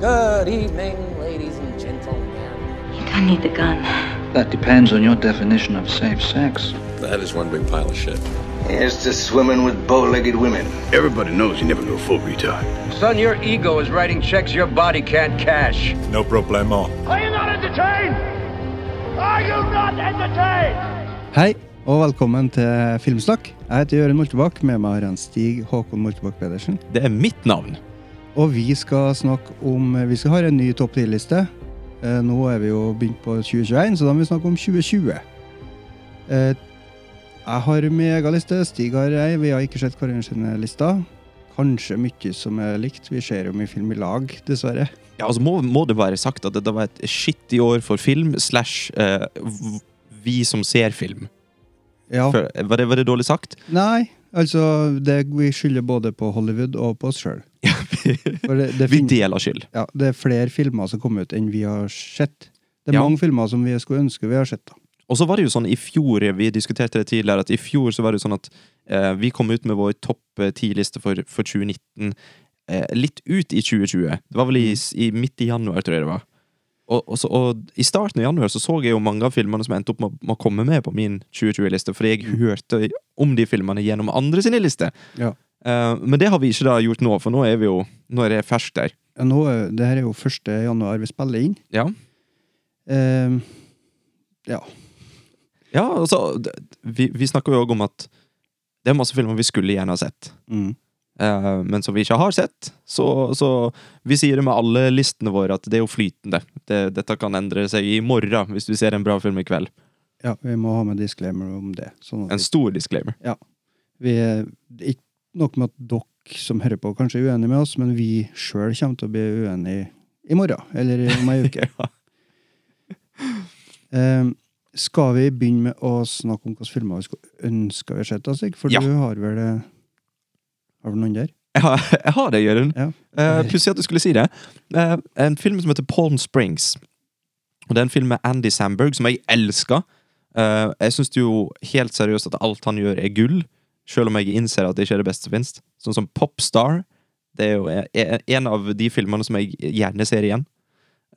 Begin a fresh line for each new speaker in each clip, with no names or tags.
Good evening, ladies and gentlemen.
You don't need the gun.
That depends on your definition of safe sex.
That is one big pile of shit.
Here's to swimming with bow-legged women.
Everybody knows you never go full retard.
Son, your ego is writing checks your body can't cash.
No problemo.
Are you not entertained? Are you not entertained?
Hei, og velkommen til Filmsnakk. Jeg heter Jørund Moltebakk. Med meg har jeg en Stig Håkon Moltebakk Pedersen.
Det er mitt navn.
Og vi skal snakke om eh, Vi skal ha en ny topp 10-liste. Eh, Nå er vi jo begynt på 2021, så da må vi snakke om 2020. Eh, Jeg har megaliste, Stig har ei. Vi har ikke sett hverandre sine lister. Kanskje mye som er likt. Vi ser jo mye film i lag, dessverre.
Ja, altså må, må det være sagt at dette var et skittig år for film slash eh, v- vi som ser film.
Ja.
For, var, det, var det dårlig sagt?
Nei, altså det, Vi skylder både på Hollywood og på oss sjøl.
Vi deler skyld.
ja, det er flere filmer som kom ut enn vi har sett. Det er
Ja.
mange filmer som vi skulle ønske vi har sett. da.
Og så var det jo sånn i fjor, vi diskuterte det tidligere, at i fjor så var det jo sånn at eh, vi kom ut med vår topp eh, ti-liste for, for 2019 eh, litt ut i 2020. Det var vel i, s- i midt i januar, tror jeg det var. Og, og, så, og i starten av januar så så jeg jo mange av filmene som endte opp med, å- med å komme med på min 2020-liste, fordi jeg hørte om de filmene gjennom andre sine lister.
Ja.
Eh, men det har vi ikke da gjort nå, for nå er vi jo Nå er det ferskt der.
Ja, nå, er- det her er jo 1. januar vi spiller inn.
Ja.
Eh, ja.
Ja, altså, d- vi, vi snakker jo òg om at det er masse filmer vi skulle gjerne ha sett,
Mm.
eh, men som vi ikke har sett. Så, så vi sier det med alle listene våre at det er jo flytende. Det, dette kan endre seg i morgen hvis vi ser en bra film i kveld.
ja, vi må ha med disclaimer om det. Sånn
En
at
stor disclaimer.
vi, det er ikke nok med at dere som hører på, kanskje er uenige med oss, men vi sjøl kommer til å bli uenige i morgen. Eller om ei uke.
Ja.
Eh, skal vi begynne med å snakke om hvilke filmer vi skulle ønske vi hadde sett? da, Stig? For
Ja.
du har vel eh, Har du noen der?
Jeg har, jeg har det, Jørund.
Ja.
Eh, Pussig at du skulle si det. Eh, en film som heter Palm Springs. Og Det er en film med Andy Sandberg som jeg elsker. Eh, jeg syns jo helt seriøst at alt han gjør, er gull. Selv om jeg innser at det ikke er det beste som finnes. Sånn som Popstar. Det er jo e- e- en av de filmene som jeg gjerne ser igjen.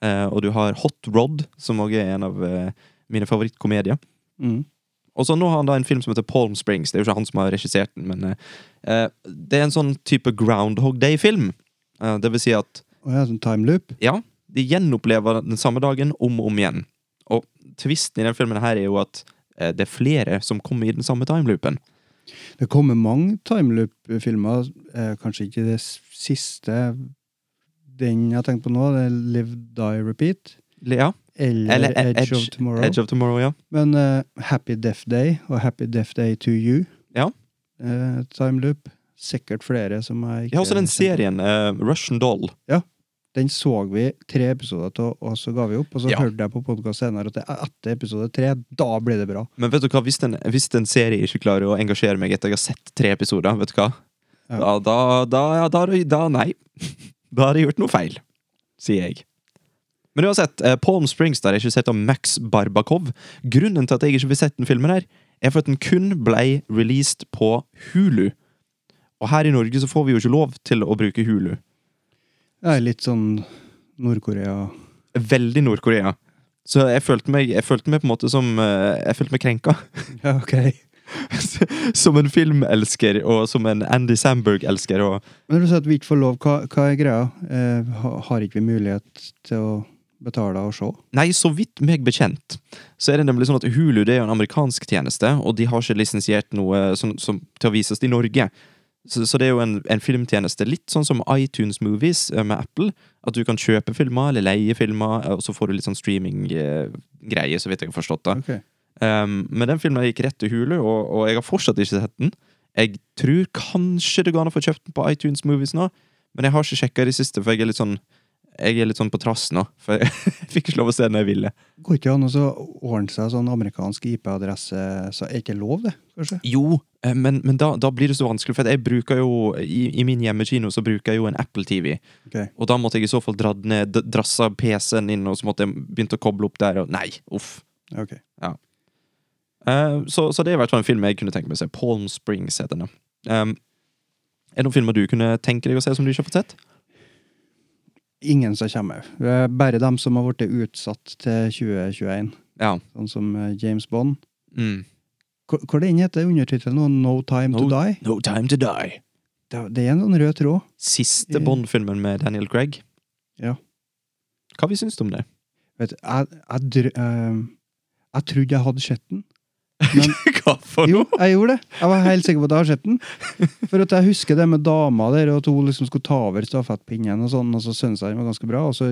Eh, og du har Hot Rod, som òg er en av eh, mine favorittkomedier.
Mm.
Og så nå har han da en film som heter Palm Springs. Det er jo ikke han som har regissert den, men eh, eh, det er en sånn type Groundhog Day-film. Eh, det vil si at
Å ja, sånn time loop?
ja, de gjenopplever den samme dagen om og om igjen. Og tvisten i den filmen her er jo at eh, det er flere som kommer i den samme timeloopen.
Det kommer mange timeloop-filmer. Eh, kanskje ikke det s- siste Den jeg tenker på nå, det er Live, Die, Repeat.
Ja.
Eller,
Eller E-
Edge, of
Edge-
Tomorrow.
Edge of Tomorrow, ja.
Men eh, Happy Death Day og Happy Death Day to You.
Ja.
Eh, timeloop. Sikkert flere som jeg ikke
Jeg har også den
kjenner.
serien, eh, Russian Doll.
Den så vi tre episoder av, og så ga vi opp. Og så
Ja.
hørte jeg på podkast senere at det er etter episode tre, da blir det bra.
Men vet du hva, hvis en, hvis en serie ikke klarer å engasjere meg etter jeg har sett tre episoder, vet du hva? Da,
Ja.
da, da, ja, da, da nei. Da har jeg gjort noe feil, sier jeg. Men uansett, eh, Palm Springs der er ikke sett av Max Barbakov. Grunnen til at jeg ikke vil sett den filmen her, er for at den kun blei released på Hulu. Og her i Norge så får vi jo ikke lov til å bruke Hulu.
Det er litt sånn Nord-Korea
Veldig Nord-Korea. Så jeg følte meg, jeg følte meg på en måte som eh, Jeg følte meg krenka.
Ja, ok.
som en filmelsker, og som en Andy Sandberg-elsker. Og
Men du sier at vi ikke får lov. Hva, hva er greia? Eh, ha- har ikke vi mulighet til å betale og se?
Nei, så vidt meg bekjent, så er det nemlig sånn at Hulu det er jo en amerikansk tjeneste, og de har ikke lisensiert noe som, som, til å vises i Norge. Så, så det er jo en, en filmtjeneste, litt sånn som iTunes Movies eh, med Apple, at du kan kjøpe filmer eller leie filmer, eh, og så får du litt sånn streaming-greie, så vidt jeg har forstått det.
Ok.
Um, men den filmen gikk rett til Hulu, og, og jeg har fortsatt ikke sett den. Jeg tror kanskje det går an å få kjøpt den på iTunes Movies nå, men jeg har ikke sjekka i det siste, for jeg er litt sånn Jeg er litt sånn på trass nå. For jeg fikk ikke lov å se den jeg ville.
Går ikke an å så ordne seg sånn amerikansk IP-adresse? Så er ikke lov, det? kanskje?
Jo, eh, men, men da, da blir det så vanskelig, for jeg bruker jo I, i min hjemmekino så bruker jeg jo en Apple TV,
Ok.
og da måtte jeg i så fall dratt ned, d- drassa PC-en inn, og så måtte jeg begynt å koble opp der, og nei, uff.
Ok.
Eh, så, så det er i hvert fall en film jeg kunne tenke meg å se. Palm Springs heter den. Um, er det noen filmer du kunne tenke deg å se som du ikke har fått sett?
ingen som kommer. Det er Bare dem som har blitt utsatt til 2021,
Ja.
sånn som eh, James Bond.
Mm.
Hva hva er det den heter undertittelen nå? No Time to Die?
no time to die.
Det- Det er en sånn rød tråd.
Siste
Ja.
Bond-filmen med Daniel Craig.
Ja.
Hva vi syns du om det?
Vet du, jeg, jeg, drø, eh, jeg trodde jeg hadde sett den. Men,
Hva for
jo, jeg gjorde det. Jeg var helt sikker på at jeg hadde sett den. For at jeg husker det med dama der, og at hun liksom skulle ta over stafettpinnen, og sånn, og så syntes jeg den var ganske bra. Og så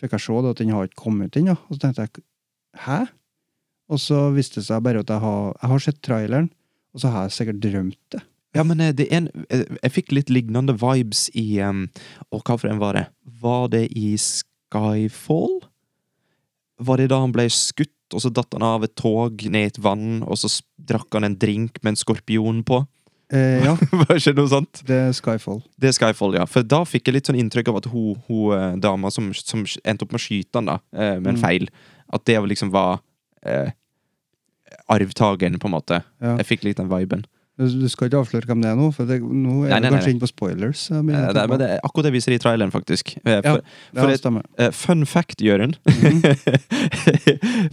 fikk jeg se da, at den har ikke kommet ut ennå. Og så tenkte jeg hæ? Og så viste det seg bare at jeg har, jeg har sett traileren, og så har jeg sikkert drømt det.
Ja, men eh, det er en eh, Jeg fikk litt lignende vibes i um, Og hva for en var det? Var det i Skyfall? Var det da han ble skutt, og så datt han av et tog ned i et vann, og så s- drakk han en drink med en skorpion på?
Eh, ja,
Var ikke det noe sånt?
det er Skyfall.
Det er Skyfall, ja. For da fikk jeg litt sånn inntrykk av at hun, hun eh, dama som, som endte opp med å skyte han da, eh, med en
Mm.
feil, at det liksom var eh, arvtakeren, på en måte.
Ja.
Jeg fikk litt den viben.
Du du skal ikke avsløre hvem det er nå, for det, nå
Nei,
er vi
nei, nei, nei.
kanskje inne på spoilers. jeg begynner
Eh,
å
det,
tenke
men
på.
det er akkurat det viser i traileren, faktisk. Eh,
Ja,
For, for
ja,
et-
stemmer.
eh, fun fact, Jørund.
Mhm.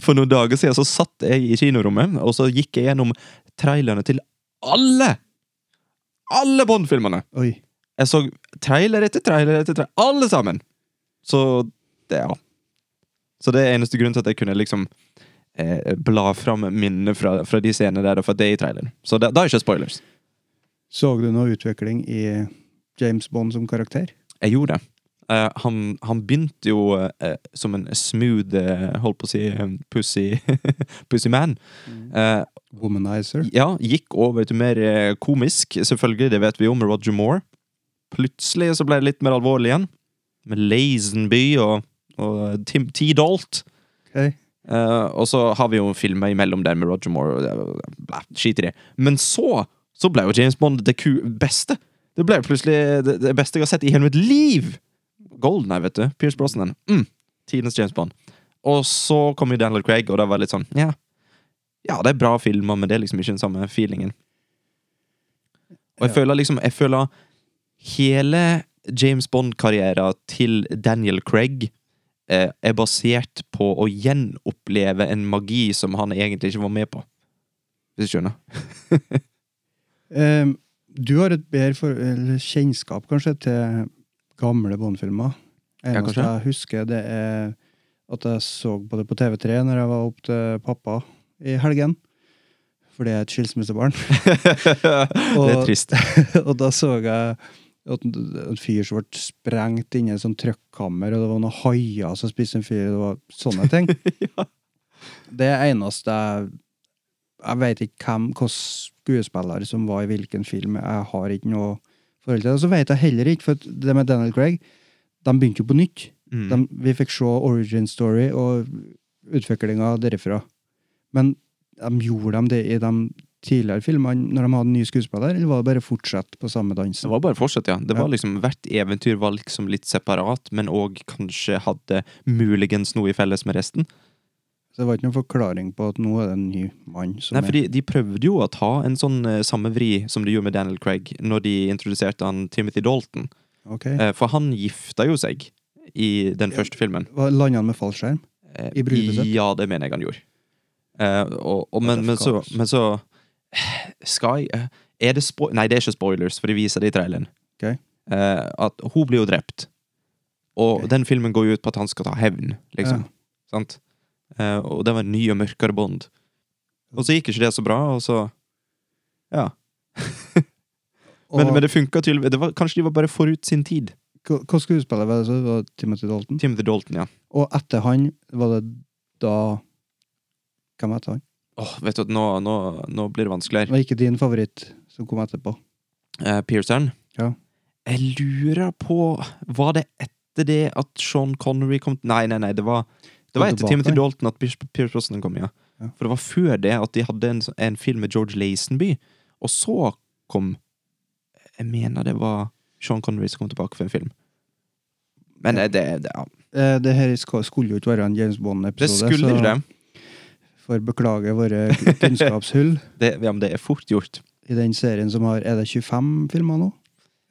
for noen dager siden så satt jeg i kinorommet, og så gikk jeg gjennom trailerne til alle! Alle Bond-filmene!
Oi.
Jeg så trailer etter trailer etter trailer. Alle sammen! Så det, ja. Så det er eneste grunnen til at jeg kunne liksom eh, bla fram minnene fra, fra de scenene der, for det er i traileren. Så det, da er ikke spoilers.
Så du noe utvikling i James Bond som karakter?
Jeg gjorde det. Eh, han, han begynte jo eh, som en smooth, eh, holdt på å si, eh, pussy, pussy man. Eh,
Womanizer?
ja, gikk over til mer eh, komisk, selvfølgelig, det vet vi jo, med Roger Moore. Plutselig så ble det litt mer alvorlig igjen, med Lazenby og, og eh, Tim T. Dalt.
Ok.
Eh, og så har vi jo filmer imellom der med Roger Moore, og det- blæ, skit i det. Men så, så ble jo James Bond det ku beste. Det ble jo plutselig det, det beste jeg har sett i hele mitt liv! Golden her, vet du. Pierce Brosnan. Mm. Tidens James Bond. Og så kom jo Daniel Craig, og det var litt sånn, ja. Ja, det er bra filmer, men det er liksom ikke den samme feelingen. Og jeg
Ja.
føler liksom Jeg føler hele James Bond-karrieren til Daniel Craig eh, er basert på å gjenoppleve en magi som han egentlig ikke var med på. Hvis du skjønner?
Ehm, du har et bedre for, eller kjennskap kanskje til gamle Bond-filmer.
Ja,
Eneste
kanskje.
jeg husker, det er at jeg så på det på TV3 når jeg var opp til pappa i helgen. Fordi jeg er et skilsmissebarn.
det er trist.
og da så jeg at en en fyr som ble sprengt inne i et sånt trøkkammer, og det var noen haier som spiste en fyr, og det var sånne ting. Det er eneste jeg Jeg vet ikke hvem, hvilken skuespiller som var i hvilken film. Jeg har ikke noe forhold til det. Og så vet jeg heller ikke, for at det med Daniel Craig De begynte jo på nytt.
Mm.
De, vi fikk se origin story og utviklinga derifra. Men de gjorde de det i de tidligere filmene når de hadde ny skuespiller, eller var det bare fortsette på samme
Det
dansen?
var bare fortsatt, ja. Det
Ja.
var liksom, hvert eventyr var liksom litt separat, men òg kanskje hadde muligens noe i felles med resten.
Så det var ikke noen forklaring på at nå er det en ny mann som
Nei, for de, de prøvde jo å ta en sånn eh, samme vri som de gjorde med Daniel Craig når de introduserte han Timothy Dalton.
er Ok.
Eh, for han gifta jo seg i den første filmen.
Hva- Landa han med fallskjerm?
Eh,
I bryllupet sitt?
Ja, det mener jeg han gjorde. Eh, og, og, men, men, så, men så Sky eh, Er det spo Nei, det er ikke spoilers, for de viser det i traileren.
Ok.
Eh, at hun blir jo drept. Og
Ok.
den filmen går jo ut på at han skal ta hevn, liksom.
Ja.
Sant? Eh, og det var en ny og mørkere Bond. Og så gikk ikke det så bra, og så Ja.
Og
Men, men det funka tydeligvis. Det var- Kanskje de var bare forut sin tid.
hva- hva skuespiller var det? så? Det var Timothy Dalton?
Timothy Dalton, ja.
Og etter han var det da Hvem var etter han?
Åh, vet du, at nå, nå, nå blir det vanskeligere.
Det var ikke din favoritt som kom etterpå.
eh, Pierceren.
Ja.
Jeg lurer på Var det etter det at Sean Connery kom Nei, nei, nei, det var Det var
Kom
etter
tilbake.
Timothy Dalton at Pierce Pierce Brosnan kom, ja.
Ja.
For det var før det at de hadde en, en film med George Lazenby, og så kom Jeg mener det var Sean Connery som kom tilbake for en film. Men eh, det, det, ja.
Eh, det her skal- skulle jo ikke være en James
det
Bond-episode,
skulle ikke
så
det.
får beklage våre kunnskapshull
det. Ja, men det er fort gjort.
i den serien som har Er det 25 filmer nå?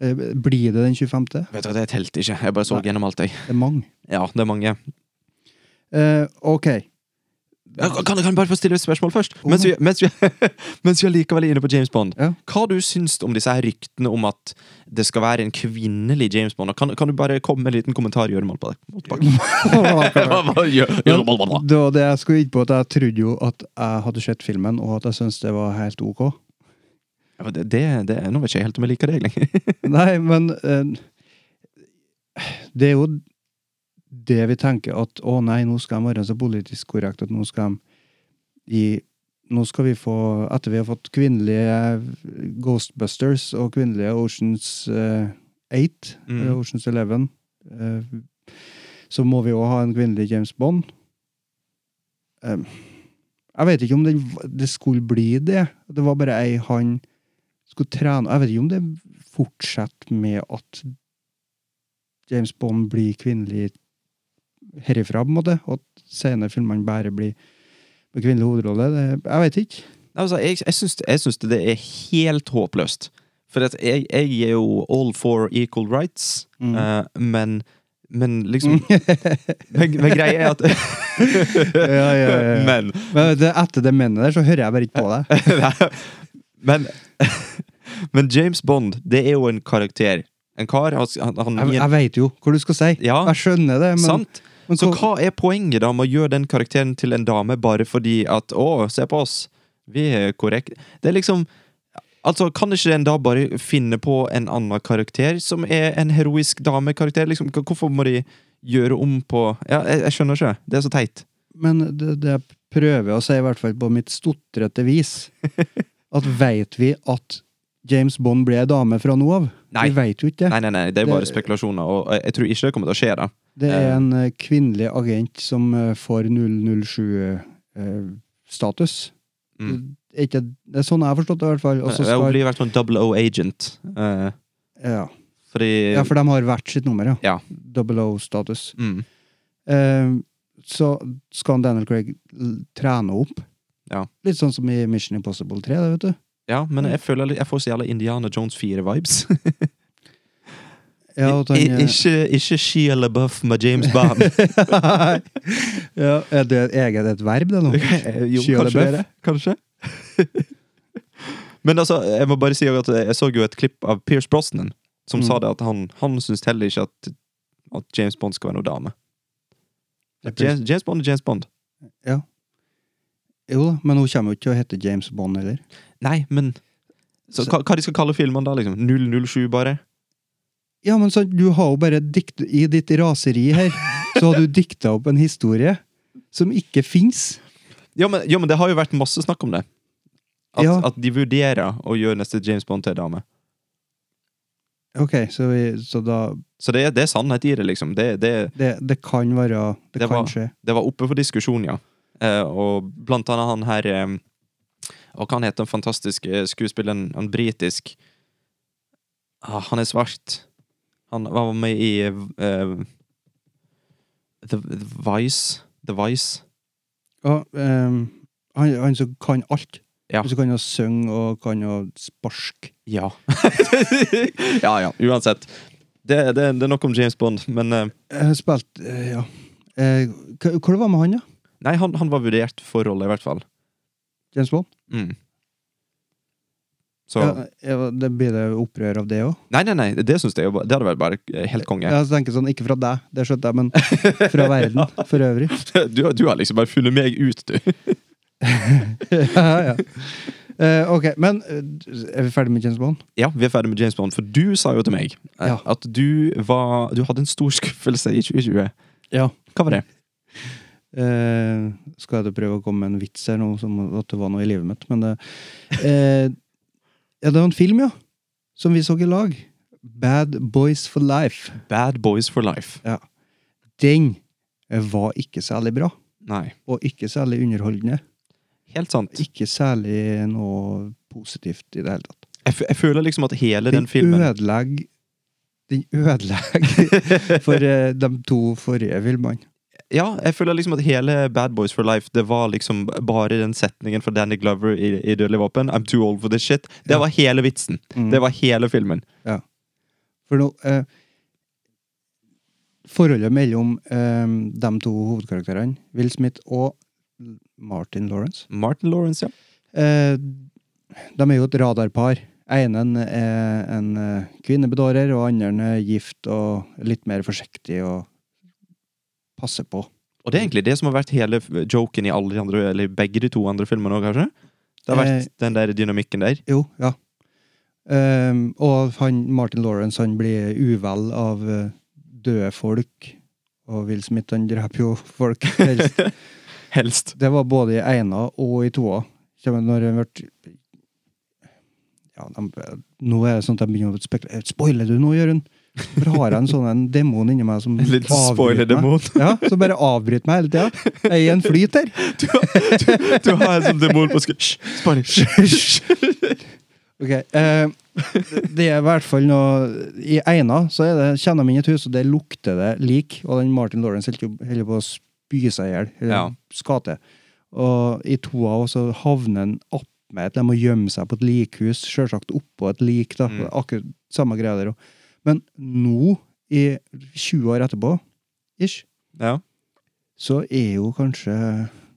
Eh, Blir det den 25.?
Vet du, hva, Det telte ikke. Jeg bare så
Nei.
gjennom alt, jeg.
Det er mange.
Ja, det er mange.
Eh, OK.
Ja, Kan, kan jeg bare få stille et spørsmål først?
Oh.
Mens vi, mens, vi, mens vi allikevel er inne på James Bond.
Ja.
Hva du syns om disse her ryktene om at det skal være en kvinnelig James Bond? Og Kan, kan du bare komme med en liten kommentar, Gjørmal, på det? Hva- hva gjør- Gjørmal, hva?
Det var det jeg skulle inn på, at jeg trodde jo at jeg hadde sett filmen, og at jeg syntes det var helt ok.
Ja, men Det, det, det, nå vet ikke jeg helt om jeg liker det, egentlig.
Nei, men eh, Det er jo det vi tenker at å nei, nå skal de være så politisk korrekt at nå skal de gi Nå skal vi få Etter vi har fått kvinnelige Ghostbusters og kvinnelige Oceans eh, 8,
Mm.
eller Oceans 11, eh, så må vi òg ha en kvinnelig James Bond. Eh, jeg vet ikke om den, det skulle bli det. Det var bare ei han skulle trene Jeg vet ikke om det fortsetter med at James Bond blir kvinnelig herifra, på en måte. Og at senere filmene bare blir med kvinnelig hovedrolle. Det, jeg vet ikke.
Altså, jeg, jeg, syns, jeg syns det er helt håpløst. For at jeg, jeg er jo all for equal rights,
Mm.
eh, men, men liksom men, men greia er at
Ja, ja, ja, ja.
Men
Men det, etter det mennet der, så hører jeg bare ikke på deg.
Men, men James Bond, det er jo en karakter. En kar han, han,
Jeg, jeg
han,
vet jo hva du skal si.
Ja.
Jeg skjønner det, men
Sant?
men
Så
hva-
hva er poenget da med å gjøre den karakteren til en dame bare fordi at Å, se på oss. Vi er korrekte. Det er liksom Altså, Kan ikke en da bare finne på en annen karakter som er en heroisk damekarakter? Liksom, hva- hvorfor må de gjøre om på Ja, jeg, jeg skjønner ikke. Det er så teit.
Men det, det jeg prøver å si, i hvert fall på mitt stotrete vis, at veit vi at James Bond ble ei dame fra nå av?
Nei.
Vi veit jo ikke det.
Nei, nei, nei, det er bare
Det-
spekulasjoner, og jeg jeg tror ikke det kommer til å skje. da
Det er
Eh.
en eh, kvinnelig agent som eh, får 007-status.
Mm.
eh, Det, er ikke- det er sånn jeg har forstått det, i hvert fall. Og så
Jeg
skal,
blir i hvert fall en double O-agent. eh,
ja.
fordi
ja, for de har hvert sitt nummer, ja.
Ja.
Double O-status.
Mm.
Eh, så skal Daniel Craig l- trene opp.
Ja.
Litt sånn som i Mission Impossible 3, det, vet du.
Ja, men jeg føler litt- jeg får så jævla Indiana Jones 4-vibes.
Ja, at han, eh,
ikke, ikke Shia LaBeouf med James Bond.
ja, er det et eget et verb, det nå?
jo,
Shia
kanskje det er
LaBeouf?
det. Kanskje. men altså, jeg må bare si at jeg så jo et klipp av Pierce Brosnan, som
Mm.
sa det at han, han syns heller ikke at, at James Bond skal være noe dame.
Det er
James, James Bond er James Bond.
Jo da, men hun kommer jo ikke til å hete James Bond heller.
Nei, men så, hva, hva de skal kalle filmene da, liksom? 007, bare?
Ja, men så, du har jo bare dikt, I ditt raseri her, så har du dikta opp en historie som ikke fins.
Ja men, ja, men det har jo vært masse snakk om det. At,
Ja.
at de vurderer å gjøre neste James Bond til dame.
Ok, så, vi, så da
Så det, det er sannhet i det, liksom. Det, det,
Det, det kan være Det,
Det
kan
var-
skje.
det var oppe for diskusjon, ja. Eh, og blant annet han her eh, Og hva han heter den fantastiske skuespilleren, han britisk ah, Han er svart. Han var med i eh, The, The Vice. The Vice.
Ja, ehm, han, han som kan alt.
Ja.
Han som kan å synge og kan å sparke.
Ja. ja, ja. Uansett. Det, det, det er nok om James Bond, men eh,
Eh, Spilt eh, Ja. Eh, hva, hva det var med han, da?
Nei, han, han var vurdert for rolle, i hvert fall.
James Bond?
Mm. Så
Ja, ja, det blir det opprør av det òg?
Nei, nei, nei, det syns jeg jo ba- Det hadde vært bare eh, helt konge.
Jeg tenker sånn, ikke fra deg, det skjønte jeg, men fra verden for øvrig.
Du, har- du har liksom bare funnet meg ut, du.
ja, ja. Eh, ok, men eh, er vi ferdig med James Bond?
Ja, vi er ferdig med James Bond, for du sa jo til meg eh,
Ja.
at du var Du hadde en stor skuffelse i 2020.
Ja.
Hva var det?
Eh, skal jeg da prøve å komme med en vits her nå, som at det var noe i livet mitt, men det eh, Ja, det var en film, ja, som vi så i lag. Bad Boys for Life.
Bad Boys for Life.
Den eh, var ikke særlig bra,
Nei.
og ikke særlig underholdende.
Helt sant.
Ikke særlig noe positivt i det hele tatt.
Jeg, f jeg føler liksom at hele den
Den
filmen
ødelegger Den ødelegger for eh, de to forrige filmene.
Ja, jeg føler liksom at hele Bad Boys for Life Det var liksom bare den setningen fra Danny Glover
Mm.
i, i Dødelig våpen. I'm too old for this shit. Det var hele vitsen. Det var hele filmen.
For nå eh, Forholdet mellom eh, de to hovedkarakterene, Will Smith og Martin Lawrence
Martin Lawrence, ja.
Eh, De er jo et radarpar. Enen er en eh, kvinnebedårer, og andre er gift og litt mer forsiktig og passer på.
Og det er egentlig det som har vært hele f- joken i alle de andre, eller begge de to andre filmene òg, kanskje? Det har vært
Eh.
den der dynamikken der.
Jo, ja. Ehm, og han, Martin Lawrence han blir uvel av eh, døde folk. Og Will Smith han dreper jo folk. helst.
Helst.
det var både i ena og i toa. Kjem Når han ble ja, de, Nå er det sånn at jeg begynner å spekulere. Spoiler du nå, Jørund? For har jeg en sånn en demon inni meg som
En liten
avbryter meg?
spoiler-demon.
Ja, som bare avbryter meg hele tida. Jeg er i en flyt her.
Du, har- du, du har en sånn demon på skulderen. Hysj! Spanier, hysj, hysj.
Ok, eh, Det er i hvert fall noe I Eina så er det, kjenner de inn i et hus, og der lukter det lik. Og den Martin Lawrence holder jo- holder på å spy seg i hjel. eller
Ja.
Skate. Og i to av oss så havner han attmed et De må gjemme seg på et likhus, sjølsagt oppå et lik. da,
Mm.
akkurat samme greia der også. Men nå, i 20 år etterpå, ish,
Ja.
så er jo kanskje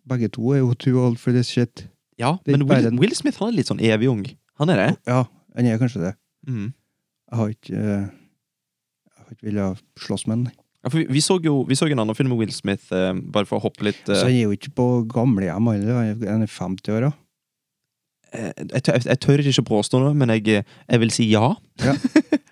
begge to er jo too old for this shit.
ja,
Det er
men
bare
Will,
den-
Will Smith han er litt sånn evig ung. Han er det.
Ja, han er kanskje det.
Mm.
Jeg har ikke eh, Jeg har ikke villet slåss med han.
Ja, for vi, vi så jo vi så en annen film med Will Smith, eh, bare for å hoppe litt
Så
eh,
han er jo ikke på gamlehjem heller. Han er- Han er 50 år, da.
eh, jeg, tør, jeg tør ikke påstå noe, men jeg, eh, jeg vil si ja.
Ja.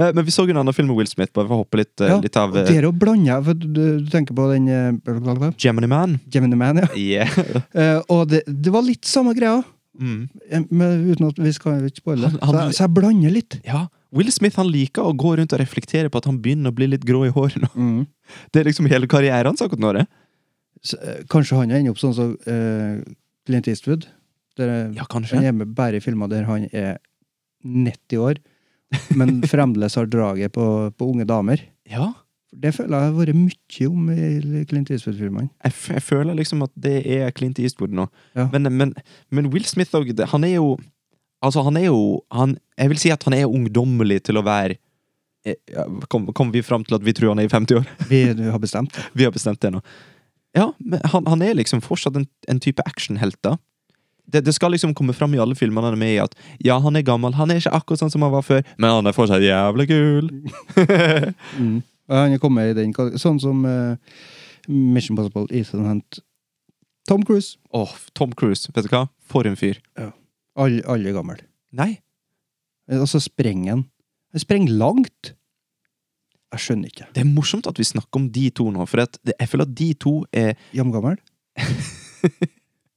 Eh, men vi så en annen film med Will Smith, bare for å hoppe litt, eh,
Ja,
litt av
Og
eh,
der å blande jeg, for du, du tenker på den eh, blablabla,
Gemini Man.
Gemini Man, ja.
Yeah.
Eh, og det, det var litt samme greia,
Mm.
eh, men uten at vi skal ikke spoile
Han-
det.
han-
Så, jeg- så jeg blander litt.
Ja, Will Smith han liker å gå rundt og reflektere på at han begynner å bli litt grå i håret nå.
Mm.
Det er liksom hele karrieren hans akkurat nå. det.
Så, eh, kanskje han ender opp sånn som eh, Clint Eastwood. Der, eh,
Ja,
Han
kanskje.
er med bare i filmer der han er 90 år, men fremdeles har draget på, på unge damer.
Ja.
Det føler jeg har vært mye om i Clint Eastwood-filmene.
Jeg, f jeg føler liksom at det er Clint Eastwood nå.
Ja.
Men, men, men Will Smith og, det- han er jo Altså, han er jo han, Jeg vil si at han er ungdommelig til å være eh, ja, Kom, kom vi fram til at vi tror han er i 50 år?
Vi du har bestemt.
Vi har bestemt det nå. Ja, men han, han er liksom fortsatt en, en type actionhelt, da. Det, det skal liksom komme fram i alle filmene han er med i, at ja, han er gammel, han er ikke akkurat sånn som han var før, men han er fortsatt jævlig kul.
Mm. Og Han er kommet i den kal- Sånn som eh, Mission Possible, Ethan Hunt, Tom Cruise.
Åh, Tom Cruise, vet du hva? For en fyr.
Alle all er gamle.
Nei.
Og så sprenger han. Han sprenger langt! Jeg skjønner ikke.
Det er morsomt at vi snakker om de to nå, for at det, jeg føler at de to er
Jamgammel?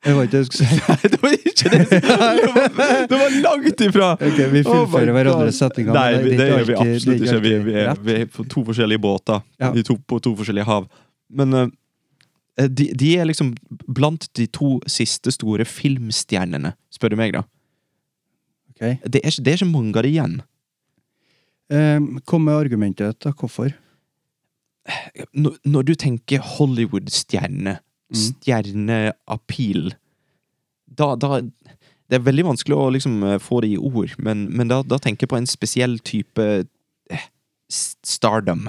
Det var ikke det jeg skulle si.
Nei, det var ikke det! Det var, det var langt ifra!
Ok, vi fullfører
Oh my God.
hverandres setninger.
Nei,
men
vi- det
er
gjør vi
alltid-
absolutt
det er
ikke. Vi, vi, er,
alltid
vi er på to forskjellige båter
Ja.
i to, på to forskjellige hav. Men eh, de, de er liksom blant de to siste store filmstjernene, spør du meg, da.
rett. Ok.
Det er, ikke- det er ikke mange av de igjen.
Eh, Kom med argumentet ditt, da. Hvorfor?
Når, når du tenker Hollywood-stjerne,
Mm.
stjerneappeal da, da Det er veldig vanskelig å liksom eh, få det i ord, men, men da, da tenker jeg på en spesiell type eh, s- stardom.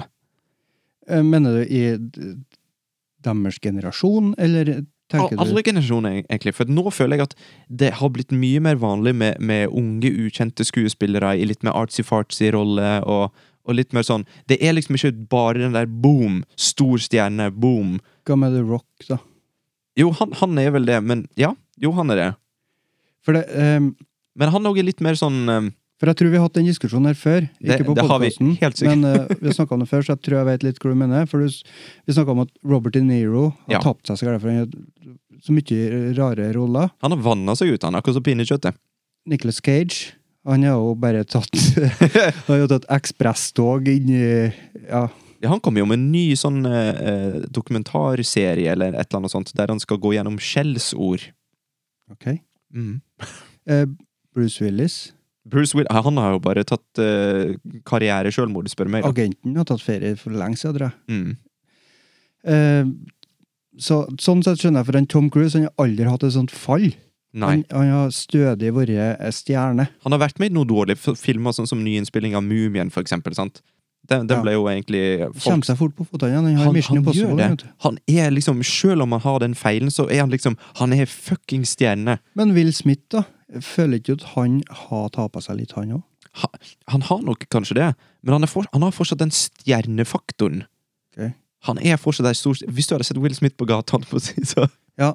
Eh, Mener du i d- deres generasjon, eller
Al- altså,
tenker
Alle
du
generasjoner, egentlig. For nå føler jeg at det har blitt mye mer vanlig med, med unge, ukjente skuespillere i litt mer artsy-fartsy-rolle. Og, og litt mer sånn Det er liksom ikke bare den der boom, stor stjerne, boom.
Hva med The Rock, da?
Jo, han, han er vel det, men Ja, jo, han er det.
For, det, ehm,
Men han òg er litt mer sånn ehm,
for jeg tror vi har hatt den diskusjonen her før. Ikke
Det-
på
det har vi,
podcasten,
helt sikkert.
men eh, vi har snakka om det før, så jeg tror jeg vet litt hvor du mener. For du, s- vi snakka om at Robert De Niro har
Ja.
tapt seg så gærent, for han har så mye rare roller.
Han har vanna seg ut, han, akkurat som pinnekjøttet.
Nicholas Cage han har jo bare tatt Han har jo tatt ekspresstog inn i ja,
Ja, han kommer jo med en ny sånn eh, eh, dokumentarserie eller et eller annet sånt, der han skal gå gjennom skjellsord. Mm.
ok. Eh, Bruce Willis.
Bruce Will, han har jo bare tatt eh, karriere sjølmord, spør du meg. da.
Agenten har tatt ferie for lenge siden, tror jeg.
Mm.
Eh, så, sånn sett skjønner jeg, for en Tom Cruise han har aldri hatt et sånt fall.
Nei.
Han, han har stødig vært eh, stjerne.
Han har vært med i noen dårlige f- filmer, sånn som nyinnspilling av Mumien, for eksempel. Sant? Den, den
Ja.
ble jo egentlig folk-
Kommer seg fort på føttene igjen. Han har
han,
Mission
han gjør
Impossible. vet
det.
du.
Han er liksom, selv om han har den feilen, så er han liksom Han er fucking stjerne.
Men Will Smith, da? Føler ikke du at han har tapa seg litt, han òg?
Ha, han har nok kanskje det, men han, er for, han har fortsatt den stjernefaktoren.
Ok.
Han er fortsatt ei stor Hvis du hadde sett Will Smith på gata, holdt på å si, så,
Ja.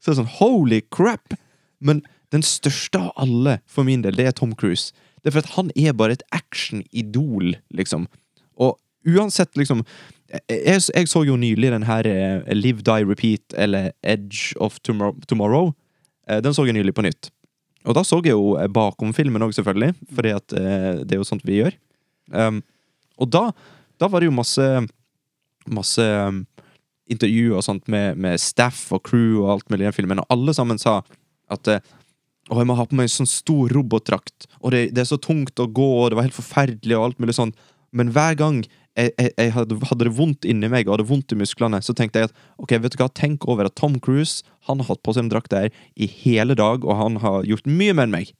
så er det sånn holy crap! Men den største av alle, for min del, det er Tom Cruise. Det er for at han er bare et action-idol, liksom. Og uansett, liksom jeg, jeg så jo nylig den her eh, Live, Die, Repeat, eller Edge of Tomorrow. Tomorrow. Eh, Den så jeg nylig på nytt. Og da så jeg jo eh, bakom filmen òg, selvfølgelig, fordi at eh, det er jo sånt vi gjør. Um, og da, da var det jo masse Masse um, intervju og sånt med, med staff og crew og alt mulig i den filmen, og alle sammen sa at eh, å, jeg må ha på meg en sånn stor robotdrakt, og det, det er så tungt å gå, og det var helt forferdelig, og alt mulig sånn. Men hver gang jeg, jeg, jeg hadde, hadde det vondt inni meg og hadde vondt i musklene, så tenkte jeg at ok, vet du hva, tenk over at Tom Cruise han har hatt på seg en drakt der i hele dag, og han har gjort mye mer enn meg.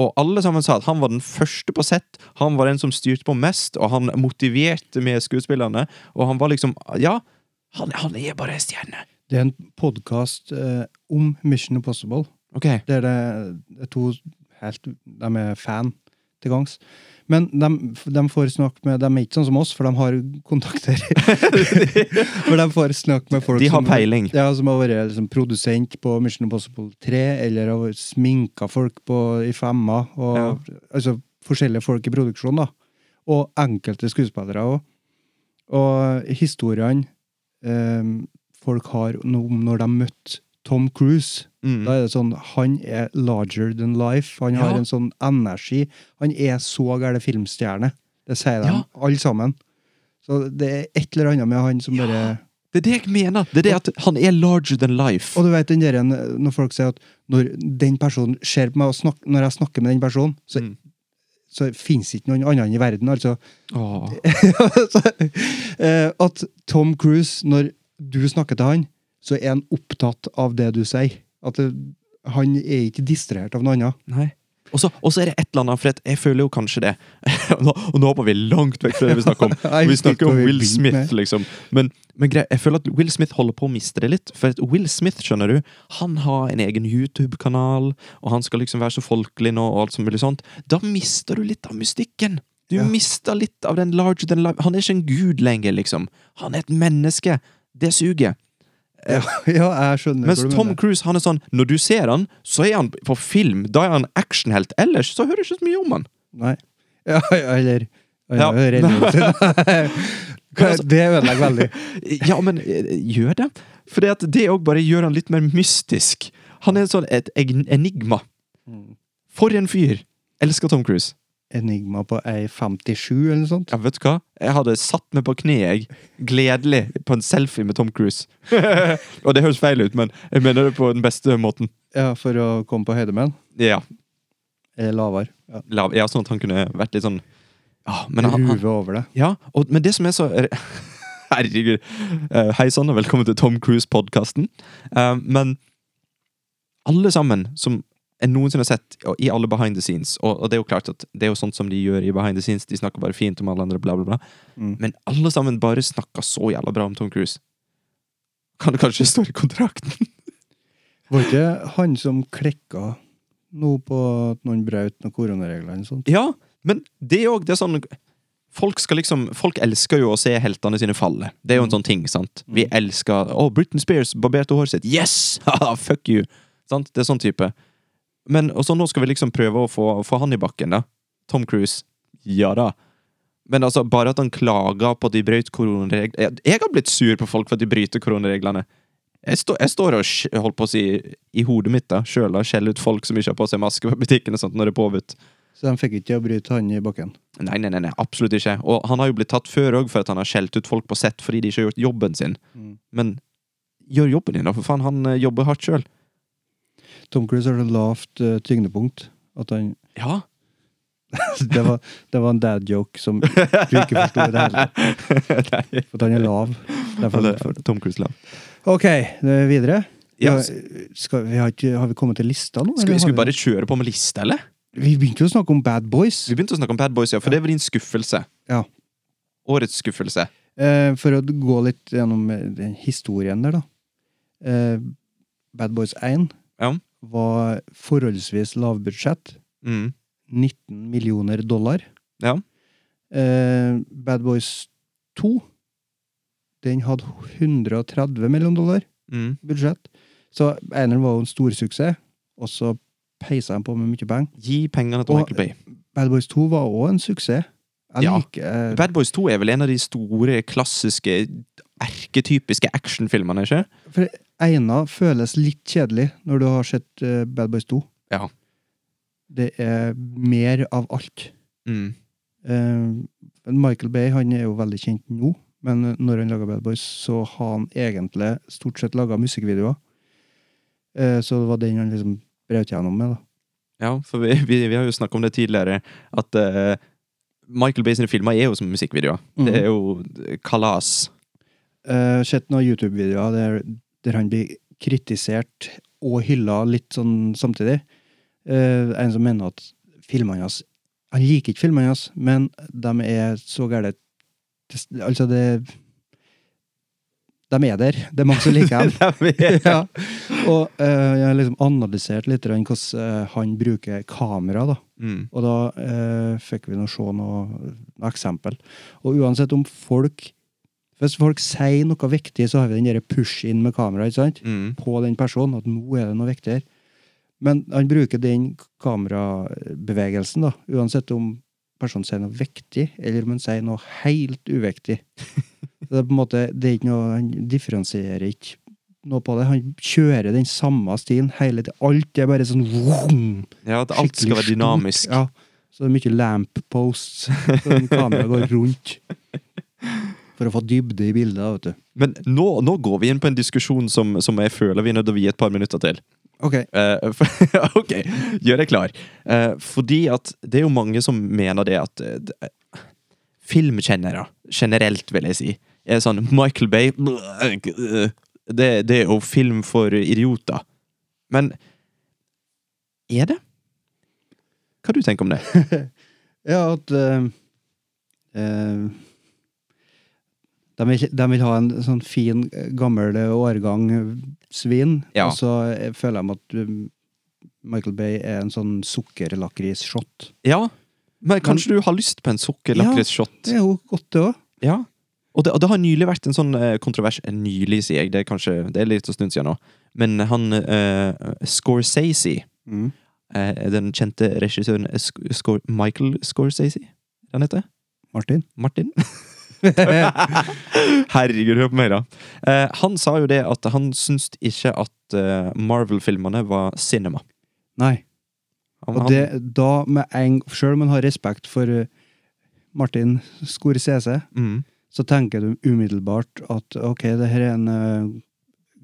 Og alle sammen sa at han var den første på sett, han var den som styrte på mest, og han motiverte med skuespillerne, og han var liksom Ja, han, han er bare en stjerne.
Det er en podkast eh, om Mission Impossible,
Ok.
der det er to helt De er fan til gangs. Men de, de får snakke med De er ikke sånn som oss, for de har kontakter. for de får snakke med folk
De har
som-
peiling.
Ja, som har vært liksom, produsent på Mission Impossible 3, eller har sminka folk på, i femma, og
Ja.
altså forskjellige folk i produksjonen, da. Og enkelte skuespillere òg. Og historiene eh, folk har nå om når de møtte Tom Cruise
Mm.
Da er det sånn Han er larger than life. Han
Ja.
har en sånn energi. Han er så gæren filmstjerne. Det sier de,
Ja.
alle sammen. Så det er et eller annet med han som
Ja.
bare
Det er det jeg mener! Det er det at han er larger than life.
og du vet den der, når folk sier at når den personen ser på meg og snak- når jeg snakker med den personen, så,
Mm.
så fins ikke noen annen i verden, altså.
Åh.
så, eh, at Tom Cruise, når du snakker til han, så er han opptatt av det du sier. At det, han er ikke distrahert av noe annet.
Nei. Og så og så er det et eller annet, for at jeg føler jo kanskje det Og nå, og nå hopper vi langt vekk fra det vi snakker om.
Jeg
Vi
husker ikke
snakker om
hva vi
Will
begynte
Smith,
med.
liksom. Men, men grei, jeg føler at Will Smith holder på å miste det litt. For at Will Smith, skjønner du, han har en egen YouTube-kanal, og han skal liksom være så folkelig nå, og alt som mulig sånt. Da mister du litt av mystikken. Du
Ja.
mister litt av den larger than life. Han er ikke en gud lenger, liksom. Han er et menneske. Det suger.
Ja, ja jeg skjønner
Mens Tom Cruise han er sånn Når du ser han, så er han på film. Da er han actionhelt. Ellers så hører du ikke så mye om han.
Nei. Ja, ja, eller
Ja.
ja. religion.
altså-
Det ødelegger veldig.
Ja, men eh, gjør det? For det òg bare gjør han litt mer mystisk. Han er sånn et eg- enigma. Mm. For en fyr! Elsker Tom Cruise.
Enigma på ei 57 eller noe sånt.
Ja, vet du hva? Jeg hadde satt meg på kne, jeg. Gledelig. På en selfie med Tom Cruise. Og det høres feil ut, men jeg mener det på den beste måten.
Ja, For å komme på høyde med den.
Ja,
Eller lavere. Ja.
la- ja sånn at han kunne vært litt sånn Ja, men han, han,
Ruve over det.
Ja, og, men det som er så Herregud. Eh, Hei sann, og velkommen til Tom Cruise-podkasten. Eh, men alle sammen som jeg noensinne har sett og i alle behind the scenes og, og det er jo klart at det er jo sånt som de gjør i behind the scenes, de snakker bare fint om alle andre, bla, bla, bla. Men alle sammen bare snakker så jævla bra om Tom Cruise. Kan det kanskje stå i kontrakten?
Var ikke han som klekka nå på at noen brøt noen koronaregler eller noe sånt?
Ja, men det òg. Det er sånn Folk skal liksom Folk elsker jo å se heltene sine falle. Det er jo en sånn ting, sant? Vi elsker Å, Britney Spears barberte håret sitt. Yes! Haha, Fuck you! Sant? Det er sånn type. Men og så nå skal vi liksom prøve å få, få han i bakken, da. Tom Cruise. Ja da. Men altså, bare at han klager på at de brøt koronareglene Jeg- Jeg har blitt sur på folk for at de bryter koronareglene. Jeg, står- jeg står og sk- holdt på å si i hodet mitt da, sjøl og skjeller ut folk som ikke har på seg maske på butikken og sånt når det er påbudt.
Så de fikk ikke til å bryte han i bakken.
Nei, nei, nei, nei, absolutt ikke. Og han har jo blitt tatt før òg for at han har skjelt ut folk på sett fordi de ikke har gjort jobben sin. Men gjør jobben din, da, for faen. Han eh, jobber hardt sjøl.
Tom Cruise har så lavt eh, tyngdepunkt at han
Ja.
Det var, det var en dad joke som du ikke forsto i det hele tatt. For at han er lav. Derfor,
Tom Cruise Love.
OK, det er videre.
Ja,
Ja,
s-
skal, vi har, ikke, har vi kommet til lista nå?
skal,
eller
vi- skal vi
har
bare kjøre på med lista, eller?
Vi begynte jo å snakke om Bad Boys.
Vi begynte å snakke om Bad Boys, ja, for det var din skuffelse.
Ja.
Årets skuffelse.
Eh, for å gå litt gjennom eh, den historien der, da. Eh, Bad Boys 1
Ja.
var forholdsvis lavbudsjett.
Mm.
19 millioner dollar.
Ja.
Eh, Bad Boys 2 den hadde 130 millioner dollar
Mm.
budsjett. Så Eineren var jo en storsuksess, og så peisa han på med mye penger.
Gi pengene til
Og-
Michael Bay.
Bad Boys 2 var òg en suksess. Jeg
Ja.
liker eh,
Bad Boys 2 er vel en av de store, klassiske, erketypiske actionfilmene, ikke?
For Eina føles litt kjedelig når du har sett eh, Bad Boys 2.
Ja.
Det er mer av alt.
Mm.
Eh, Michael Bay han er jo veldig kjent nå, men når han laga Bad Boys, så har han egentlig stort sett laga musikkvideoer. Eh, så det var den han liksom brøt gjennom med. da.
Ja, for vi, vi, vi har jo snakka om det tidligere, at eh, Michael Bay sine filmer er jo som musikkvideoer. Det
Mhm.
er jo kalas.
Eh, sett noen YouTube-videoer der, der han blir kritisert og hylla litt sånn samtidig. Eh, en som mener at filmene hans Han liker ikke filmene hans, men de er så gærne Det- Altså, det De er der. Det er mange som liker dem. ja. Og eh, jeg har liksom analysert litt grann hvordan eh, han bruker kamera, da.
Mm.
Og da eh, fikk vi nå se noe, noe eksempel. Og uansett om folk Hvis folk sier noe viktig, så har vi den derre push-in med kamera, ikke sant?
Mm.
På den personen, at nå er det noe viktigere. Men han bruker den kamerabevegelsen, da. Uansett om personen sier noe viktig, eller om han sier noe helt uviktig. Så det er på en måte, det er ikke noe, Han differensierer ikke noe på det. Han kjører den samme stilen hele tida. Alt er bare sånn vroom.
Ja, at alt skal
Skikkelig
være dynamisk.
stort, Ja. Så det er mye lamp posts. Sånn kameraet går rundt. For å få dybde i bildet, vet du.
Men nå, nå går vi inn på en diskusjon som, som jeg føler vi er nødt til å vie et par minutter til.
Ok.
Eh, for, ok, gjør deg klar. Eh, fordi at det er jo mange som mener det at eh, d- Filmkjennere, generelt, vil jeg si, er sånn Michael Bay blå, det, det er jo film for idioter. Men er det? Hva du tenker om det?
Ja, at eh, eh, de, vil, de vil ha en sånn fin, gammel årgang svin,
Ja.
og så eh, føler de at eh, Michael Bay er en sånn sukkerlakris-shot.
Ja, men kanskje du har lyst på en sukkerlakrisshot?
Det er jo godt, det òg.
Ja. Og det, og det har nylig vært en sånn eh, kontrovers eh, Nylig, sier jeg. Det er kanskje det er litt en stund siden nå. Men han eh, Scorsese,
Mm.
eh, den kjente regissøren eh, Sc Scor Michael Scorsese, er han heter?
Martin?
Martin? Herregud, hør på meg, da. Eh, han sa jo det at han syns ikke at eh, Marvel-filmene var cinema.
Nei.
Han,
Og det, da med en, selv om man har respekt for eh, Martin Scorsese,
han, mm,
så tenker du umiddelbart at ok, det her er en, eh,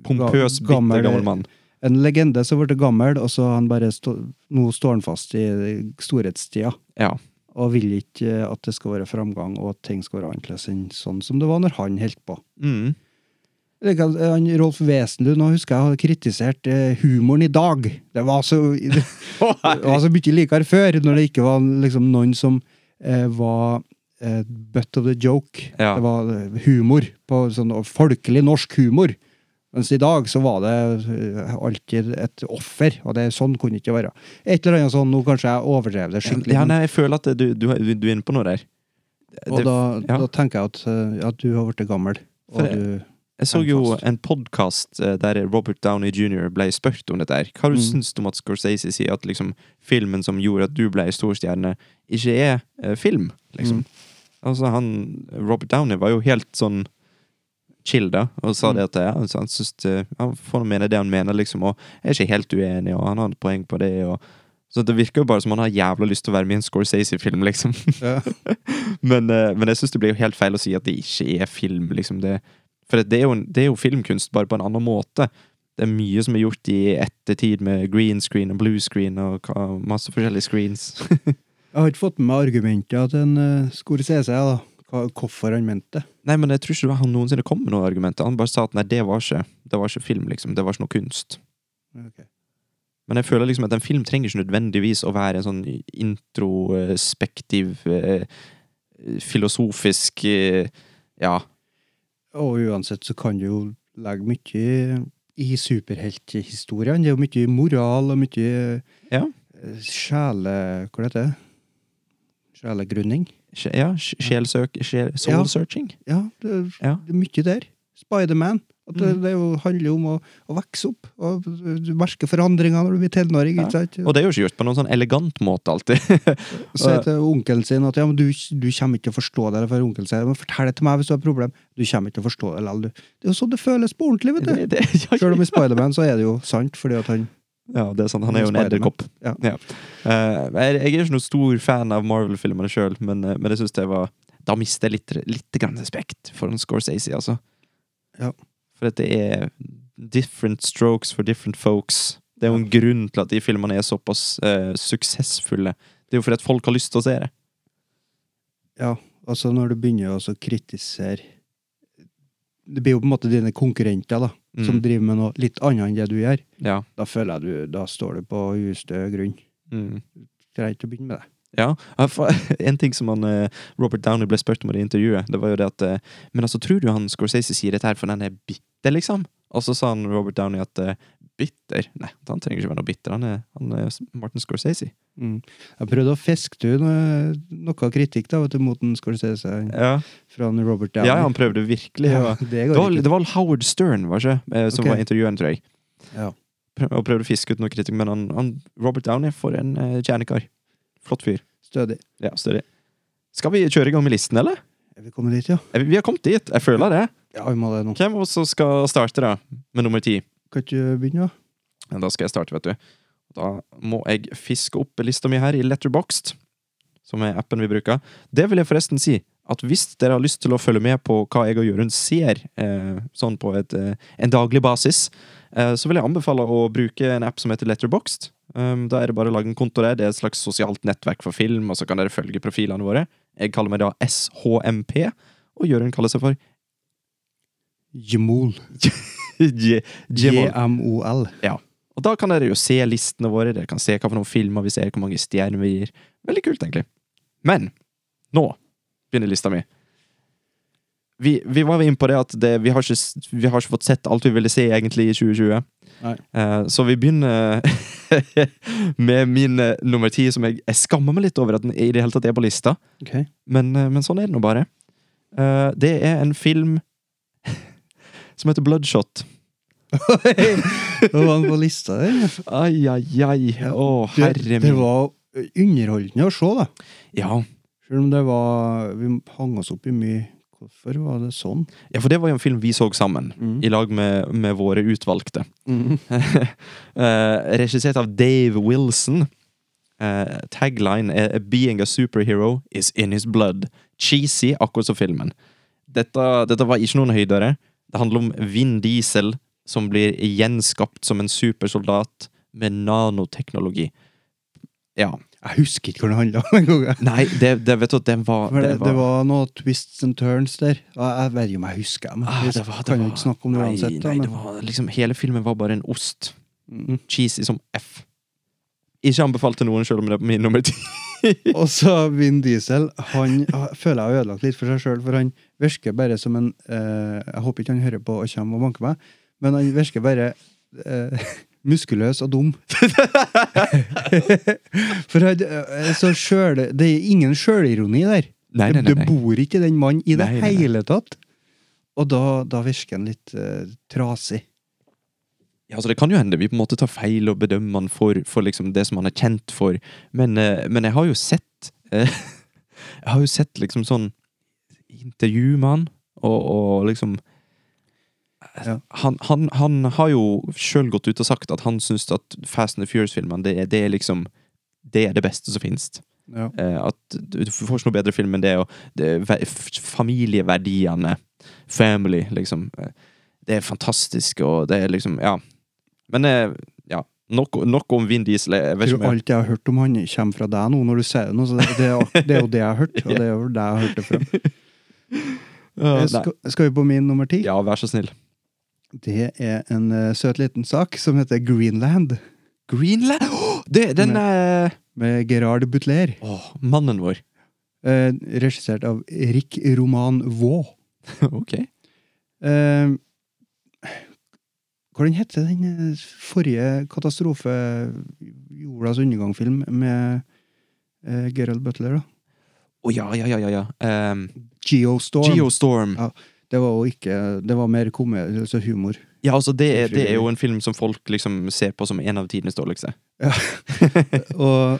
pompøs,
ga- gammel-
bitter gammel mann.
en legende som ble gammel, og så har han bare stå, nå står han fast i storhetstida.
Ja.
Og vil ikke eh, at det skal være framgang, og at ting skal være annerledes enn sånn som det var når han holdt på.
Mm.
Det kan- eh, Han, Rolf Wesenlund, nå husker jeg hadde kritisert eh, humoren i dag. Det var så Det var så altså, mye likere før, når det ikke var liksom noen som eh, var eh, butt of the joke.
Ja.
Det var eh, humor, på sånn folkelig norsk humor. Mens i dag så var det eh, alltid et offer, og det sånn kunne det ikke være. Et eller annet sånn, nå kanskje jeg overdrev det skikkelig,
Ja, nei, jeg føler at du, du, du er inne på noe der.
og
Det-
da,
ja.
da tenker jeg at, eh, at du har blitt gammel.
For
Og
det-
du,
Jeg så jo
Hellfast.
en podkast der Robert Downey jr. ble spurt om dette. her. Hva du
Mm.
syns du om at Scorsese sier at liksom, filmen som gjorde at du ble storstjerne, ikke er eh, film? liksom? Altså, han, Robert Downey var jo helt sånn chill da, og sa det at ja, altså, han syns det- han får mene det han mener, liksom, og er ikke helt uenig, og han har et poeng på det. og så Det virker jo bare som han har jævla lyst til å være med i en Scorsese-film, liksom.
Ja.
men, eh, men jeg syns det blir jo helt feil å si at det ikke er film, liksom. Det, for det er, jo, en- det er jo filmkunst, bare på en annen måte. Det er mye som er gjort i ettertid med green screen og blue screen og hva- masse forskjellige screens.
eh, jeg har ikke fått med meg argumenter til en uh, Scorsese, jeg, da. hva, hvorfor han mente det.
Nei, men jeg tror ikke han noensinne kom med noen argumenter. Han bare sa at nei, det var ikke, det var ikke film, liksom. Det var ikke noe kunst.
Ok.
Men jeg føler liksom at en film trenger ikke nødvendigvis å være en sånn introspektiv, eh, filosofisk eh, Ja.
Og uansett så kan du jo legge mye i superhelthistoriene. Det er jo mye moral og mye
Ja.
eh, sjele... Hva heter det? Sjelegrunning.
Sj- ja sj- Sjelsøk... Sjel,
Ja.
soul searching.
Ja, det,
Ja.
det er mye der. Spiderman. At det,
Mm.
det jo handler jo om å, å vokse opp. Og eh, du merker forandringer når du blir tenåring.
Ja.
ikke sant?
Og eh, det er jo ikke gjort på noen sånn elegant måte alltid.
Si til onkelen sin at ja, men du, du kommer ikke til å forstå det. Eller for onkelen sier, men fortell det til meg hvis du har et problem. Du kommer ikke til å forstå det likevel, du. Det er jo sånn det føles på ordentlig, vet du.
Det- det- ja,
Selv om i Spiderman så er det jo sant, fordi at han
Ja, det er sant. Han er jo en
Spider-Man.
edderkopp.
Ja.
Eh, jeg, jeg er ikke noen stor fan av Marvel-filmene sjøl, men, eh, men jeg syns det var Da mister jeg litt, litt grann respekt for en Scorsese, altså.
Ja.
For at det er different strokes for different folks. Det er jo en grunn til at de filmene er såpass eh, suksessfulle. Det er jo fordi at folk har lyst til å se det.
Ja, altså når du begynner å også kritisere Det blir jo på en måte dine konkurrenter, da, som
Mm.
driver med noe litt annet enn det du gjør.
Ja.
Da føler jeg du Da står du på ustø grunn.
Mm.
Trenger ikke å begynne med det.
Ja, ja, for- En ting som han, eh, Robert Downey ble spurt om i det intervjuet, det var jo det at eh, Men altså, tror du han Scorsese sier dette her for den er bitter, liksom? Og så sa han Robert Downey at eh, bitter? Nei, han trenger ikke være noe bitter. Han er, han er Martin Scorsese.
Jeg prøvde å fiske ut noe, noe kritikk da, vet du, mot den Scorsese
Ja,
fra han Robert
ja,
Downey.
han prøvde virkelig.
Ja,
Ja.
det
Det,
går
var,
ikke.
det var Howard Stern var ikke, eh, som
Ok.
var intervjueren, tror jeg.
Ja.
Prøv, og prøvde å fiske ut noe kritikk, men han, han, Robert Downey for en eh, kjernekar. Flott fyr.
Stødig.
Ja, større. Skal vi kjøre i gang med listen, eller?
Er vi kommet dit, ja?
Eh, Vi vi har kommet dit, jeg føler det.
Ja, vi må det nå.
Hvem av oss som skal starte da, med nummer ti?
Kan ikke du begynne, da?
Ja, Da skal jeg starte, vet du. Da må jeg fiske opp lista mi her i Letterboxd, som er appen vi bruker. Det vil jeg forresten si, at hvis dere har lyst til å følge med på hva jeg og Jørund ser, eh, sånn på et, eh, en daglig basis, eh, så vil jeg anbefale å bruke en app som heter Letterboxd. Um, da er det bare å lage en konto der. Det er et slags sosialt nettverk for film, og så kan dere følge profilene våre. Jeg kaller meg da SHMP, og Jørund kaller seg for
Jmol.
J- Jimon.
J-M-O-L.
Og da kan dere jo se listene våre, dere kan se hva for noen filmer vi ser, hvor mange stjerner vi gir. Veldig kult, egentlig. Men nå begynner lista mi. Vi, vi var inne på det at det, vi, har ikke, s- vi har ikke fått sett alt vi ville se egentlig i 2020.
Nei.
Eh, så vi begynner med min eh, nummer ti, som jeg, jeg skammer meg litt over at den i det hele tatt er på lista.
Ok.
Men, eh, men sånn er det nå bare. Eh, det er en film som heter Bloodshot.
Det var han på lista der. ja.
Ai, ai, ai. Å,
Det,
herre
det
min.
var underholdende å se, da.
Ja.
Selv om det var Vi hang oss opp i mye Hvorfor var det sånn?
Ja, for det var jo en film vi så sammen,
Mm.
i lag med, med våre utvalgte. Eh, regissert av Dave Wilson. Eh, tagline er 'Being a superhero is in his blood'. Cheesy, akkurat som filmen. Dette, dette var ikke noen høydere. Det handler om Vin Diesel som blir gjenskapt som en supersoldat med nanoteknologi. Ja.
Jeg husker ikke hva det handla om engang.
Nei, det, det vet du, den var,
Det,
den var
det var noe twists and turns der. Og Jeg, jeg vet ikke om jeg husker dem.
Ah,
Jeg
det var, det
kan jo
var-
ikke snakke om det uansett.
Nei,
da,
nei, det
men-
var, liksom, hele filmen var bare en ost.
Mhm.
Cheesy som F. Ikke anbefalt til noen, selv om det er min nummer ti.
Og så Vin Diesel. Han ah, føler jeg har ødelagt litt for seg sjøl, for han virker bare som en eh, Jeg håper ikke han hører på og kommer og banker meg, men han virker bare eh, muskuløs og dum. for han eh, så sjøl Det er ingen sjølironi der.
Nei, nei, nei,
Det
nei.
bor ikke den mannen i det
Nei, nei, nei.
hele tatt. Og da, da virker han litt eh, trasig.
Ja, altså, det kan jo hende vi på en måte tar feil og bedømmer han for, for liksom det som han er kjent for, men, eh, men jeg har jo sett eh, Jeg har jo sett liksom sånn intervju med han, og, og liksom
Ja.
han, han, han har jo sjøl gått ut og sagt at han syns at Fast and the Furious-filmene, det, er- det er liksom Det er det beste som finnes.
Ja.
Eh, At du du får ikke noe bedre film enn det, og det, ve- f- familieverdiene Family, liksom. eh, Det er fantastisk, og det er liksom Ja. Men eh, ja. Nok, nok om Vin Diesel. Jeg vet
Jeg
ikke
tror
om jeg,
alt jeg har hørt om han, kommer fra deg nå, når du sier det nå. Så det, det, er, det er jo det jeg har hørt, og det er jo det jeg har hørt det fra.
Øh,
Eh,
Eh, nei.
Skal, skal vi på min nummer ti?
Ja, vær så snill.
Det er en eh, søt liten sak som heter Greenland,
Greenland! Åh, det, den eh, er
med Gerard Butler.
Mm. Åh, mannen vår.
eh, regissert av Rick Roman Vaux.
ok.
Eh, hvordan heter den eh, forrige katastrofe jordas undergang-film med eh, Gerald Butler? da?
Å ja, ja, ja, ja. ja. Ehm,
Geostorm.
Geostorm.
Ja. Det var jo ikke Det var mer komedie, altså humor.
Ja, altså, det er, det er jo en film som folk liksom ser på som en av tidenes dårligste.
Og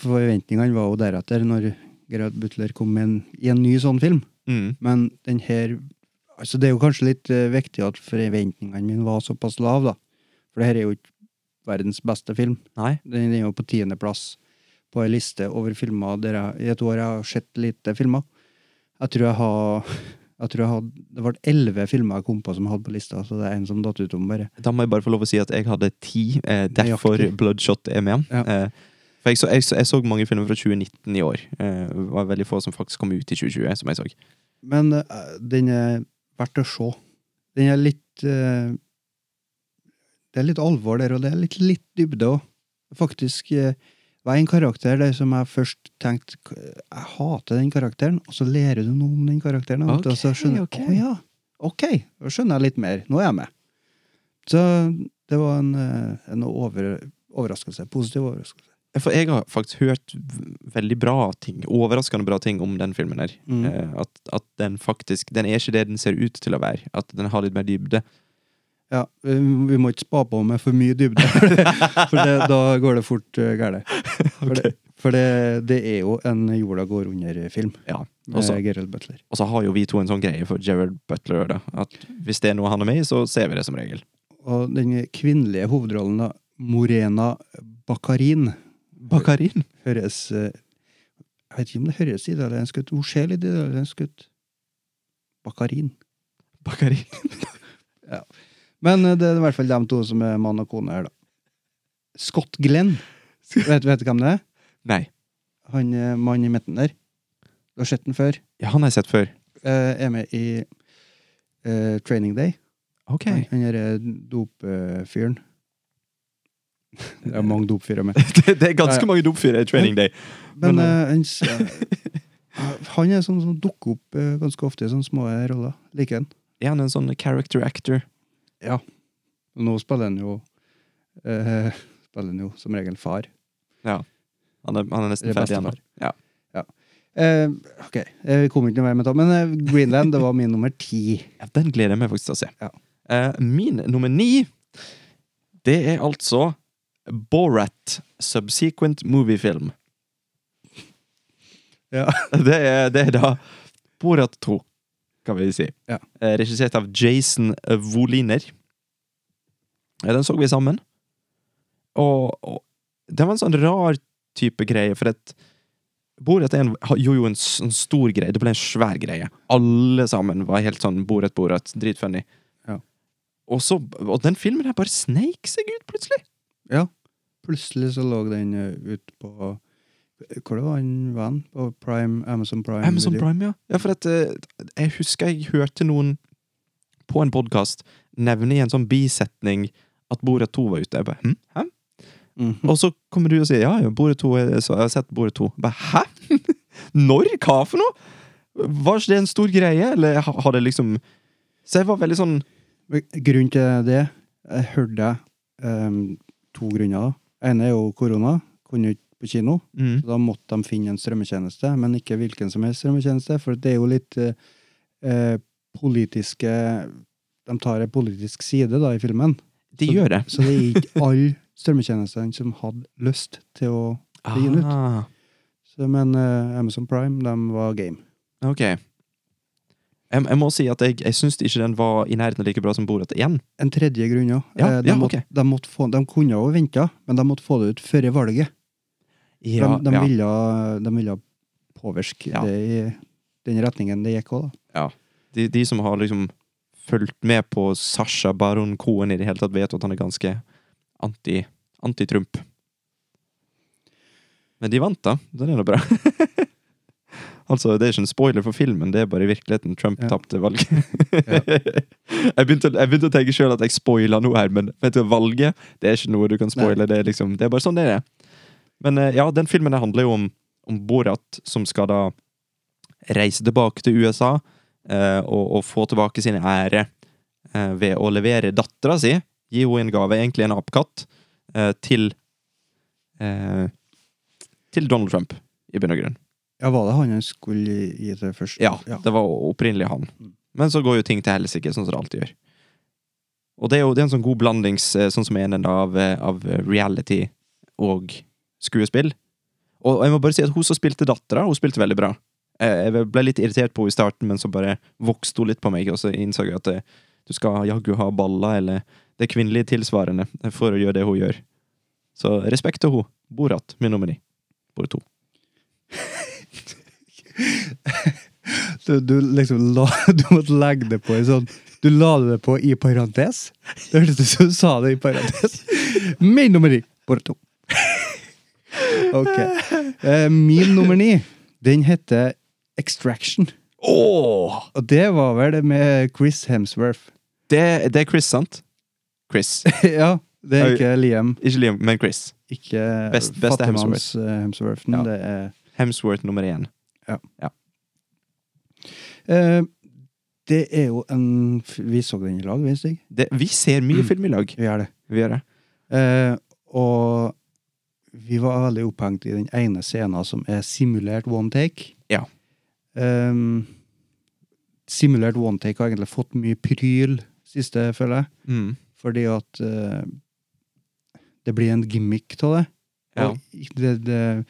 forventningene var jo deretter, når Gerald Butler kom med en, i en ny sånn film.
Mm.
Men den her altså Det er jo kanskje litt eh, viktig at forventningene mine var såpass lave, da. For det her er jo ikke verdens beste film.
Nei.
Den den er jo på tiendeplass på ei liste over filmer der jeg, i et år jeg har sett lite filmer. Jeg tror jeg har jeg tror jeg hadde, Det ble elleve filmer jeg kom på som jeg hadde på lista, så det er en som datt utom, bare.
Da må jeg bare få lov å si at jeg hadde ti. Eh, derfor
Nøyaktig.
Bloodshot er med.
Ja.
Eh, for jeg så, jeg, så, jeg så mange filmer fra 2019 i år. Eh, det var veldig få som faktisk kom ut i 2020, som jeg så.
Men eh, den er verdt å se. Den er litt eh, Det er litt alvor der, og det er litt, litt dybde òg. Faktisk eh, var en karakter der som jeg først tenkte "K- Jeg hater den karakteren, og så lærer du noe om den karakteren. vet du, og så
Ok,
skjønner jeg
ok.
«Å ja, ok, da skjønner jeg litt mer. Nå er jeg med. Så det var en, eh, en over, overraskelse. Positiv overraskelse.
Eh, For jeg har faktisk hørt v- veldig bra ting, overraskende bra ting, om den filmen her.
Mm.
Eh, at, at den faktisk Den er ikke det den ser ut til å være. At den har litt mer dybde.
Ja, vi, vi må ikke spa på med for mye dybde, for det, da går det fort uh, galt. For,
Ok.
det, for det, det er jo en jorda går under-film
Ja.
med
Og så
Gerald Butler.
og så har jo vi to en sånn greie for Gerard Butler. Da, at hvis det er noe han er med i, så ser vi det som regel.
Og den kvinnelige hovedrollen, da, Morena Bakarin,
Bakarin.
høres eh, Jeg vet ikke om det høres italiensk ut. Hun ser litt italiensk ut. Bakarin.
Bakarin.
Men eh, det er i hvert fall dem to som er mann og kone her, da. Scott Glenn. Vet vet du hvem det er?
Nei.
Han eh, mannen i midten der. Du har sett den før.
Ja, han har jeg sett før.
Eh, er med i eh, Training Day.
Ok.
Han- Han derre dopfyren. Det er mange dopfyrer med.
det, det er ganske
Ja, ja.
mange dopfyrer i Training Day.
Men
Men,
eh, han, s- han er sånn som dukker opp eh, ganske ofte i sånne små eh, roller. Liker han.
Er han en sånn character actor?
Nå spiller han jo eh, Spiller han jo som regel far.
Han er, han er nesten
Eller
ferdig, han.
bestefar.
Ja.
Eh, ok, eh, vi kom ikke noe vei med det, men eh, Greenland det var min nummer ti.
Ja, Den gleder jeg meg faktisk til å se.
Ja.
Eh, min nummer ni, det er altså Borat Subsequent Movie Film.
Ja.
Det er, det er da Borat 2, kan vi si.
Ja.
Eh, regissert av Jason Woliner. Eh, Den så vi sammen. Og, og det var en sånn rar type greie, for at Borat er en, har- gjorde jo en, s- en stor greie. Det ble en svær greie. Alle sammen var helt sånn Borat, Borat. Dritfunny.
Ja.
Og, så, og den filmen her bare sneik seg ut, plutselig.
Plutselig så lå den eh, ut på Hvor det var han vennen? På Prime, Amazon Prime?
Amazon
Video.
Prime, ja. ja for at, eh, jeg husker jeg hørte noen på en podkast nevne i en sånn bisetning at Borat 2 var ute. Jeg bare, hm? Hæ?
Mhm.
Og så kommer du og sier ja, ja, Borat 2, er- eh, så jeg har sett Borat 2. Jeg Bare, Hæ?! Når? Hva for noe?! Var ikke det en stor greie, eller ha- har det liksom Så jeg var veldig sånn
Men Grunnen til det Jeg hørte deg ehm, to grunner. da. ene er jo korona. Kunne jo ikke på kino.
mm.
Så da måtte de finne en strømmetjeneste, men ikke hvilken som helst strømmetjeneste. For det er jo litt eh, eh, politiske De tar en politisk side da i filmen.
De gjør det.
Så det er ikke alle strømmetjenestene som hadde lyst til å legge den ut.
Ah,
Så, men eh, Amazon Prime, de var game.
ok. Jeg, jeg må si at jeg, jeg syns ikke den var i nærheten av like bra som Borat 1.
En tredje grunn òg.
Ja,
de,
ja,
måtte-
ok.
de, måtte få- de kunne jo vente, men de måtte få det ut før valget.
Ja,
de, de,
ja.
ville, de ville påvirke
Ja.
det i den retningen det gikk òg, da.
de, de som har liksom fulgt med på Sasha Baron Cohen i det hele tatt, vet jo at han er ganske anti- anti-Trump. Men de vant, da. Den er nå bra. Altså, Det er ikke en spoiler for filmen, det er bare i virkeligheten Trump
Ja.
tapte valget. jeg, begynte, å- jeg begynte å tenke sjøl at jeg spoila noe her, men vet du, valget det er ikke noe du kan spoile. Det er liksom, det er bare sånn det er. Men eh, ja, den filmen her handler jo om, om Borat, som skal da reise tilbake til USA eh, og, og få tilbake sin ære eh, ved å levere dattera si, gi henne en gave, egentlig en apekatt, eh, til eh, til Donald Trump, i bunn og grunn.
Ja, var det han han skulle gi til først?
Ja, Mm. det var opprinnelig han. Men så går jo ting til helsike, sånn som det alltid gjør. Og det er jo det er en sånn god blandings, eh, sånn som er en av, eh, av reality og skuespill. Og jeg må bare si at hun som spilte dattera, hun spilte veldig bra. Eh, Jeg ble litt irritert på henne i starten, men så bare vokste hun litt på meg, og så innså jeg at eh, du skal jaggu ha baller, eller det kvinnelige tilsvarende, eh, for å gjøre det hun gjør. Så respekt til hun. Borat, min nummer ni. Bor to.
Du, du liksom la, du måtte legge det på en sånn Du la det på i parentes. Det hørtes ut som du sa det i parentes. Min nummer ni. Bare to. Ok. Eh, Min nummer ni, den heter Extraction.
Åh!
Og det var vel det med Chris Hemsworth.
Det, det er Chris, sant? Chris.
ja, det er
Oi.
ikke Liam.
Ikke Liam, men Chris.
Ikke
Best- beste
fattigmanns eh, Hemsworthen.
Ja.
Det er
Hemsworth nummer én.
Eh, det er jo en f- Vi så den i lag, vi, Stig.
Det, vi ser mye film i lag.
Vi gjør det.
Vi gjør det.
Eh, og vi var veldig opphengt i den ene scenen som er simulert one take.
Ja.
Ehm, simulert one take har egentlig fått mye pryl siste, føler jeg.
Mm.
Fordi at eh, det blir en gimmick av det.
Ja.
Og ikke- det, det,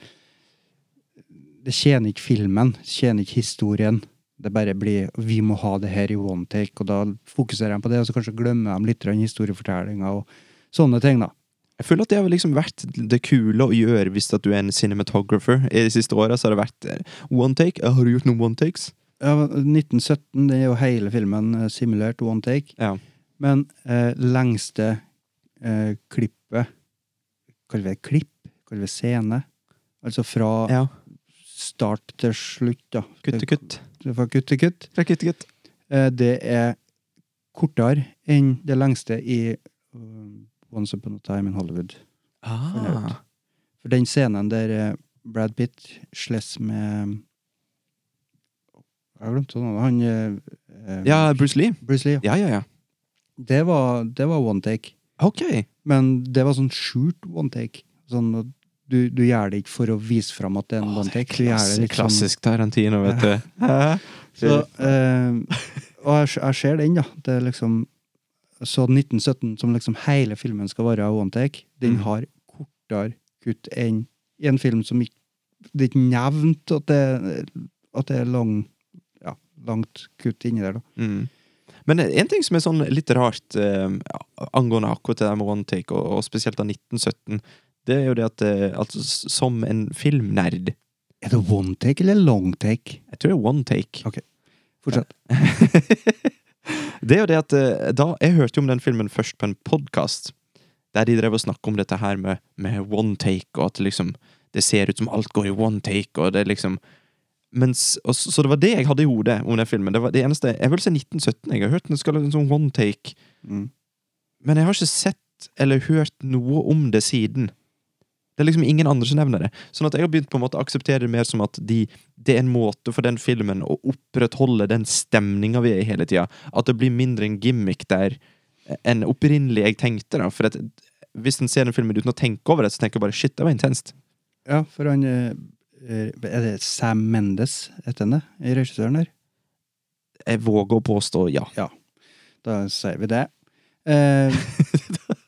det tjener ikke filmen, tjener ikke historien. Det bare blir 'vi må ha det her i one take', og da fokuserer de på det, og så kanskje glemmer de litt historiefortellinga og sånne ting, da.
Jeg føler at det har liksom vært det kule å gjøre hvis at du er en cinematographer. I de siste åra har det vært eh, one take. Ja, har du gjort noen one takes?
Ja, 1917 det er jo hele filmen eh, simulert one take,
Ja.
men eh, lengste eh, klippet Kaller vi det klipp? Kaller vi det scene? Altså fra
Ja.
start til slutt, da.
Kutt til kutt.
Det- Fra kutt til kutt.
Fra kutt til kutt.
Eh, Det er kortere enn det lengste i um, Once Upon a Time in Hollywood.
Ah.
For den scenen der eh, Brad Pitt slåss med Jeg har glemt navnet. Han eh, eh,
Ja, Bruce Lee.
Bruce Lee. ja.
Ja, ja, ja.
Det, var, det var one take.
Ok.
Men det var sånn skjult one take. Sånn, at du, du gjør det ikke for å vise fram at det er en
Åh,
one
det er liksom-
take. Du gjør det
klassisk,
litt sånn-
klassisk Tarantino, vet du. Hæ?
Så, eh, og jeg, jeg ser den, da. Det er liksom Så 1917, som liksom hele filmen skal være one take, den
Mm.
har kortere kutt enn i en film som ikke Det er ikke nevnt at det, at det er lang, ja, langt kutt inni der, da.
Mm. Men en ting som er sånn litt rart eh, angående akkurat det der med one take, og, og spesielt av 1917, det er jo det at eh, altså, s- som en filmnerd
Er det one take eller long take?
Jeg tror det er one take.
Ok. Fortsett.
det er jo det at eh, da Jeg hørte jo om den filmen først på en podkast, der de drev og snakka om dette her med, med one take, og at liksom det ser ut som alt går i one take, og det er liksom mens, og så, så det var det jeg hadde i hodet om den filmen. Det var det eneste, jeg vil si 1917. Jeg har hørt den skal ha en sånn one take.
Mm.
Men jeg har ikke sett eller hørt noe om det siden. Det er liksom ingen andre som nevner det. Sånn at jeg har begynt på en måte å akseptere det mer som at de, det er en måte for den filmen å opprettholde den stemninga vi er i hele tida. At det blir mindre en gimmick der enn opprinnelig jeg tenkte. da. For at, hvis en ser den filmen uten å tenke over det, så tenker jeg bare shit, det var intenst.
Ja, for han eh, Er det Sam Mendes, heter han det? Regissøren der?
Jeg våger å påstå ja.
Da sier vi det. Eh,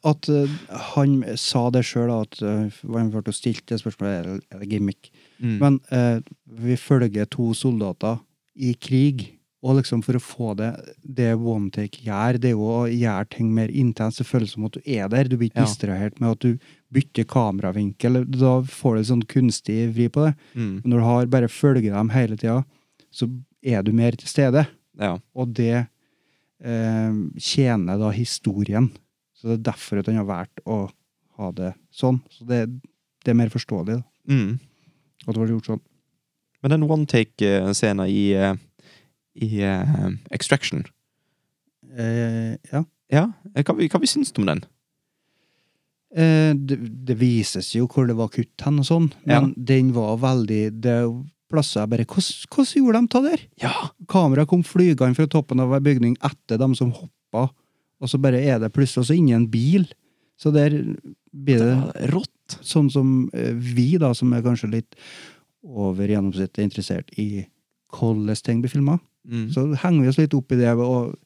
at eh, han sa det sjøl, at eh, han ble stilt det spørsmålet er det- er det gimmick.
Mm.
Men eh, vi følger to soldater i krig, og liksom for å få det det one take gjør, det er jo å gjøre ting mer intenst. Det føles som at du er der. Du blir ikke
Ja.
distrahert med at du bytter kameravinkel. Da får du en sånn kunstig vri på det.
Mm.
Men når du har bare følger dem hele tida, så er du mer til stede.
Ja.
Og det eh, tjener da historien. Så det er derfor at han har valgt å ha det sånn. Så det, det er mer forståelig, da.
Mm.
At det ble gjort sånn.
Men den one take-scenen i, eh, i eh, Extraction
Eh, ja.
Ja, eh, hva, vi- hva vi syns om den?
Eh, det, det vises jo hvor det var kutt hen og sånn, men den var veldig Det plasser jeg bare Hvordan hvordan gjorde de ta der?
Ja!
Kameraet kom flygende fra toppen av ei bygning etter dem som hoppa, og så bare er det plutselig også inni en bil. Så der blir det
Rått!
sånn som eh, vi, da, som er kanskje litt over gjennomsnittet interessert i hvordan ting blir filma,
Mm.
så henger vi oss litt opp i det. Og,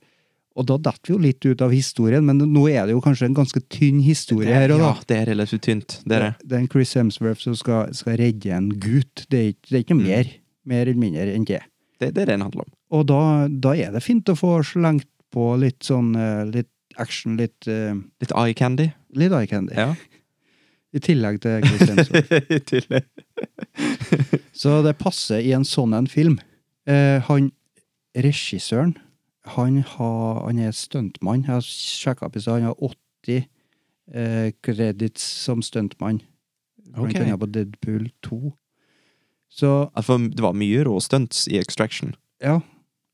og da detter vi jo litt ut av historien, men nå er det jo kanskje en ganske tynn historie her og da.
ja, det er relativt tynt. Det er det.
Det er en Chris Hemsworth som skal, skal redde en gutt. Det er ikke, det er
Mm.
ikke noe mer. Mer eller mindre enn det.
Det, det er det den handler om.
Og da, da er det fint å få slengt på litt sånn eh, litt action, litt eh,
Litt eye candy.
Litt eye candy.
Ja.
I tillegg til Chris Hemsworth.
Tydelig.
Så det passer i en sånn en film. Eh, han regissøren, han, har, han er stuntmann. Jeg har sjekka opp i stad. Han har 80 eh, credits som stuntmann. Blant
Ok.
annet på Deadpool 2. Så
Ja, for Det var mye rå stunts i Extraction.
ja.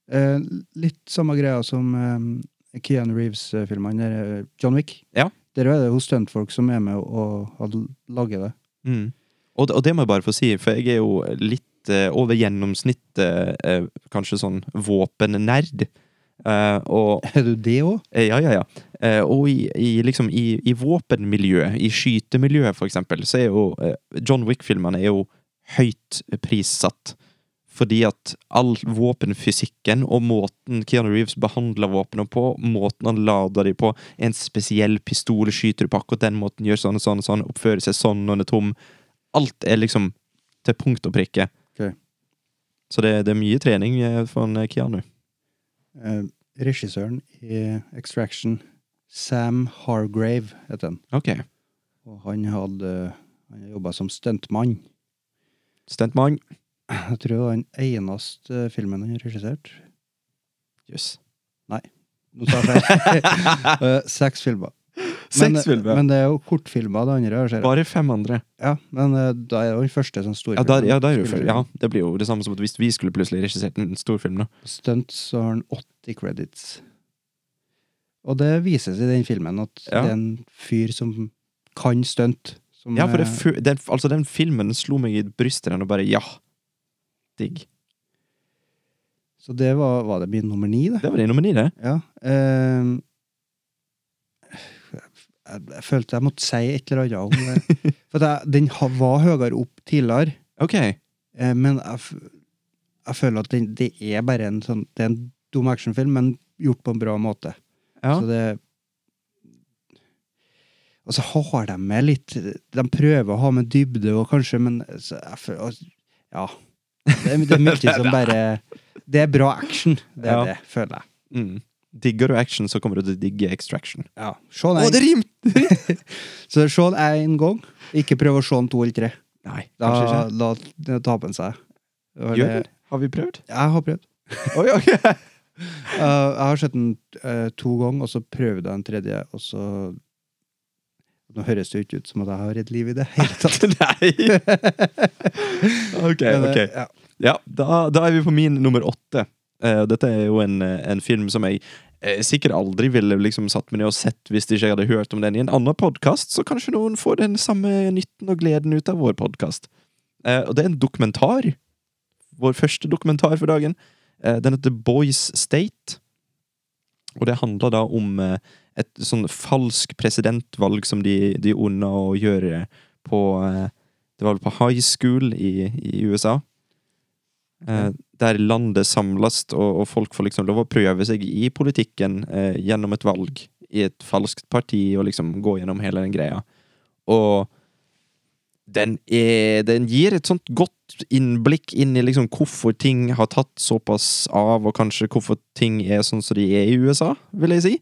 Eh, litt samme greia som eh, Keanu Reeves-filmene. der, eh, John Wick.
Ja.
Der er det jo stuntfolk som er med og har laget det.
Mm. Og, det- og det må jeg bare få si, for jeg er jo litt eh, over gjennomsnittet eh, kanskje sånn våpennerd. Eh, og
Er du det òg?
eh, Ja, ja, ja. Eh, og i, i, liksom, i, i våpenmiljøet, i skytemiljøet for eksempel, så er jo eh, John Wick-filmene er jo høyt prissatt. Fordi at all våpenfysikken og måten Keanu Reeves behandler våpnene på, måten han lader dem på, en spesiell pistol skyter du på akkurat den måten, gjør sånn og sånn og sånn, oppfører seg sånn når den er tom. Alt er liksom til punkt og prikke.
Ok.
Så det, det er mye trening eh, for en Keanu.
Eh, regissøren i Extraction, Sam Hargrave, heter han.
Ok.
Og han hadde han jobba som stuntmann.
Stuntman.
Jeg tror det var den eneste eh, filmen han regisserte.
Jøss.
Nå sa jeg feil. Eh, Seks filmer. Men, eh,
Seks filmer.
men det er jo kortfilmer, det andre. jeg Ser.
Bare fem andre.
Ja, men eh, da er det jo den første sånn store
Ja, da, ja, da er det jo
Skulle-
før. Ja, det blir jo det samme som at hvis vi skulle plutselig regissert en storfilm, da.
Stunt så har han 80 credits. Og det vises i den filmen at
Ja.
det er en fyr som kan stunt. som,
Ja, for det,
eh,
fø- den, altså, den filmen slo meg i brystet den, og bare ja. Digg.
Så det var, var det min nummer ni, det.
Det var din nummer ni, det.
Ja. ehm, jeg, jeg følte jeg måtte si et eller annet om det. For at jeg, den ha- var høyere opp tidligere,
Ok.
eh, men jeg, f- jeg føler at den, det er bare en sånn Det er en dum actionfilm, men gjort på en bra måte.
Ja.
Så det Og så har de med litt De prøver å ha med dybde og kanskje, men så jeg føler at- Ja. Det er, det er mye som bare Det er bra action. Det er
Ja.
det, føler jeg.
Mm. Digger du action, så kommer du til å digge extraction.
Ja. Se den
Å, det rimte!
Så se den én gang, ikke prøv å se den to eller tre.
Nei, kanskje
Da,
ikke.
da da taper den seg. Det var
Gjør
det-
det? Har vi prøvd?
Jeg har prøvd.
Oi, ok.
Uh, jeg har sett den eh, to ganger, og så prøvde jeg en tredje, og så Nå høres det jo ikke ut som at jeg har et liv i det hele tatt.
Nei. ok,
Men,
ok.
eh, ja.
Ja, da, da er vi på min nummer åtte. Eh, dette er jo en, eh, en film som jeg eh, sikkert aldri ville liksom satt meg ned og sett hvis ikke jeg hadde hørt om den i en annen podkast, så kanskje noen får den samme nytten og gleden ut av vår podkast. og det er en dokumentar. Vår første dokumentar for dagen. Eh, den heter Boys State. Og det handler da om eh, et sånn falsk presidentvalg som de, de unna å gjøre på eh, Det var vel på high school i, i USA. Eh, der landet samles, og, og folk får liksom lov å prøve seg i politikken eh, gjennom et valg i et falskt parti, og liksom gå gjennom hele den greia. Og den, er, den gir et sånt godt innblikk inn i liksom hvorfor ting har tatt såpass av, og kanskje hvorfor ting er sånn som de er i USA, vil jeg si.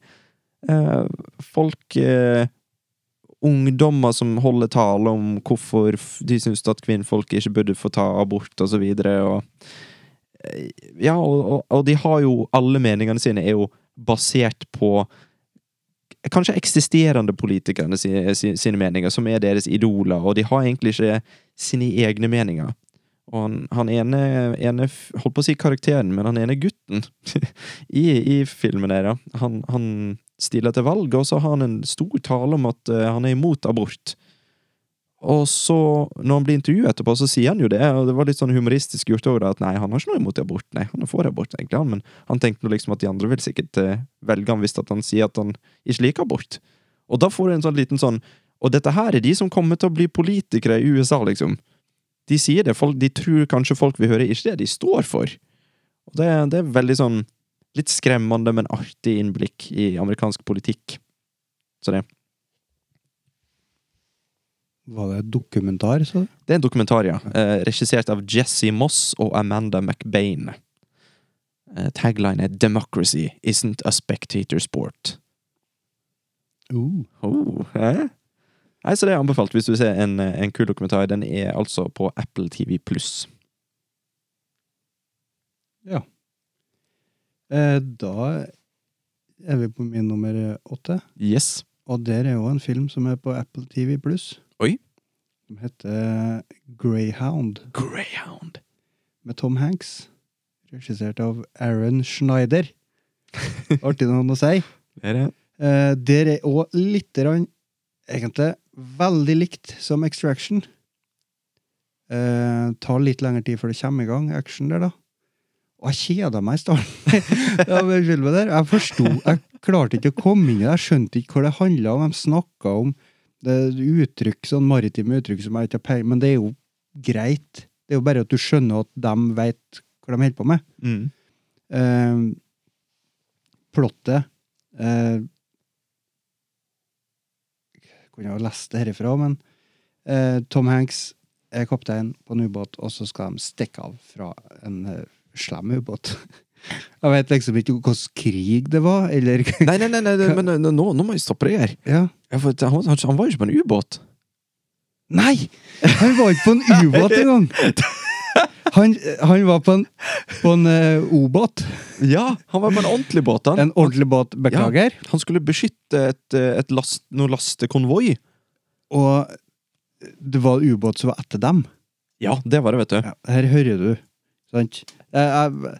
Eh, folk eh, ungdommer som holder tale om hvorfor f- de syns at kvinnfolk ikke burde få ta abort, og så videre. Og, eh, ja, og, og, og de har jo Alle meningene sine er jo basert på Kanskje eksisterende politikerne sine, sine meninger, som er deres idoler, og de har egentlig ikke sine egne meninger. Og han, han ene, ene f- Holdt på å si karakteren, men han ene gutten i, i filmen der, ja. han, han stiller til valg, og så har han en stor tale om at eh, han er imot abort. Og så, når han blir intervjuet etterpå, så sier han jo det, og det var litt sånn humoristisk gjort over det, at nei, han har ikke noe imot abort, nei, han er for abort, egentlig, han, men han tenkte nå liksom at de andre vil sikkert eh, velge han hvis at han sier at han ikke liker abort. Og da får du en sånn liten sånn Og dette her er de som kommer til å bli politikere i USA, liksom. De sier det, folk, de tror kanskje folk vil høre ikke det de står for. Og det, det er veldig sånn litt skremmende, men artig innblikk i amerikansk politikk. Så det.
Var det dokumentar, så?
Det er en dokumentar, ja. Eh, regissert av Jesse Moss og Amanda McBain. Eh, tagline er 'Democracy isn't a spectator sport'.
Uh.
Oh, hæ? Nei, så det er anbefalt hvis du vil se en, eh, en kul dokumentar. Den er altså på Apple TV pluss.
Eh, da er vi på min nummer åtte.
Yes.
Og der er jo en film som er på Apple TV pluss.
Oi.
Som heter Greyhound,
Greyhound.
med Tom Hanks. Regissert av Aaron Schneider. Artig navn å si.
Det er det.
Eh, der er òg lite grann Egentlig veldig likt som Extraction. Eh, tar litt lengre tid før det kommer i gang action der, da. Og jeg kjeda meg i starten. av den filmen der. Jeg forsto Jeg klarte ikke å komme inn i det. Jeg skjønte ikke hva det handla om. De snakka om det er uttrykk, sånn maritime uttrykk som jeg ikke har peiling Men det er jo greit. Det er jo bare at du skjønner at de veit hva de holder på med.
Mm.
Eh, plottet eh, Kunne jo lest det herifra, men eh, Tom Hanks er kaptein på en ubåt, og så skal de stikke av fra en eh, slem ubåt. Jeg vet liksom ikke hvilken krig det var, eller
Nei, nei, nei, nei, nei, men eh, nå, nå må jeg stoppe deg her.
ja.
Ja, for han, han, han var jo ikke på en ubåt.
Nei! Han var ikke på en ubåt engang! Han, han var på en, på en eh, O-båt.
Ja, han var på en ordentlig båt. Han,
En ordentlig båt, beklager.
han skulle beskytte et, eh, et last, noe lastekonvoi.
Og det var en ubåt som var etter dem.
Ja, det var det, vet du.
Ja, her hører du, sant? Jeg, jeg,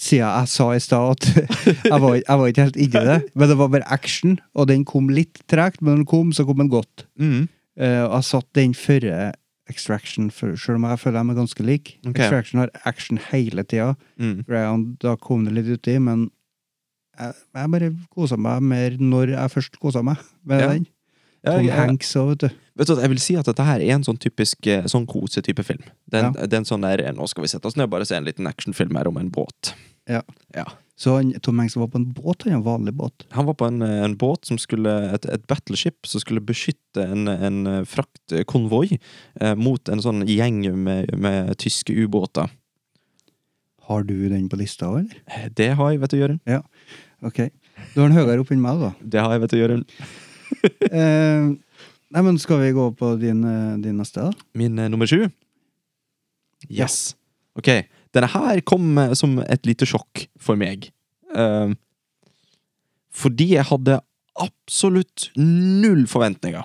siden jeg sa i stad at jeg var, jeg var ikke helt inni det, men det var bare action, og den kom litt tregt, men når den kom, så kom den godt.
Mm.
Eh, og jeg satt den før Extraction, for, selv om jeg føler de er ganske like.
Ok.
Extraction har action hele tida.
Mm.
Greyhound, da kom det litt uti, men jeg, jeg bare kosa meg mer når jeg først kosa meg med
Ja.
den.
Ja,
Tom
jeg-
Hanks òg, vet du.
Vet du, hva, jeg vil si at dette her er en sånn typisk eh, sånn kosetype film. Den, den sånn der, Nå skal vi sette oss ned og bare se en liten actionfilm her om en båt.
Ja.
Ja.
Så han, Tom Hanks var på en båt, han er en vanlig båt.
Han var på en, eh, en båt som skulle Et, et battleship som skulle beskytte en, en eh, fraktkonvoi eh, mot en sånn gjeng med, med tyske ubåter.
Har du den på lista òg, eller?
Eh, Det har jeg, vet du, Jørund.
Ok. Du har den høyere opp enn meg, da.
Det har jeg, vet du, Jørund.
Eh, nei, men skal vi gå på din, eh, din neste, da?
Min eh, nummer sju? Yes. Ok. Denne her kom eh, som et lite sjokk for meg. Ehm, fordi jeg hadde absolutt null forventninger.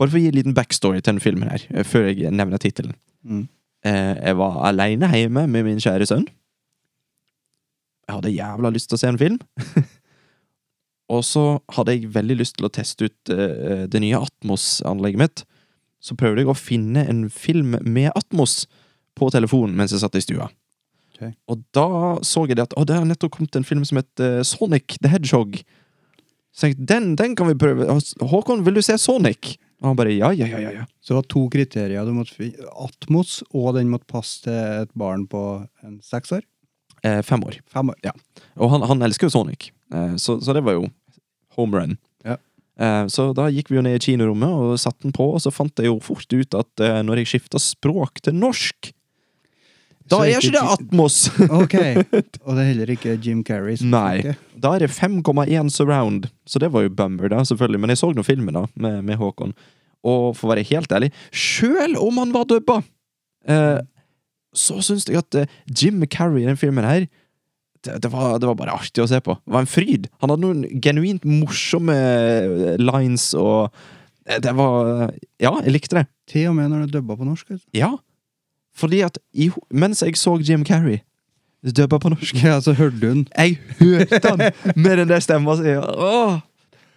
Bare for å gi en liten backstory til denne filmen her, eh, før jeg nevner tittelen.
Mm.
Eh, jeg var aleine hjemme med min kjære sønn. Jeg hadde jævla lyst til å se en film. Og så hadde jeg veldig lyst til å teste ut eh, det nye Atmos-anlegget mitt. Så prøvde jeg å finne en film med Atmos på telefonen mens jeg satt i stua.
Ok.
Og da så jeg det at Å, det har nettopp kommet en film som heter eh, Sonic the Hedgehog. Så jeg tenkte, den, den kan vi prøve. Hå- Håkon, vil du se Sonic? Og han bare ja, ja, ja, ja. ja.
Så det var to kriterier. Du måtte finne Atmos, og den måtte passe til et barn på en seks år?
Eh, fem år.
Fem år. Ja.
Og han, han elsker jo Sonic, eh, så, så det var jo home run.
Ja.
Eh, så da gikk vi jo ned i kinorommet og satte den på, og så fant jeg jo fort ut at eh, når jeg skifta språk til norsk, da
Så
er
ikke
ikke det
Ji-
Atmos!
Ok. Og det er heller ikke Jim Carrey som
Nei.
snakker.
Da er det 5,1 surround, så det var jo bummer, da, selvfølgelig. Men jeg så nå filmen da, med, med Håkon. Og for å være helt ærlig, sjøl om han var dubba, eh, så syns jeg at eh, Jim Carrey i den filmen her det, det, var, det var bare artig å se på. Det var en fryd. Han hadde noen genuint morsomme eh, lines og eh, Det var Ja, jeg likte det.
Til og med når det er dubba på norsk. Altså.
Ja. Fordi at i, ho- mens jeg så Jim Carrey dubba på norsk
Ja, så hørte du den.
Jeg hørte han med den der stemma si. Åh!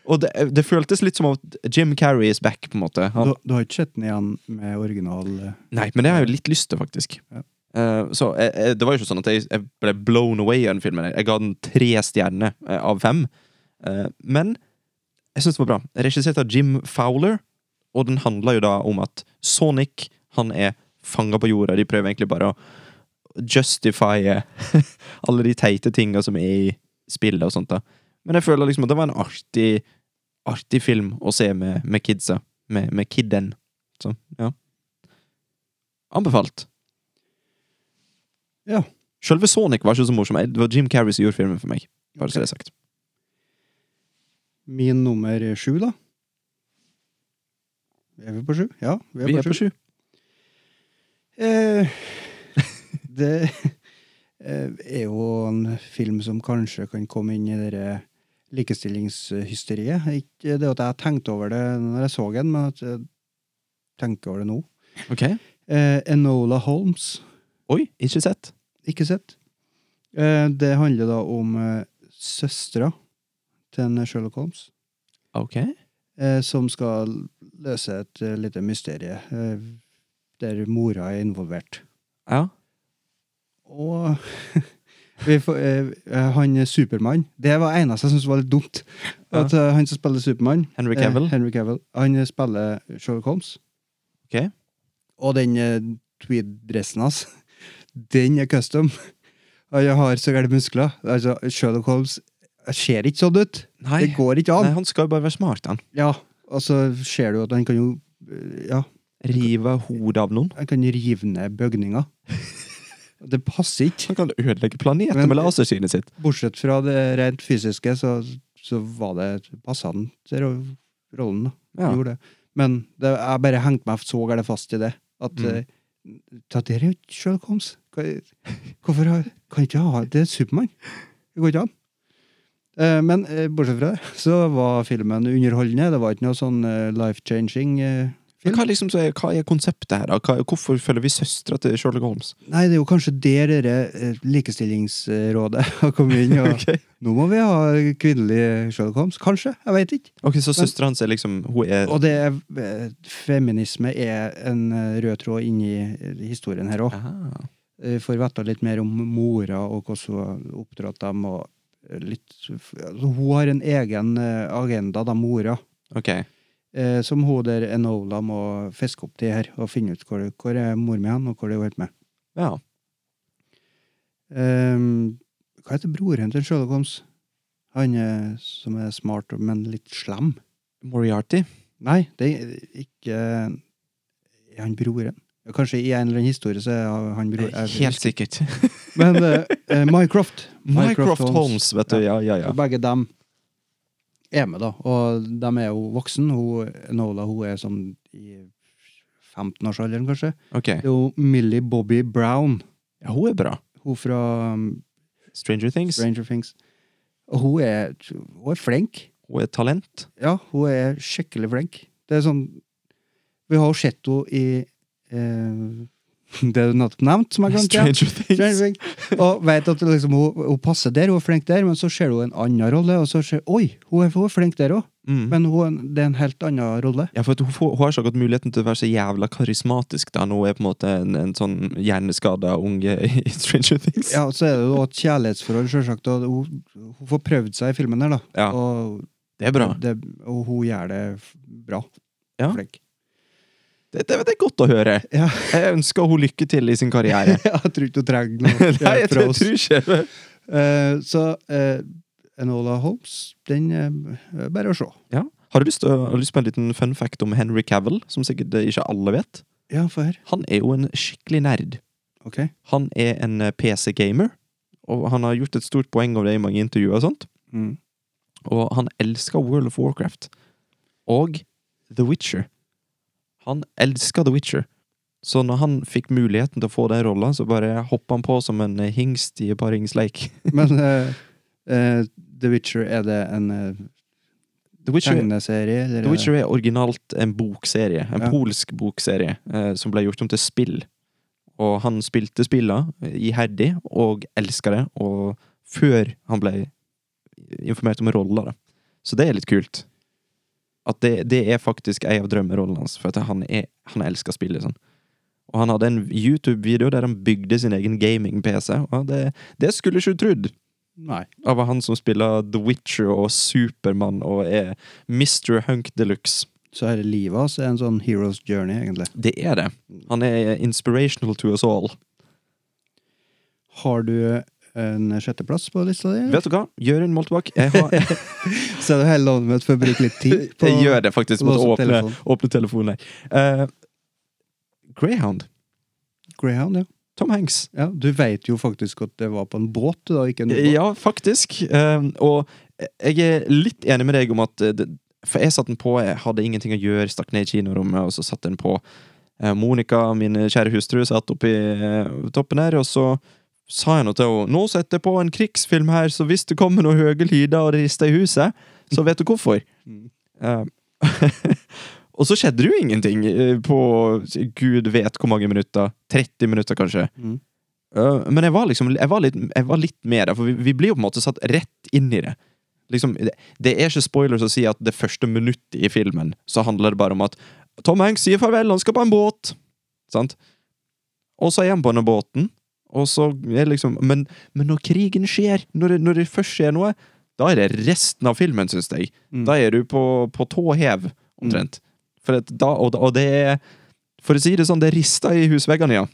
Og det, det føltes litt som at Jim Carrey is back, på en måte. Han,
Du, du har ikke sett den igjen med original eh,
Nei, men det har jeg jo litt lyst til, faktisk. Eh, så jeg, jeg, det var jo ikke sånn at jeg, jeg ble blown away av den filmen. Jeg ga den tre stjerner eh, av fem. Eh, men jeg syns det var bra. Regissert av Jim Fowler, og den handler jo da om at Sonic han er fanga på jorda. De prøver egentlig bare å justify alle de teite tinga som er i spillet og sånt. da Men jeg føler liksom at det var en artig Artig film å se med, med kidsa. Med, med kidden. Så, ja. Anbefalt.
Ja.
Sjølve Sonic var ikke så morsom. Det var Jim Carrey som gjorde filmen for meg. Bare så det er sagt.
Min nummer sju, da. Er vi på sju? Ja, vi er,
Vi
på, sju. Eh, det eh, er jo en film som kanskje kan komme inn i det der likestillingshysteriet. Ikke det at jeg tenkte over det når jeg så den, men at jeg tenker over det nå.
Ok.
Eh, Enola Holmes.
Oi, ikke sett.
Ikke sett. Eh, det handler da om eh, søstera til en Sherlock Holmes,
Ok.
eh, som skal løse et eh, lite mysterie eh, der mora er involvert.
Ja.
Og vi får, eh, eh, han Supermann Det var eneste jeg syntes var litt dumt.
Ja.
At eh, han som spiller Supermann,
Henry Cavill.
eh, Henry Cavill, han eh, spiller Sherlock Holmes.
Ok.
Og den eh, tweed-dressen hans, den er custom. Og jeg har så gærne muskler. Altså, Sherlock Holmes ser ikke sånn ut.
Nei.
Det går ikke
Nei,
an.
han skal jo bare være smart, han.
Ja, og så ser du at han kan jo eh, Ja,
Rive hodet av noen.
han kan rive ned bygninger. Det passer ikke.
Han kan ødelegge planeten
Men-
med lasersynet sitt.
Bortsett fra det rent fysiske, så, så var det passende til ro- rollen. da.
Ja.
Gjorde det. Men det, jeg bare hengte meg så gærent fast i det. At
Mm.
mm. det er jo ikke Sherlock Holmes. Hva- Hvorfor har, kan ikke jeg ha Det er Supermann. Det går ikke an. Eh, Men eh, bortsett fra det, så var filmen underholdende. Det var ikke noe sånn eh, life-changing. eh.
Men hva, liksom, så er, hva er konseptet her, da? Hva, hvorfor følger vi søstera til Sherlock Holmes?
Nei, det er jo kanskje der dere eh, likestillingsrådet har kommet inn. Og,
Ok.
Nå må vi ha kvinnelig Sherlock Holmes. Kanskje. Jeg veit ikke.
Ok, Så søstera hans er liksom Hun er
Og det er, eh, feminisme er en eh, rød tråd inni eh, historien her òg.
ah.
Får vite litt mer om mora og hvordan hun oppdratt dem. og eh, litt, altså, hun har en egen eh, agenda, da, mora,
Ok.
eh, som hun der Enola må fiske opp til her og finne ut hvor, hvor er mor mi hen, og hvor er hun holdt med.
Ja.
Ehm, hva heter broren til Sherlock Holmes? Han eh, som er smart, men litt slem?
Moriarty.
Nei, det er ikke Er han broren? Ja, Kanskje i en eller annen historie så er han broren.
Helt sikkert.
Men eh, eh, Mycroft.
Mycroft Holmes, vet du. Ja, ja, ja.
Og Begge dem er med, da. Og de er jo voksen. Hun, Nola hun er sånn i 15-årsalderen, kanskje.
Ok.
Det er jo Millie Bobby Brown.
Ja, hun er bra.
Hun fra um,
Stranger Things.
Stranger Things. Og hun er, hun er flink.
Hun er et talent.
Ja, hun er skikkelig flink. Det er sånn Vi har jo sett henne i eh, Det du nettopp nevnte, som jeg glemte. ja.
Stranger Things.
Stranger Things. Og vet at liksom, hun, hun passer der, hun er flink der, men så ser du en annen rolle, og så ser Oi, hun er, hun er flink der òg,
Mm.
men hun, er en- det er en helt annen rolle.
Ja, for at hun, får, hun har ikke akkurat muligheten til å være så jævla karismatisk da når hun er på en måte en, en sånn hjerneskada unge i Stranger Things.
Ja, og Så er det jo et kjærlighetsforhold, sjølsagt, og hun, hun får prøvd seg i filmen her, da.
Ja,
Og,
det er bra.
det, og hun gjør det f- bra.
Ja.
Flink.
Det, det, det er godt å høre.
Ja.
Jeg ønsker hun lykke til i sin karriere.
Jeg tror ikke hun trenger noe
Nei, jeg tror, jeg tror ikke
Eh, så eh, Enola Holmes, den eh, bare å se.
ja. Har du lyst, til å- har du lyst på en liten fun fact om Henry Cavill, som sikkert ikke alle vet?
Ja, få høre.
Han er jo en skikkelig nerd.
Ok.
Han er en eh, PC-gamer, og han har gjort et stort poeng av det i mange intervjuer og sånt.
Mm.
Og han elsker World of Warcraft. Og The Witcher. Han elsker The Witcher. Så når han fikk muligheten til å få den rolla, så bare hoppa han på som en eh, hingst i paringsleik.
Men eh, eh, The Witcher, er det en eh,
The Witcher,
tegneserie? Eller
The Witcher er originalt en bokserie. En
Ja.
polsk bokserie eh, som ble gjort om til spill. Og han spilte spilla iherdig og elska det, og før han ble informert om rolla, da. Så det er litt kult. At det, det er faktisk ei av drømmerollene hans, for at han, er, han elsker å spille sånn. Og han hadde en YouTube-video der han bygde sin egen gaming-PC, og det, det skulle ikke du trodd
Nei.
av han som spiller The Witcher og Supermann og er Mr. Hunk Deluxe.
Så er det livet hans er en sånn hero's journey, egentlig.
Det er det. Han er inspirational to us all.
Har du eh, en sjetteplass på lista di? eller?
Vet du hva? Jørund Moltbakk, jeg, har,
Så er det hele loven mitt for å bruke litt tid på
jeg gjør det faktisk. Måtte
Lås opp
åpne,
telefonen.
åpne telefonen her. Eh, Greyhound.
Greyhound, ja.
Tom Hanks.
ja. Du vet jo faktisk at det var på en båt, du da, ikke en ubåt.
Ja, faktisk. Eh, og jeg er litt enig med deg om at eh, det, For jeg satte den på, jeg hadde ingenting å gjøre, stakk ned i kinorommet, og så satte den på. Eh, Monica, min kjære hustru, satt oppi eh, toppen her, og så sa jeg noe til henne. 'Nå setter jeg på en krigsfilm her, så hvis det kommer noen høye lyder og rister i huset, så vet du hvorfor'. Eh, og så skjedde det jo ingenting eh, på gud vet hvor mange minutter. 30 minutter, kanskje.
Mm.
Eh, men jeg var liksom jeg var litt, jeg var litt med der, for vi, vi blir jo på en måte satt rett inn i det. Liksom, det, det er ikke spoilers å si at det første minuttet i filmen så handler det bare om at Tom Hanks sier farvel, han skal på en båt! Sant? Og så er han på denne båten, og så er liksom Men, men når krigen skjer, når det, når det først skjer noe, da er det resten av filmen, syns jeg.
Mm.
Da er du på, på tå hev, omtrent. For at da, og, og det er For å si det sånn, det rister i husveggene, ja.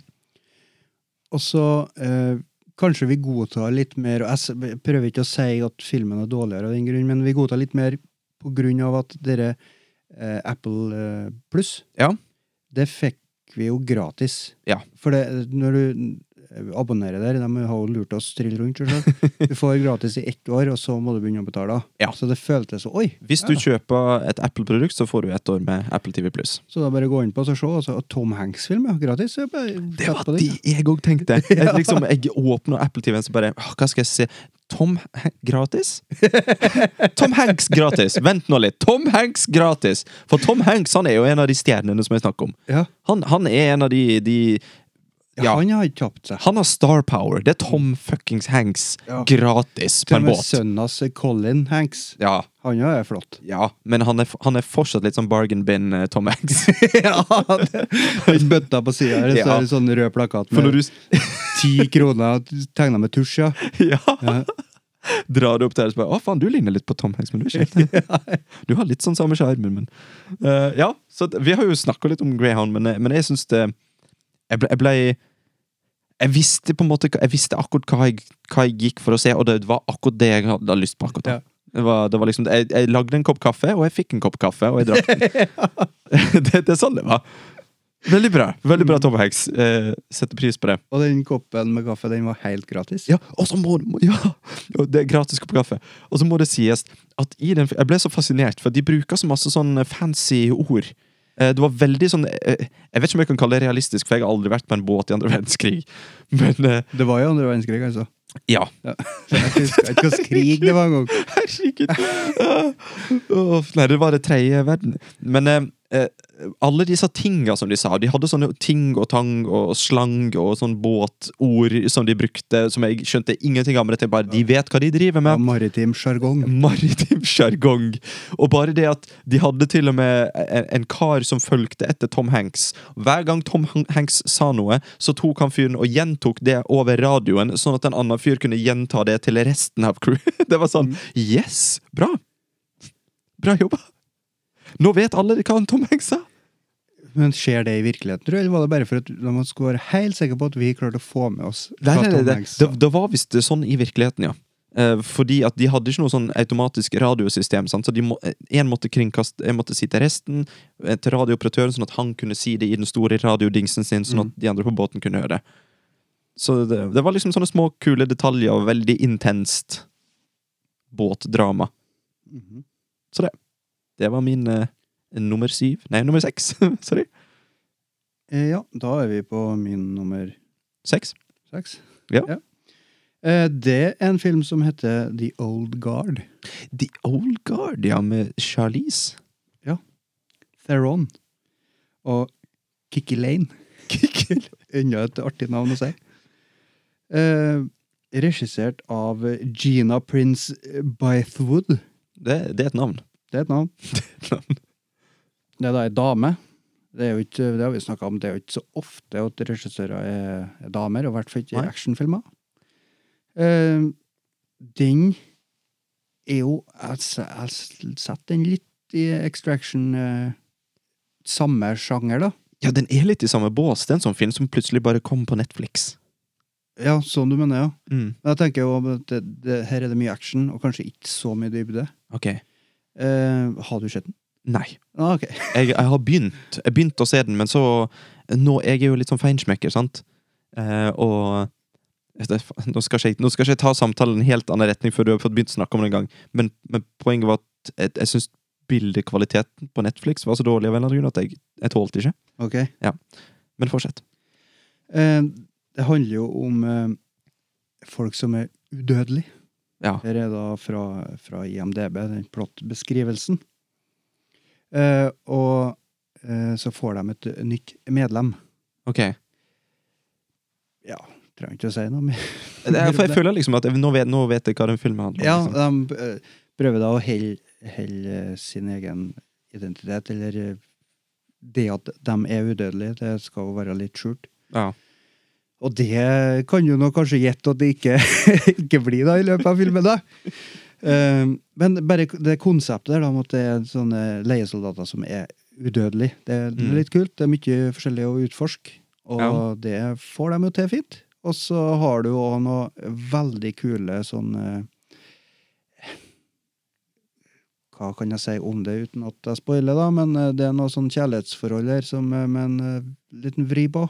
Og så eh, kanskje vi godtar litt mer og Jeg s- prøver ikke å si at filmen er dårligere av den grunn, men vi godtar litt mer på grunn av at dere eh, Apple eh, Pluss
Ja.
Det fikk vi jo gratis.
Ja.
For det, når du eh, abonnerer der, de har jo lurt oss trill rundt, selvsagt. Du får gratis i ett år, og så må du begynne å betale.
Ja.
Så det føltes så Oi!
Hvis du kjøper et Apple-produkt, så får du et år med Apple TV
Så da bare gå inn på oss og se. Altså, og Tom Hanks-film er gratis. så jeg bare
Det
setter
var
på den,
det jeg òg tenkte. Jeg, liksom, jeg åpner Apple TV-en så bare «Åh, Hva skal jeg se? Tom H Gratis? Tom Hanks gratis! Vent nå litt. Tom Hanks gratis! For Tom Hanks han er jo en av de stjernene som jeg snakker om.
Ja.
Han, han er en av de, de
Ja.
Ja.
Han har ikke tapt seg.
Han har star power. Det er Tom fuckings Hanks
Ja.
gratis på
Til og
en
med
båt.
sønnen hans, Colin Hanks,
Ja,
han er flott.
ja, men han er, han er fortsatt litt sånn bargain bin eh, Tom Hanks.
ja, det, Hvis bøtta på sida her, så
Ja.
er det sånn rød plakat
For når
med
du
ti kroner tegna med tusj, ja.
Ja. Drar det opp der og spør Å, faen, du ligner litt på Tom Hanks, men du er ikke helt Du har litt sånn samme skjermen, men Eh, Ja, så at- vi har jo snakka litt om Greyhound, men, eh, men jeg syns det jeg ble, jeg ble Jeg visste på en måte hva- Jeg visste akkurat hva jeg, hva jeg gikk for å se, og det var akkurat det jeg hadde lyst på. akkurat da.
Ja.
Det var, det var liksom, jeg, jeg lagde en kopp kaffe, og jeg fikk en kopp kaffe, og jeg drakk den. det, det er sånn det var. Veldig bra. Veldig bra, Tom Hanks. Eh, setter pris på det.
Og den koppen med kaffe, den var helt gratis.
Ja, og så må, må Ja! Og Det er gratis kopp kaffe. Og så må det sies at i den Jeg ble så fascinert, for de bruker så masse sånn fancy ord. Eh, Det var veldig sånn eh, Jeg vet ikke om jeg kan kalle det realistisk, for jeg har aldri vært på en båt i andre verdenskrig. Men eh,
Det var jo andre verdenskrig, altså.
ja.
Ja. Så Jeg husker ikke hvilken krig det var engang.
Herregud! Eh, Åh, nei, det var det tredje verden. Men eh, eh, alle disse tinga som de sa De hadde sånne ting og tang og slang og sånn båtord som de brukte, som jeg skjønte ingenting av. Men jeg tenkte bare, de vet hva de driver med.
Ja, Maritim sjargong.
Maritim sjargong. Og bare det at de hadde til og med en, en kar som fulgte etter Tom Hanks. Hver gang Tom Han- Hanks sa noe, så tok han fyren og gjentok det over radioen, sånn at en annen fyr kunne gjenta det til resten av crewet. Det var sånn Yes! Bra! Bra jobba! Nå vet alle hva han Tom Hanks sa!
Men skjer det i virkeligheten, tror du, eller var det bare for at man skulle være helt sikker på at vi klarte å få med oss
Nei,
hva
nei, nei,
Tom
det,
Hanks
det,
sa?
det var visst sånn i virkeligheten, ja. Eh, fordi at de hadde ikke noe sånn automatisk radiosystem. Sant? Så de må, eh, en, måtte kringkaste, en måtte si til resten, eh, til radiooperatøren, sånn at han kunne si det i den store radiodingsen sin, sånn
Mm.
at de andre på båten kunne høre det. Så det, det var liksom sånne små, kule detaljer og veldig intenst båtdrama.
Mhm.
Så det. Det var min eh, nummer syv Nei, nummer seks. Sorry.
Eh, Ja, da er vi på min nummer
Seks.
seks.
Ja.
Eh, Det er en film som heter The Old Guard.
The Old Guard, ja, med Charlize.
Theron og Kikki Lane. Enda et artig navn å si. Eh, regissert av Gina Prince Bythewood.
Det, det er et navn.
Det er et navn. Det er da ei dame. Det, er jo ikke, det har vi snakket om, det er jo ikke så ofte at regissører er, er damer, og i hvert fall ikke i
Nei.
actionfilmer. Eh, den er jo Jeg, s- jeg s- setter den litt i Extraction eh, samme sjanger, da.
Ja, den er litt i samme bås. Det er en sånn film som plutselig bare kom på Netflix.
Ja, sånn du mener, ja.
Mm,
Men jeg tenker jo at det, det, her er det mye action, og kanskje ikke så mye dybde.
Ok.
Eh, har du sett den?
Nei.
Ah, ok.
Jeg, jeg har begynt Jeg begynte å se den, men så Nå Jeg er jo litt sånn feinschmecker, sant? Eh, og det, nå, skal ikke, jeg- nå skal ikke jeg ta samtalen i en helt annen retning før du har fått begynt å snakke om det en gang, men, men poenget var at jeg, jeg syns bildekvaliteten på Netflix var så dårlig av en eller annen grunn at jeg, jeg tålte ikke.
Ok.
Men fortsett.
Eh, det handler jo om eh, folk som er udødelige.
Ja.
Her er da fra, fra IMDb, den plottbeskrivelsen. Eh, og eh, så får de et nytt medlem.
Ok.
Ja, trenger ikke å si noe mer.
Jeg, for jeg føler liksom at jeg, nå, vet, nå vet jeg hva den filmen handler om.
Ja,
liksom.
de eh, prøver da å helle, helle eh, sin egen identitet, eller eh, det at de er udødelige, det skal jo være litt skjult.
ja.
Og det kan jo nå kanskje gjette at det ikke, ikke blir da i løpet av filmen, da. Um, men bare det konseptet der da, om at det er sånne leiesoldater som er udødelige, det er
Mm.
litt kult. Det er mye forskjellig å utforske, og
Ja.
det får de jo til fint. Og så har du òg noe veldig kule sånn eh, Hva kan jeg si om det uten at jeg spoiler, da? Men eh, det er noe sånn kjærlighetsforhold her som, eh, med en eh, liten vri på,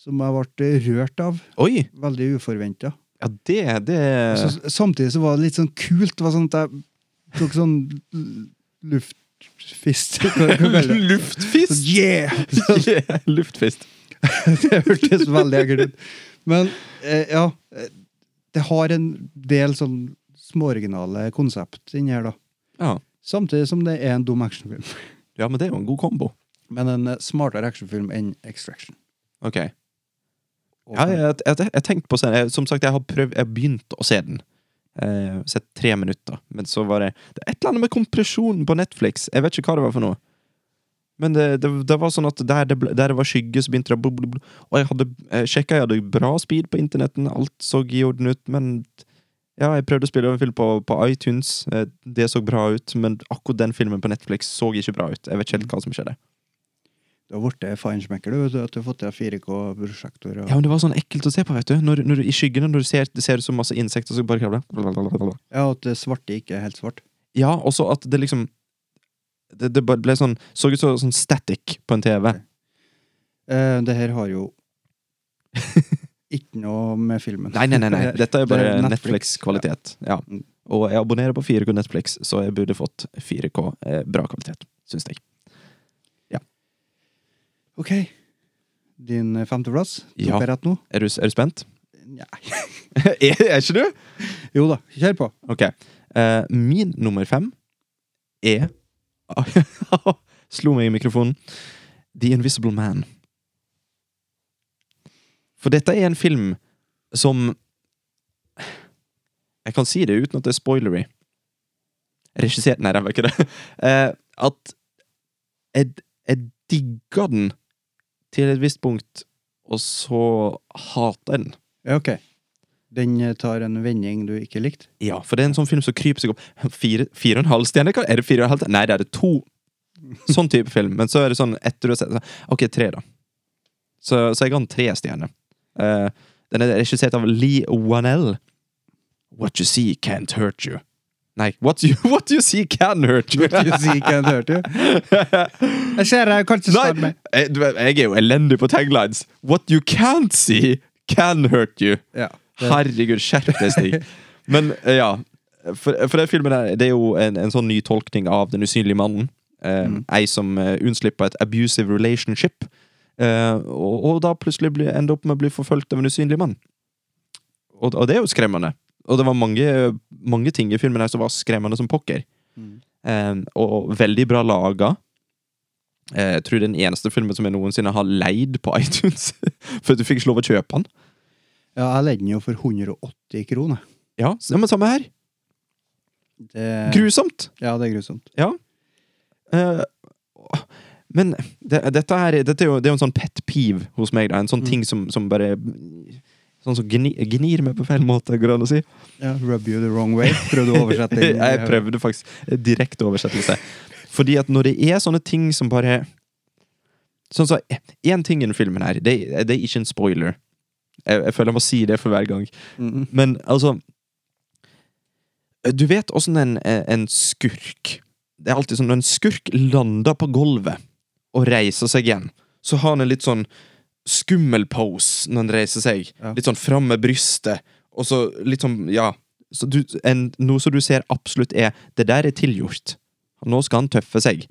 som jeg ble rørt av.
Oi!
Veldig uforventa.
Ja, det, det
Så, samtidig så var det litt sånn kult. Det var sånn at jeg tok sånn l- luftfist. Hva hva kaller du det? Så,
Luftfist!
yeah!
Yeah, Luftfist.
Det hørtes veldig ekkelt ut. Men eh, ja, eh, det har en del sånn småoriginale konsept inni her, da.
Ja.
Samtidig som det er en dum actionfilm.
ja, men det er jo en god kombo.
Men en eh, smartere actionfilm enn Extraction.
Ok.
Og-
Ja, jeg, jeg, jeg, jeg tenkte på å se den. Jeg- Som sagt, jeg har prøvd, jeg begynte å se den. Eh, sett tre minutter. Men så var det Det er et eller annet med kompresjonen på Netflix. Jeg vet ikke hva det var for noe. Men det, det, det var sånn at der det, ble, der det var skygge, så begynte det å bl- bl- bl- Og jeg hadde eh, sjekka, jeg hadde bra speed på internetten, alt så i orden ut, men ja, jeg prøvde å spille over en film på, på iTunes. Eh, Det så bra ut, men akkurat den filmen på Netflix så ikke bra ut. Jeg vet ikke helt hva som skjedde.
Du har blitt feinschmecker, du. vet du, At du har fått til 4K-prosjektor.
Ja,
Og...
men det var sånn ekkelt å se på, vet du. Når, når du I skyggene, når du ser, det ser ut som masse insekter, så bare krabler
Ja, at det svarte ikke er helt svart.
Ja, og så at det liksom Det, det bare ble sånn Så ut som sånn static på en TV.
Eh, det her har jo ikke noe med filmen
Nei, nei, nei. nei. Dette er bare
Det er Netflix.
Netflix-kvalitet. Ja.
Mm.
Og jeg abonnerer på 4K Netflix, så jeg burde fått 4K eh, bra kvalitet, syns jeg.
Ok. Din eh, femteplass? Tok
Ja.
jeg rett nå?
Er du, er du spent?
Nei.
er, er ikke du?
Jo da, kjør på.
Ok. Eh, min nummer fem er Slo meg i mikrofonen. The Invisible Man. For dette er en film som Jeg kan si det uten at det er spoilery. Regissert Nei, det var ikke det. Eh, at jeg, jeg digga den til et visst punkt, og så hata jeg den.
Ja, ok. Den eh, tar en vending du ikke likte?
Ja, for det er en sånn film som kryper seg opp. Fire, fire og en halv stjerne? Hva- Er det fire og en halv? Nei, det er det to. Sånn type film. Men så er det sånn etter du har sett så- Ok, tre, da. Så, så jeg ga den tre stjerner. Eh, den er regissert av Lee Wanell. What you see can't hurt you. Nei, what you, what you see can hurt you.
Du sier ikke jeg hørte jo. Jeg ser deg, kanskje står
Nei,
med.
jeg, du vet, jeg er jo elendig på taglines. What you can't see can hurt you.
Ja, det-
Herregud, skjerp deg, Stig. Men eh, ja, for, for den filmen der, det er jo en, en sånn ny tolkning av Den usynlige mannen. Eh, Ei som eh, unnslipper et abusive relationship, eh, og, og da plutselig blir, ender opp med å bli forfulgt av en usynlig mann. Og, og det er jo skremmende. Og det var mange, mange ting i filmen her som var skremmende som pokker. Eh, og veldig bra laga. Eh, Jeg tror det er den eneste filmen som jeg noensinne har leid på iTunes. For du fikk ikke lov å kjøpe den.
Ja, jeg leide den jo for 180 kroner.
Ja, s- ja men samme her.
Det,
Grusomt!
ja, det er grusomt.
Ja. Eh, men det, dette, her, dette er jo det er jo en sånn pet peeve hos meg. Da. En sånn ting som, som bare Sånn som gni, gnir meg på feil måte, går det an å si.
Ja, Rub you the wrong way. Prøvde å oversette eh, det.
Jeg prøvde faktisk eh, direkte oversettelse. Fordi at når det er sånne ting som bare Sånn så, Én ting i den filmen her, det, det er ikke en spoiler. Jeg, jeg føler jeg må si det for hver gang.
Mhm.
Men altså Du vet åssen en, en skurk Det er alltid sånn når en skurk lander på gulvet og reiser seg igjen, så har han en litt sånn skummel pose når han reiser seg.
Ja.
Litt sånn fram med brystet, og så litt sånn Ja. Så du, en, noe som du ser absolutt er Det der er tilgjort. Nå skal han tøffe seg.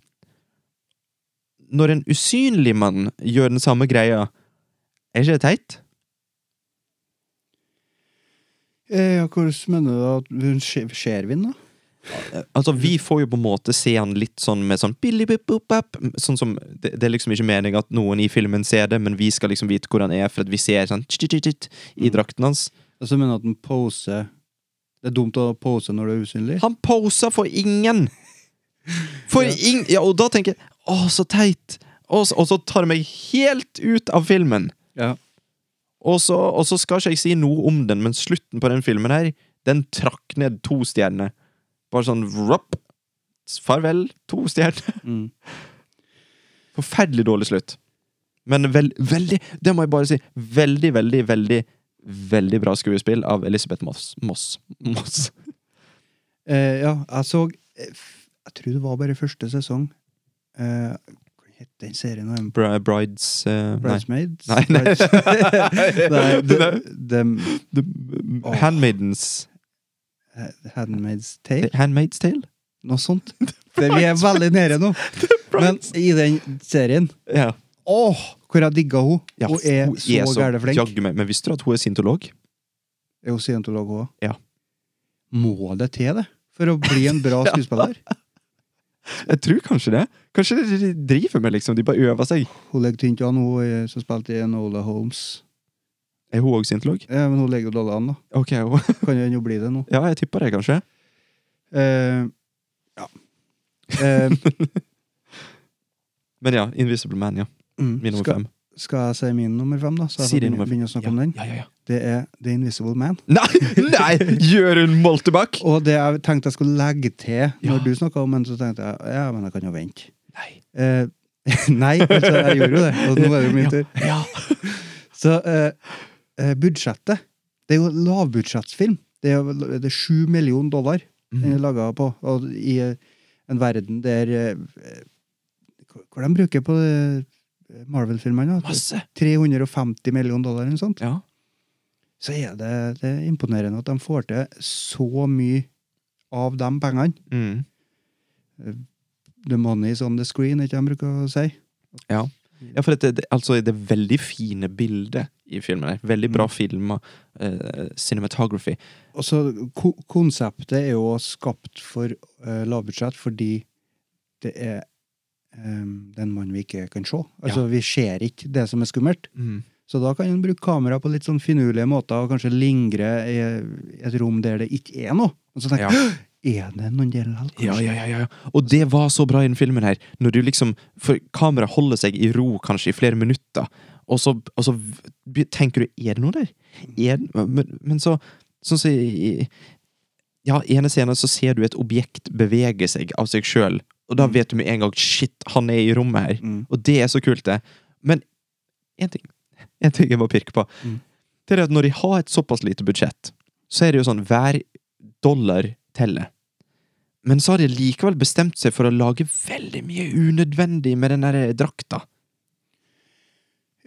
Når en usynlig mann gjør den samme greia, er ikke det teit?
Eh, Ja, hvordan mener du da? at hun Ser ser vi den, da?
Altså, vi får jo på en måte se han litt sånn med sånn billy bip bop bap, Sånn som det, det er liksom ikke meningen at noen i filmen ser det, men vi skal liksom vite hvor han er, for at vi ser sånn tsk, tsk, tsk, tsk i drakten hans.
Altså, mener du at den poser Det er dumt å pose når du er usynlig?
Han poser for ingen! For ingen Ja, og da tenker jeg Å, så teit! Og, så- og så tar det meg helt ut av filmen.
Ja.
Og så, og så skal ikke jeg si noe om den, men slutten på den filmen her, den trakk ned to stjerner. Bare sånn rup. Farvel, to stjerner.
Mm.
Forferdelig dårlig slutt. Men vel, veldig Det må jeg bare si. Veldig, veldig, veldig Veldig bra skuespill av Elisabeth Moss. Moss. Moss.
Eh, ja, jeg så eh, f- Jeg tror det var bare første sesong. Eh, hva het den serien? nå?
Bri- Brides eh, Nei.
Bridesmaids?
Nei, nei.
Brides- nei the,
The, uh,
Åh.
handmaidens
Handmaid's Tale?
Handmaid's Tale?
Noe sånt. Det, vi er veldig nede nå. Men i den serien
Ja.
Åh, hvor jeg digga hun
Ja,
Hun er
hun
så gæreflink.
jaggu meg- Men visste du at hun er sintolog?
Er hun scientolog òg?
Ja.
Må det til, det? For å bli en bra skuespiller?
Jeg tror kanskje det. Kanskje det de driver med, liksom. De bare øver seg.
Hun legger tynt an, hun eh, som spilte i Enola Holmes.
Er hun òg sintolog?
Ja, men hun legger jo dårlig an, da.
Ok, hun-
Kan jo hende hun blir det nå.
ja, jeg tipper det, kanskje.
Eh, ja. Eh,
Men ja, Invisible Man, ja.
mm,
Min nummer
skal,
fem.
skal jeg si min nummer fem, da? Så jeg
Si din
får begynne,
nummer-
begynne å snakke
Ja,
om den.
ja, ja, ja.
Det er The Invisible Man.
Nei! nei! Jørund Moltebakk!
Og det jeg tenkte jeg skulle legge til
Ja.
når du snakka om den, så tenkte jeg ja, men jeg kan jo vente.
Nei.
Eh, nei, altså, jeg gjorde jo det, og nå er det jo min tur.
Ja.
Så eh, eh, budsjettet Det er jo lavbudsjettsfilm. Det er, jo- det er sju millioner dollar den
Mhm.
er laga på, og i eh, en verden der eh, Hva hva de bruker på eh, Marvel-filmene? da?
Masse.
350 millioner dollar eller noe sånt.
Ja.
Så er det, det er imponerende at de får til så mye av de pengene.
Mm.
The money is on the screen, ikke de bruker å si.
Ja. ja, for dette, det, altså, det er veldig fine bilder i filmen. her. Veldig bra filmer. eh, cinematography.
Og så ko konseptet er jo skapt for eh, lavbudsjett fordi det er em, det er en mann vi ikke kan se. Altså, vi ser ikke det som er skummelt.
Mm.
Så da kan en bruke kamera på litt sånn finurlige måter og kanskje lingre i et rom der det ikke er noe. Og så
Ja.
tenker jeg, «Hå! er det noen der likevel, kanskje?»
Ja, ja, ja, ja. ja. Og det var så bra i den filmen her. Når du liksom For kameraet holder seg i ro kanskje i flere minutter, og så, og så b- tenker du Er det noe der? Er, det- men, men så Sånn som i i- Ja, i ene scenen så ser du et objekt bevege seg av seg sjøl, og da vet du med en gang Shit, han er i rommet her.
Mm.
Og det er så kult, det. Men én ting En ting jeg må pirke på.
Mm.
Det er at når de har et såpass lite budsjett, så er det jo sånn hver dollar teller. Men så har de likevel bestemt seg for å lage veldig mye unødvendig med den der eh, drakta.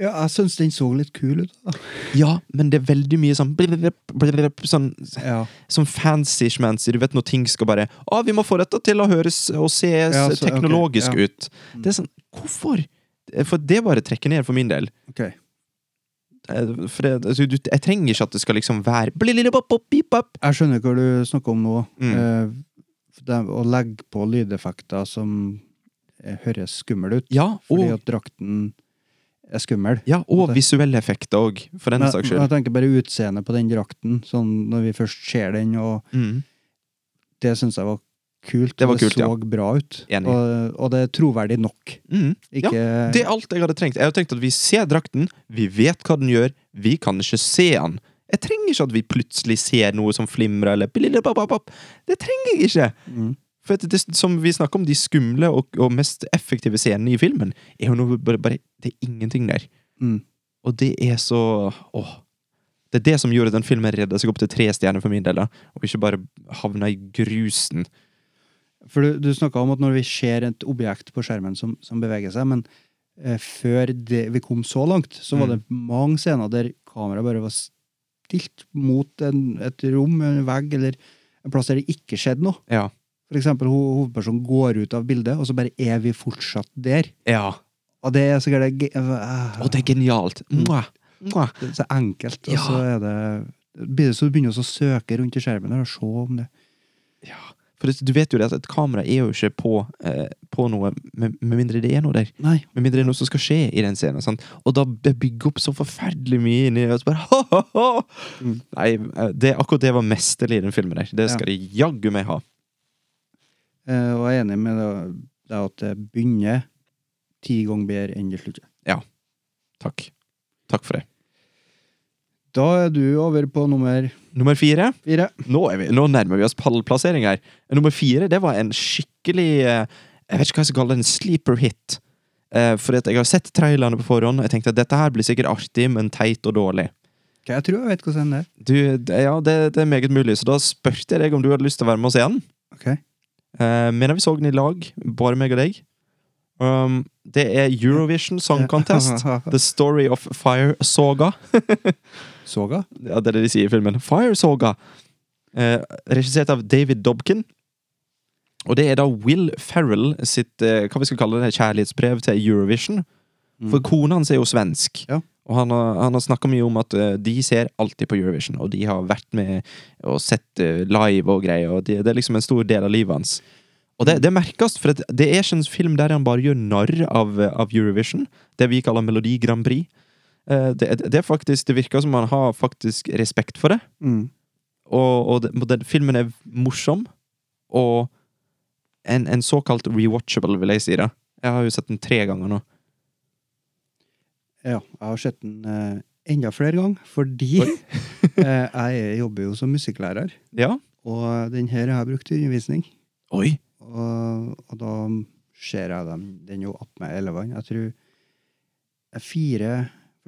Ja, jeg syns den så litt kul ut. da.
Ja, men det er veldig mye sånn blip, blip, blip, sånn,
Ja,
sånn fancy-schmancy. Du vet når ting skal bare Å, vi må få dette til å høres og se
Ja, så- ok,
teknologisk
ja.
ut. Det er sånn Hvorfor? Eh, For det bare trekker ned for min del.
ok.
Eh, For det, altså, du, jeg trenger ikke at det skal liksom være blililibop, bop, bip, bop.
Jeg skjønner hva du snakker om nå.
Mm.
Eh, det, å legge på lydeffekter som eh, høres skummel ut.
Ja, og,
Fordi at drakten er skummel.
ja, og visuelle effekter òg, for den
Men-
saks
men Jeg
skyld.
tenker bare utseendet på den drakten, sånn når vi først ser den, og
Mm.
det syns jeg var kult.
Det var
og
kult,
det
ja.
så bra ut.
Enig.
Og, og det er troverdig nok.
Mm.
Ikke
Ja, det er alt jeg hadde trengt. Jeg hadde tenkt at Vi ser drakten, vi vet hva den gjør, vi kan ikke se den. Jeg trenger ikke at vi plutselig ser noe som flimrer, eller blilibababab. Det trenger jeg ikke!
Mm.
For at det, som vi snakker om, de skumle og, og mest effektive scenene i filmen, er jo noe bare, bare Det er ingenting der.
Mm.
Og det er så Åh. Det er det som gjorde at den filmen redda seg opp til tre stjerner for min del, da. og ikke bare havna i grusen.
For du, du snakka om at når vi ser et objekt på skjermen som, som beveger seg, men eh, før det, vi kom så langt, så var det
Mm.
mange scener der kameraet bare var stilt mot en, et rom, en vegg, eller en plass der det ikke skjedde noe.
Ja.
For eksempel ho hovedpersonen går ut av bildet, og så bare er vi fortsatt der.
ja.
Og det er sikkert det, ge- eh,
Og det er genialt! Mwah. Mwah.
det er så enkelt,
Ja.
og så er det blir det så du begynner også å søke rundt i skjermen der og se om det
For det, du vet jo det at et kamera er jo ikke på, eh, på noe med, med mindre det er noe der.
Nei.
Med mindre det er noe som skal skje i den scenen. Sant? Og da det bygger opp så forferdelig mye inni oss. Bare, ha, ha, ha. Nei, eh, det, akkurat det var mesterlig i den filmen der. Det skal de jaggu meg ha.
Eh, og jeg er enig med deg deg at det begynner ti ganger bedre enn det slutter.
Takk. Takk for det.
Da er du over på nummer
Nummer fire.
fire.
Nå, er vi, nå nærmer vi oss pallplassering her. Nummer fire det var en skikkelig eh, Jeg vet ikke hva jeg skal kalle det, en sleeper hit. Eh, For at jeg har sett trailerne på forhånd, og jeg tenkte at dette her blir sikkert artig, men teit og dårlig.
Ok, jeg tror jeg vet hvordan det er.
Du, det- ja, det, det er meget mulig, så da spurte jeg deg om du hadde lyst til å være med og se den.
Ok.
Eh, mener vi så den i lag, bare meg og deg. Um, det er Eurovision Song Contest. The Story of Fire Soga.
Soga?
Ja, det er det de sier i filmen. Fire Soga! Eh, regissert av David Dobkin. Og det er da Will Ferrell sitt eh, hva vi skal kalle det, kjærlighetsbrev til Eurovision. For kona hans er jo svensk.
Ja.
Og han har, han har snakka mye om at eh, de ser alltid på Eurovision, og de har vært med og sett eh, live og greier. Og det- det er liksom en stor del av livet hans. Og det, det merkes, for at det er ikke en film der han bare gjør narr av, eh, av Eurovision. Det vi kaller Melodi Grand Prix. Eh, Det, det, er faktisk, det virker som han har faktisk respekt for det.
Mm.
Og, og, det, og den, filmen er morsom, og en, en såkalt rewatchable, vil jeg si det. Jeg har jo sett den tre ganger nå.
Ja, jeg har sett den eh, enda flere ganger, fordi eh, jeg jobber jo som musikklærer,
Ja.
og den her har jeg brukt i undervisning.
Oi.
Og, og da ser jeg dem, den jo opp med elevene. Jeg tror det er fire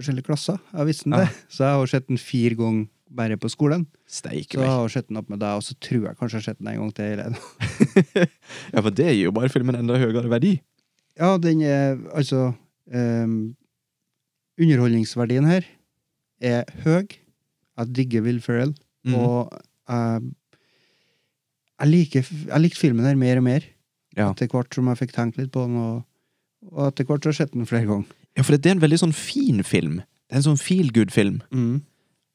forskjellige klasser, jeg visste den
Ja.
det. Så jeg har sett den fire ganger bare på skolen.
Steike
Så jeg
meg.
har sett den opp med deg, og så tror jeg kanskje jeg har sett den en gang til. eller noe.
Ja, for det gir jo bare filmen enda høyere verdi.
Ja, den er altså ehm, Underholdningsverdien her er høy. Jeg digger Will Ferrell,
Mhm.
og jeg, jeg, liker, jeg likte filmen her mer og mer.
Ja.
Etter hvert som jeg fikk tenkt litt på den, og, og etter hvert så har jeg sett den flere ganger.
Ja, for det er en veldig sånn fin film. Det er en sånn feel good-film.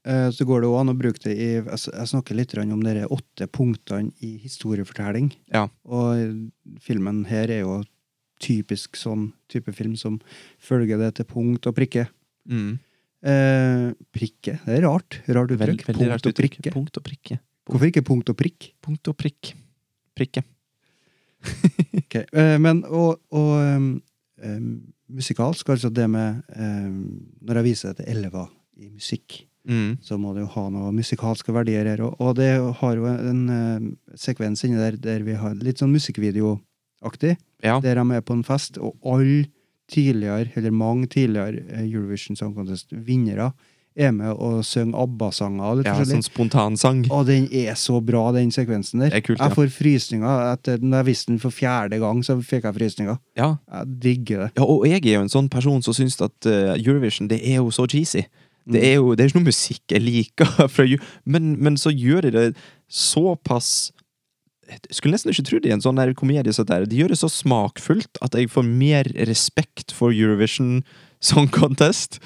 Eh, Så går det òg an å bruke det i Jeg s- jeg snakker litt grann om de åtte punktene i historiefortelling.
Ja.
Og filmen her er jo typisk sånn type film som følger det til punkt og prikke.
Mm.
Eh, prikke? Det er rart. Rart
Vel-
uttrykk.
veldig
punkt
rart
og
uttrykk.
prikke.
Punkt og prikke.
Hvorfor ikke punkt og prikk?
Punkt og prikk. Prikke.
Ok, eh, Men, og, og ehm, ehm, musikalsk, altså det med ehm, Når jeg viser det til elever i musikk,
Mm.
så må det jo ha noen musikalske verdier her. Og, og det har jo en eh, sekvens inni der der vi har litt sånn musikkvideoaktig,
Ja.
der de er på en fest, og alle tidligere, eller mange tidligere eh, Eurovision Song Contest-vinnere er med og synger ABBA-sanger og litt
ja,
forskjellig.
sånn spontansang.
Og den er så bra, den sekvensen der.
Det er kult, ja.
Jeg får frysninger. Etter, når jeg visste den for fjerde gang, så fikk jeg frysninger.
Ja.
Jeg digger det.
Ja, og jeg er jo en sånn person som syns at eh, Eurovision det er jo så cheesy. Det er jo det er ikke noe musikk jeg liker, fra, Eu- men, men så gjør de det såpass jeg skulle nesten ikke tro det i en sånn der komedie. som dette her. De gjør det så smakfullt at jeg får mer respekt for Eurovision Song Contest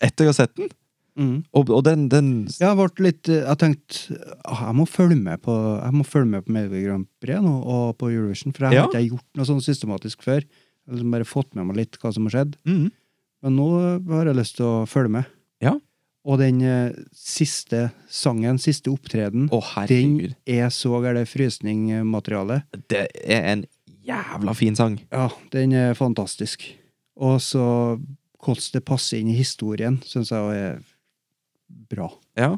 etter jeg har sett den. Og, og den, den
Jeg har vært litt eh, Jeg tenkte ah, jeg må følge med på Jeg må følge med på Melodi Grand Prix nå, og på Eurovision, for jeg
Ja.
har ikke gjort noe sånn systematisk før. Jeg har liksom bare fått med meg litt hva som har skjedd.
Mm.
Men nå eh, har jeg lyst til å følge med.
Ja.
Og den eh, siste sangen, siste opptreden,
Å, herregud.
den er så gæren frysningmateriale.
Det er en jævla fin sang.
Ja, den er fantastisk. Og så hvordan det passer inn i historien, syns jeg også er bra.
Ja.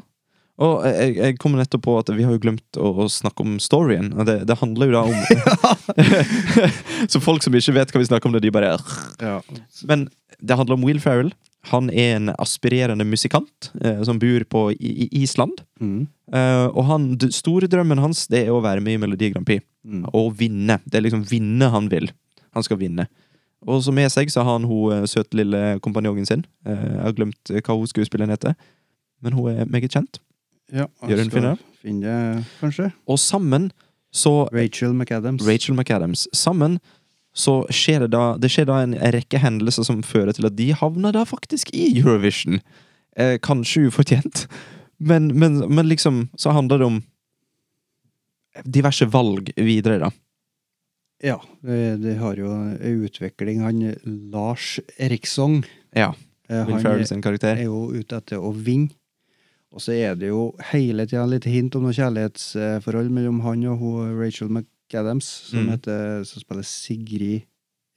Og jeg, jeg kom nettopp på at vi har jo glemt å, å snakke om storyen. Og det, det handler jo da om Så folk som ikke vet hva vi snakker om, det, de bare
Ja.
Men det handler om Will Ferrell. Han er en aspirerende musikant eh, som bor på i, i Island.
Mm.
Eh, og han, d store drømmen hans det er å være med i Melodi Grand Prix. Og vinne. Det er liksom vinne han vil. Han skal vinne. Og så med seg så har han hun eh, søte lille kompanjongen sin. Eh, jeg har glemt eh, hva hun skuespilleren heter. Men hun er meget kjent.
Ja, jeg
Gjør hun
skal
fin, da?
finne det, kanskje.
Og sammen så
Rachel McAdams.
Rachel McAdams. Sammen så skjer det da Det skjer da en rekke hendelser som fører til at de havner da faktisk i Eurovision. Eh, kanskje ufortjent, men, men, men liksom så handler det om diverse valg videre, da.
Ja, det, det har jo en utvikling. Han Lars Eriksson
Ja.
eh,
Will
han
Ferrell sin
er
karakter.
jo ute etter å vinne. Og så er det jo hele tida litt hint om noe kjærlighetsforhold mellom han og hun Rachel McAdams, som,
Mm.
heter, som spiller Sigrid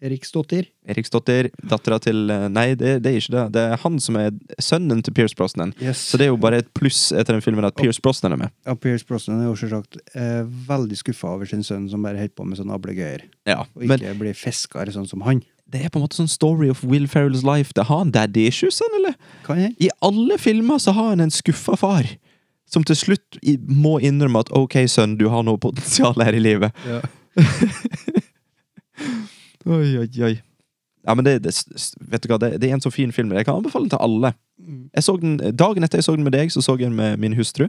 Eriksdottir.
Eriksdotter, dattera til eh, Nei, det, det er ikke det. Det er han som er sønnen til Pierce Brosnan.
Yes.
Så det er jo bare et pluss etter den filmen at Pierce Brosnan er med.
Ja, Pierce Brosnan er jo selvsagt eh, veldig skuffa over sin sønn, som bare holder på med sånne ablegøyer,
Ja,
og
men
ikke blir fisker sånn som han.
det er på en måte sånn story of Will Ferrells life. Det har han daddy issues, han, eller?
Kan jeg?
I alle filmer så har han en skuffa far. Som til slutt i- må innrømme at 'ok, sønn, du har noe potensial her i livet'.
Ja.
Oi, oi, oi. Ja, men det, det, vet du hva, det, det er en så fin film. Jeg kan anbefale den til alle.
Mm.
Jeg så den, dagen etter jeg så den med deg, så så jeg den med min hustru.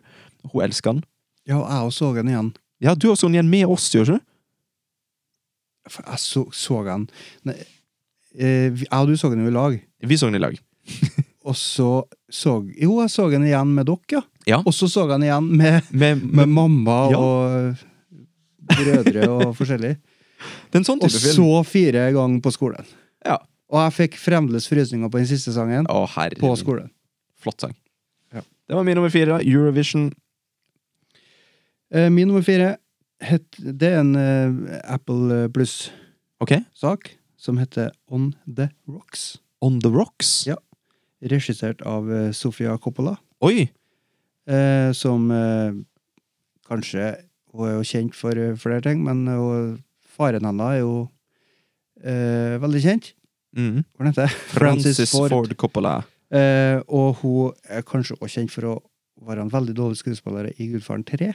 Hun elsker den.
Ja, jeg også så den igjen.
Ja, du har så den igjen med oss, gjør ikke du?
For jeg så, så den Nei, eh, vi- Jeg og du så den jo i lag.
Vi så den i lag.
Og så så Jo, jeg så den igjen med dere, ja.
Ja.
Og så så jeg den igjen med,
Med,
med
med,
mamma
Ja.
og brødre og forskjellig.
det er en sånn
Og
type film.
så fire ganger på skolen.
Ja.
Og jeg fikk fremdeles frysninger på den siste sangen
Å, herre
på
min.
skolen.
Flott sang.
Ja.
Det var min nummer fire. Eurovision.
Eh, Min nummer fire het, Det er en eh, Apple Plus-sak
Ok.
som heter On The Rocks.
On the Rocks.
Ja. Regissert av eh, Sofia Coppola,
Oi!
eh, som eh, kanskje Hun er jo kjent for eh, flere ting, men hun, faren hennes er jo eh, veldig kjent.
Mm.
Hva heter det?
Francis, Ford. Coppola.
Eh, og hun er kanskje også kjent for å være en veldig dårlig skuespiller i Gudfaren 3.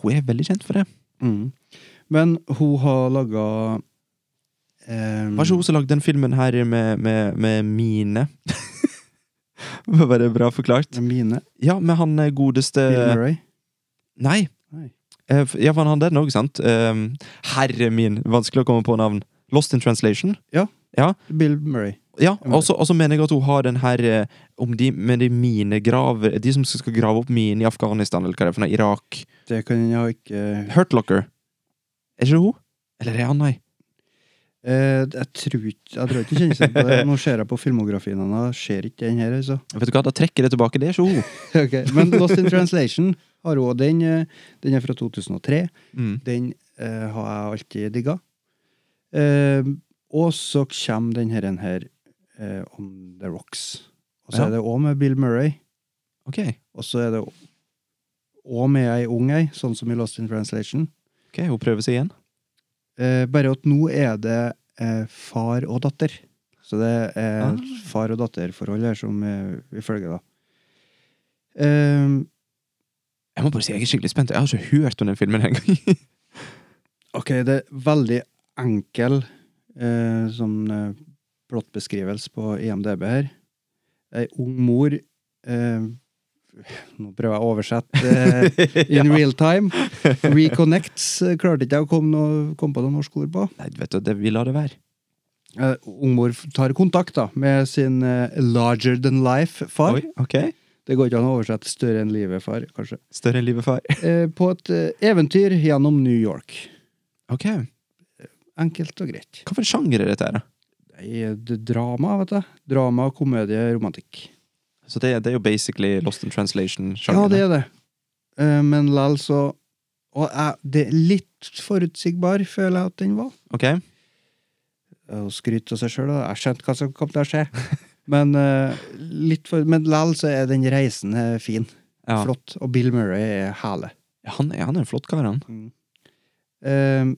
Hun er veldig kjent for det.
Mm. Men hun har laga eh,
Var ikke hun som lagde den filmen her med, med, med mine? Var det bra forklart?
Mine.
Ja, med han eh, godeste
Bill Murray.
Nei!
Nei.
Eh, f- Ja, for han hadde den òg, sant? Ehm, Herre min, vanskelig å komme på navn. Lost in translation.
Bill Murray.
Ja, og så og så mener jeg at hun har den her eh, om de, med de minegraver De som skal grave opp mine i Afghanistan, eller hva det er for noe, Irak.
Det kan jeg ikke
Hurt Locker. Er ikke det hun? Eller er det han, nei?
eh, Jeg tror ikke Jeg tror ikke hun kjenner seg på det. Nå ser jeg på filmografien hennes, ser ikke den her, altså.
Vet du hva, da trekker jeg det tilbake. Det er ikke hun.
Ok, Men Lost in Translation har hun, og den, eh, den er fra 2003.
Mm.
Den eh, har jeg alltid digga. Eh, og så kommer den her, den her eh, On The Rocks. Og så
Ja.
er det òg med Bill Murray.
Ok,
Og så er det òg med ei ung ei, sånn som i Lost in Translation.
ok, hun prøver seg igjen.
Eh, bare at nå er det eh, far og datter. Så det er
Ah.
far og datter-forhold her som eh, vi følger, da. Eh,
Jeg må bare si, jeg er skikkelig spent. Jeg har ikke hørt om den filmen engang.
ok, det er veldig enkel eh, sånn eh, plottbeskrivelse på E IMDb her. Ei ung mor eh, Nå prøver jeg å oversette eh, in real time. Reconnects eh, klarte ikke jeg å komme, noe, komme på noe norsk ord på.
Nei, vet du, det, vi lar det være.
Eh, Ungmor tar kontakt da med sin eh, larger than life-far.
Oi, ok.
Det går ikke an å oversette større enn livet-far, kanskje.
Større enn livet far.
Eh, på et eh, eventyr gjennom New York.
Ok, hva
Enkelt og greit.
for en sjanger er dette her da?
i d- drama, vet du. Drama, komedie, romantikk.
Så det, det er jo basically Lost in Translation-sjangeren.
Ja, det er det. Eh, Men likevel så Og jeg, det er litt forutsigbar, føler jeg at den var.
Ok?
Å skryte av seg sjøl, jeg skjønte hva som kom til å skje. Men eh, litt for, men likevel så er den reisen eh, fin.
Ja.
Flott. Og Bill Murray er hæle.
Han, er- han er en flott kar, han.
Eh,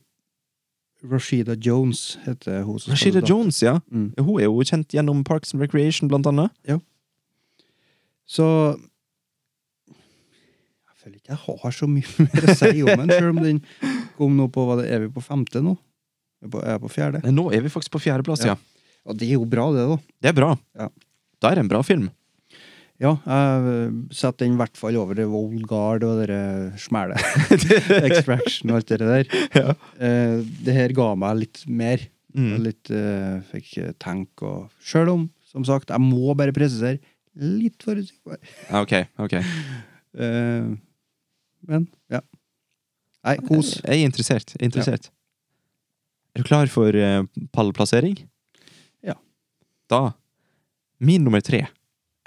Rashida Jones heter hun som
Rashida
spiller da.
Jones, ja.
Mm.
Hun er jo kjent gjennom Parks and Recreation, blant annet.
Så Jeg føler ikke jeg har så mye mer å si om den, selv om den kom nå på hva det Er vi på femte nå? Er jeg på- Er jeg på fjerde?
Men Nå er vi faktisk på fjerdeplass,
Ja.
ja.
Og det er jo bra, det, da.
Det er bra.
Ja.
Da er det en bra film.
Ja, jeg eh, setter den i hvert fall over The Old Guard og dere smæle. Extraction og alt det der.
Ja.
Eh, det her ga meg litt mer.
Mm.
Litt eh, fikk eh, tenke og Sjøl om, som sagt, jeg må bare presisere, litt forutsigbar.
Ja, Ok, ok.
Eh, men, ja. Nei, kos.
Jeg er interessert. Jeg er, interessert. er du klar for eh, pallplassering?
Ja.
Da Min nummer tre.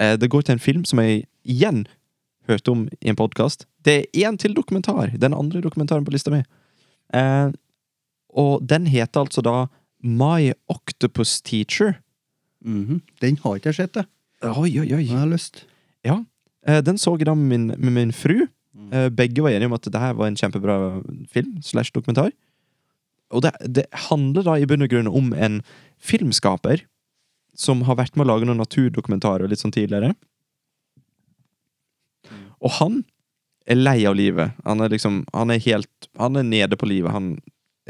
Eh, det går til en film som jeg igjen hørte om i en podkast. Det er én til dokumentar. Den andre dokumentaren på lista mi. Eh, og den heter altså da My Octopus Teacher.
Mhm. Den har ikke jeg sett, jeg.
Oi, oi, oi.
Men jeg har lyst.
Eh, Den så jeg da med min, med min fru. Eh, Begge var enige om at det her var en kjempebra film slash dokumentar. Og det, det handler da i bunn og grunn om en filmskaper som har vært med å lage noen naturdokumentarer litt sånn tidligere. Og han er lei av livet. Han er liksom Han er helt Han er nede på livet. Han,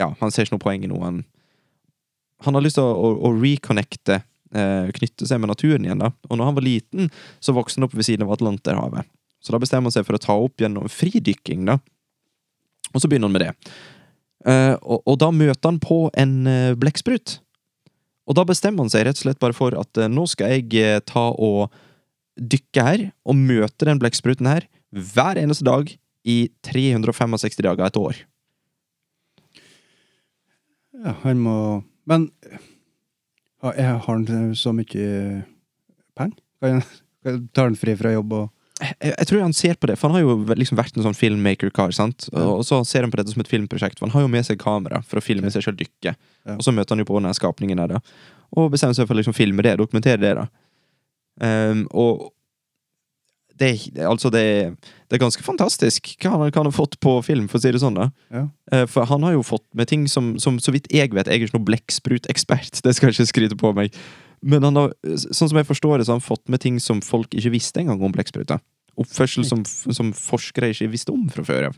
ja, han ser ikke noe poeng i noe. Han, han har lyst til å, å, å reconnecte, eh, knytte seg med naturen igjen, da. Og når han var liten, så vokste han opp ved siden av Atlanterhavet. Så da bestemmer han seg for å ta opp gjennom fridykking, da. Og så begynner han med det. Eh, og, og da møter han på en uh, blekksprut. Og da bestemmer han seg rett og slett bare for at eh, nå skal jeg eh, ta og dykke her, og møte den blekkspruten her hver eneste dag i 365 dager et år.
Ja, han må Men har jeg- har han så mye penger? Kan jeg ta han fri fra jobb og
jeg, jeg tror han ser på det, for han har jo liksom vært en sånn filmmaker-kar. sant? Og, og så ser han på dette som et filmprosjekt, for han har jo med seg kamera for å filme seg selv dykke.
Ja.
Og så møter han jo på denne skapningen her, da. Og bestemmer seg for å liksom filme det, dokumentere det, da. Ehm, og det er ikke- altså det, det er ganske fantastisk hva han kan ha fått på film, for å si det sånn, da.
Ja.
Eh, For han har jo fått med ting som, som så vidt jeg vet, jeg er ikke noen blekksprut-ekspert, det skal jeg ikke skryte på meg. Men han har, sånn som jeg forstår det, så har han fått med ting som folk ikke visste engang om blekkspruta oppførsel som, som forskere ikke visste om fra før av.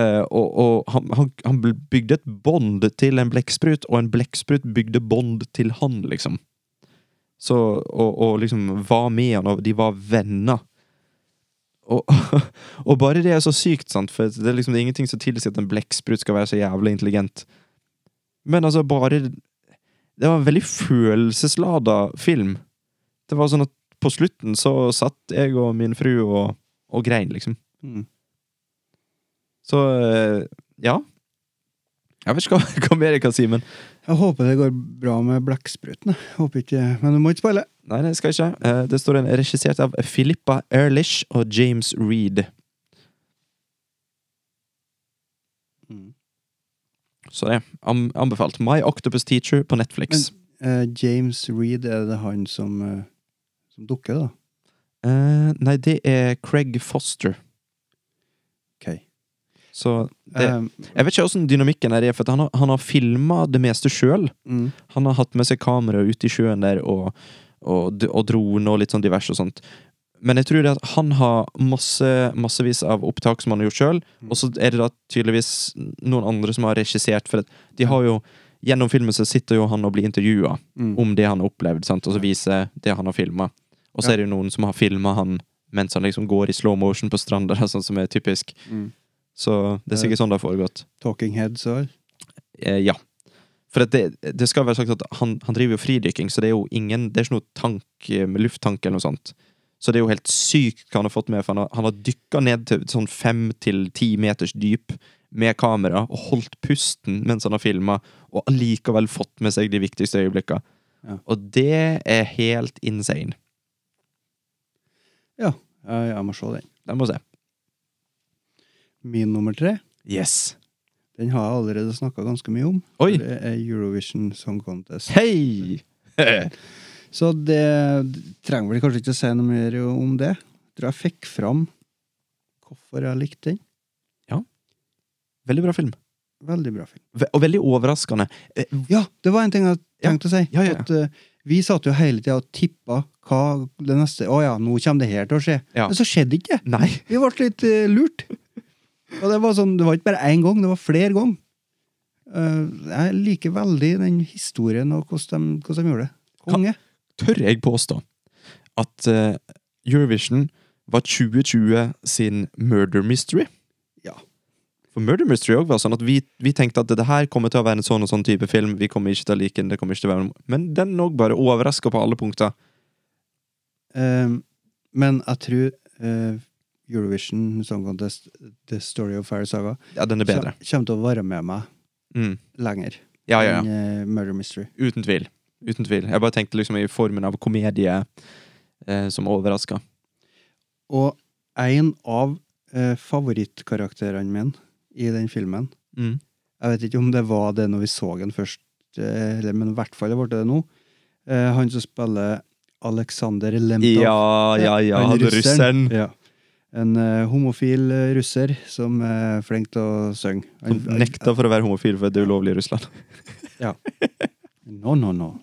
Eh, og og han, han, han bygde et bånd til en blekksprut, og en blekksprut bygde bånd til han, liksom. Så, og, og liksom var med han, og de var venner. Og, og bare det er så sykt, sant, for det er liksom det er ingenting som tilsier at en blekksprut skal være så jævlig intelligent. Men altså, bare Det var en veldig følelseslada film. Det var sånn at på slutten så satt jeg og min fru og, og grein, liksom.
Mm.
Så eh, ja. Jeg vet ikke hva, hva mer jeg kan si, men
Jeg håper det går bra med blekkspruten. jeg. Håper ikke Men du må ikke spoile.
nei, det skal jeg ikke. Eh, Det står en regissert av Philippa Ehrlich og James Reed.
Mm.
Så det. Am anbefalt. My Octopus Teacher på Netflix.
Eh, James Reed, er det han som, eh, som dukker, da?
Eh, nei, det er Craig Foster.
Ok.
Så det,
Eh,
Jeg vet ikke åssen dynamikken her er, for at han har, han har filma det meste sjøl.
mm.
Han har hatt med seg kamera ute i sjøen der, og, og, d- og drone og litt sånn divers og sånt. Men jeg tror det at han har masse, massevis av opptak som han har gjort sjøl,
Mm.
og så er det da tydeligvis noen andre som har regissert, for at de har jo Gjennom filmen så sitter jo han og blir intervjua
Mm.
om det han har opplevd, sant? og så viser det han har filma. Og så
Ja.
er det jo noen som har filma han mens han liksom går i slow motion på stranda, sånn som er typisk.
Mm.
Så det er sikkert sånn det har foregått.
Talking Heads og alt.
Eh, ja. For at det, det skal være sagt at han, han driver jo fridykking, så det er jo ingen Det er ikke noe tank eh, med lufttank eller noe sånt. Så det er jo helt sykt hva han har fått med, for han har, han har dykka ned til sånn fem til ti meters dyp med kamera og holdt pusten mens han har filma, og allikevel fått med seg de viktigste øyeblikka.
Ja.
Og det er helt insane.
Ja, jeg, jeg må se den.
Den må jeg se.
Min nummer tre,
Yes.
den har jeg allerede snakka ganske mye om.
Oi.
Det er Eurovision Song Contest.
Hei!
Så det trenger vel kanskje ikke å si noe mer om det. Jeg tror jeg fikk fram hvorfor jeg likte den.
Veldig bra film.
Veldig bra film.
Ve- Og veldig overraskende. Eh,
Ja, det var en ting jeg tenkte å si.
Ja, ja, ja.
At, eh, vi satt jo hele tida og tippa hva det neste Å ja, nå kommer det her til å skje.
Ja.
Men så skjedde ikke det.
Nei.
Vi ble litt eh, lurt. Og det var sånn, det var ikke bare én gang, det var flere ganger. Eh, jeg liker veldig den historien og hvordan de, hvordan de gjorde det. Konge.
tør jeg påstå at eh, Eurovision var 2020 sin murder mystery.
Ja.
For murder mystery også var sånn at vi, vi tenkte at det her kommer til å være en sånn og sånn type film. Vi kommer ikke til å like den. det kommer ikke til å være noe. Men den òg bare overraska på alle punkter.
Eh, men jeg tror eh, Eurovision Song Contest, The Story of Fire Saga,
Ja, den er bedre.
kjem- kommer til å være med meg
Mm.
lenger
Ja, ja, ja.
enn eh, Murder Mystery.
Uten tvil. Uten tvil. Jeg bare tenkte liksom i formen av komedie eh, som overraska.
Og en av eh, favorittkarakterene mine i den filmen
Mm.
Jeg vet ikke om det var det når vi så den først, eh, eller, men i hvert fall det ble det nå. Eh, han som spiller Aleksander Lemtov.
Ja, ja, ja.
Han
Han russeren.
Ja. En eh, homofil eh, russer som eh, er flink til å synge.
Som nekta for å være homofil for det er ulovlig i Russland.
No, no, no.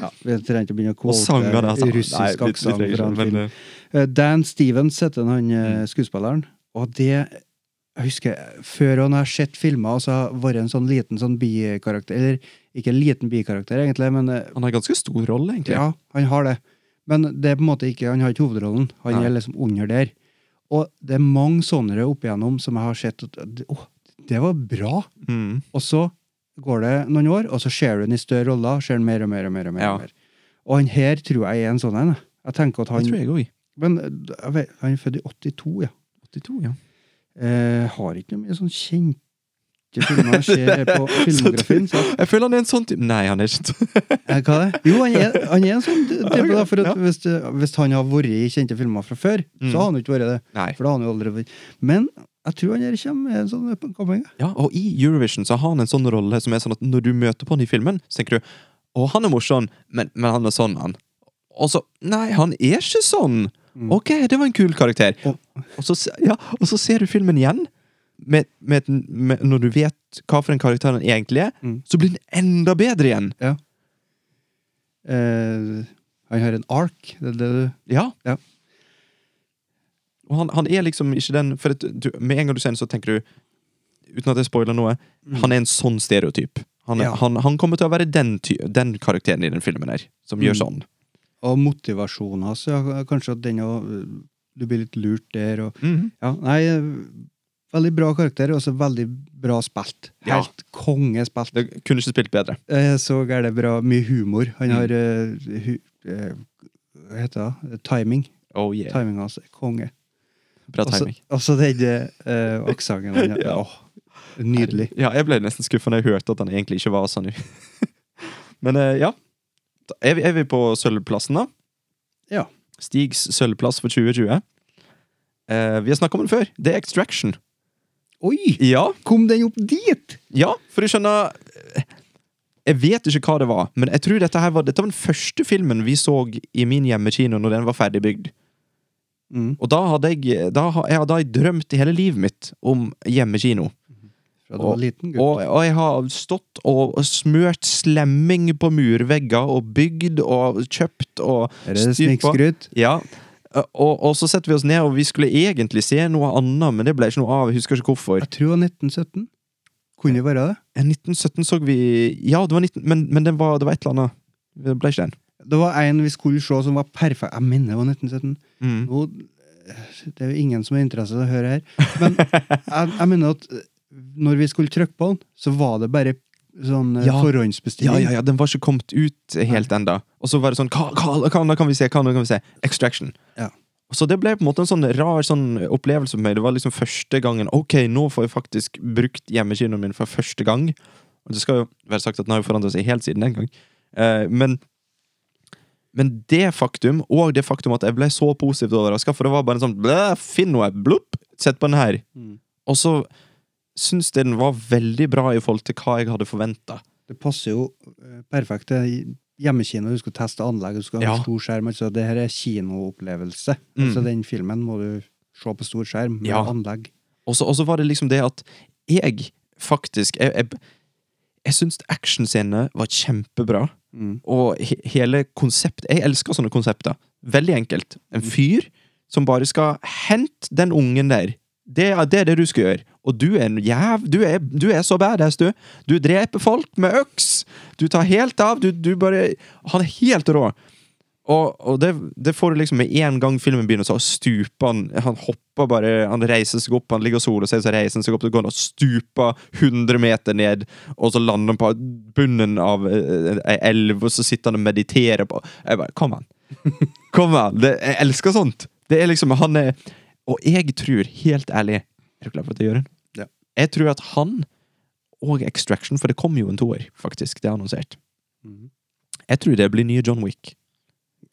Ja, vi trenger ikke å begynne å
Og sangene, altså.
quote eh, russisk
Nei, vi- vi
aksent
trenger
fra en
ikke, men,
film.
eh,
Eh, Dan Stevens heter han
Mm.
eh, skuespilleren, og det jeg husker før og når jeg har sett filmer, og så har vært en sånn liten sånn bikarakter Eller ikke en liten bikarakter, egentlig, men eh,
Han har en ganske stor rolle, egentlig.
ja, han har det. Men det er på en måte ikke, han har ikke hovedrollen. Han
Nei.
er liksom under der. Og det er mange sånne opp igjennom som jeg har sett at Å, det var bra!
Mm.
Og så går det noen år, og så ser du den i større roller. Ser den mer og mer og mer. Og mer,
Ja.
og mer. Og han her tror jeg er en sånn en. jeg. Jeg tenker
Det
at han
tror jeg òg.
Men eh, jeg vet, han er født i 82, ja.
82, ja.
Eh, har ikke noe mye sånn kjente filmer jeg ser på filmografien. Så.
Jeg føler han er en sånn type Nei, han er ikke sånn.
Eh, Hva er det? Jo, han er, han er en sånn type, da. For at
Ja.
hvis, det- hvis han har vært i kjente filmer fra før,
Mm.
så har han jo ikke vært det.
Nei.
For da har han jo aldri vært Men jeg tror han her kommer med en sånn up and coming.
Ja, og i Eurovision så har han en sånn rolle som er sånn at når du møter på han i filmen, så tenker du Å, han er morsom, men, men han er sånn, han. Og så Nei, han er ikke sånn!
Mm.
Ok, det var en kul karakter.
Og-
Og, så, se- ja, og så ser du filmen igjen. Med, med, med, når du vet hva for en karakter han egentlig er,
Mm.
så blir den enda bedre igjen!
Eh, han har en ark. Det er det du
Ja.
Ja.
Og han, han er liksom ikke den For at du, med en gang du ser den, så tenker du Uten at jeg spoiler noe, han er en sånn stereotyp. Han, er-
Ja.
han, han kommer til å være den, ty den karakteren i den filmen her, som gjør sånn.
Og motivasjonen hans, ja, kanskje at den òg Du blir litt lurt der, og
Mm.
Ja, nei Veldig bra karakter, og så veldig bra spilt.
Ja.
Helt konge spilt.
Det kunne ikke spilt bedre.
Eh, Så er det bra. Mye humor. Han
Mm.
har eh, hu, eh, Hva heter det? Timing.
Oh yeah. Altså-
Timinga hans er konge.
Bra
Også-
timing.
Også den eh, aksenten han har.
Ja.
Åh, nydelig.
Ja, jeg ble nesten skuffa når jeg hørte at han egentlig ikke var sånn. Men eh, ja. Da Er vi, er vi på sølvplassen, da?
Ja.
Stigs sølvplass for 2020. Eh, vi har snakka om den før. Det er Extraction.
Oi!
Ja.
Kom den opp dit?!
Ja, for du skjønner Jeg vet ikke hva det var, men jeg tror dette her var Dette var den første filmen vi så i min hjemmekino når den var ferdigbygd.
Mm.
Og da hadde jeg da, ha- jeg hadde drømt i hele livet mitt om hjemmekino.
Fra du var
Og-
liten gutt.
Og, og jeg har stått og smørt slemming på murvegger og bygd og kjøpt og
er det
styrt på.
snikskryt?
Ja. Og, og så setter vi oss ned, og vi skulle egentlig se noe annet, men det ble ikke noe av. Jeg husker ikke hvorfor.
Jeg tror det var 1917. Kunne det være det?
Eh, 1917 så vi Ja, det var 19, men, men den var, det var et eller annet. Det ble ikke den.
Det var en vi skulle se som var perfekt. Jeg mener det var 1917.
Mm.
Nå, eh, det er jo ingen som er interessert i å eh, høre her. Men jeg, jeg mener at når vi skulle trykke på den, så var det bare sånn eh,
Ja. Ja,
forhåndsbestilling.
ja, ja, den var ikke kommet ut helt enda. Og så var det sånn Hva, hva, hva nå kan vi se? Hva nå kan vi se? Extraction.
Ja.
Så det ble på en måte en sånn rar sånn opplevelse for meg. Det var liksom første gangen Ok, nå får jeg faktisk brukt hjemmekinoen min for første gang. Og det skal jo være sagt at den har jo forandra seg helt siden den gang. Eh, men men det faktum, og det faktum at jeg ble så positivt overraska, for det var bare en sånn blæ, Finn noe, blupp, sett på den her. Og så syns jeg den var veldig bra i forhold til hva jeg hadde forventa.
Det passer jo eh, perfekt til hjemmekino. Du skal teste anlegg, du skal ha
Ja.
stor skjerm. Altså, det her er kinoopplevelse.
Mm.
Altså, den filmen må du se på stor skjerm med
Ja.
anlegg.
Og så, og så var det liksom det at jeg faktisk Jeg, jeg, jeg syns actionscenene var kjempebra.
Mm.
Og he, hele konseptet Jeg elsker sånne konsepter. Veldig enkelt. En fyr som bare skal hente den ungen der. Det, er- det er det du skal gjøre. Og du er en jæv... Du er, du er så badass, du. Du dreper folk med øks! Du tar helt av. Du, du bare Han er helt rå. Og, og det, det får du liksom med en gang filmen begynner, så stuper han. Han hopper bare, han reiser seg opp, han ligger og soler seg, så reiser han seg opp, så går han og stuper 100 meter ned, og så lander han på bunnen av eh, ei elv, og så sitter han og mediterer på Jeg bare Kom an! Kom an! Det, jeg elsker sånt! Det er liksom Han er Og jeg tror, helt ærlig Er du klar for at jeg gjør det?
Ja.
Jeg tror at han og Extraction, for det kommer jo en toer, faktisk, det er annonsert.
Mhm.
Jeg tror det blir nye John Wick.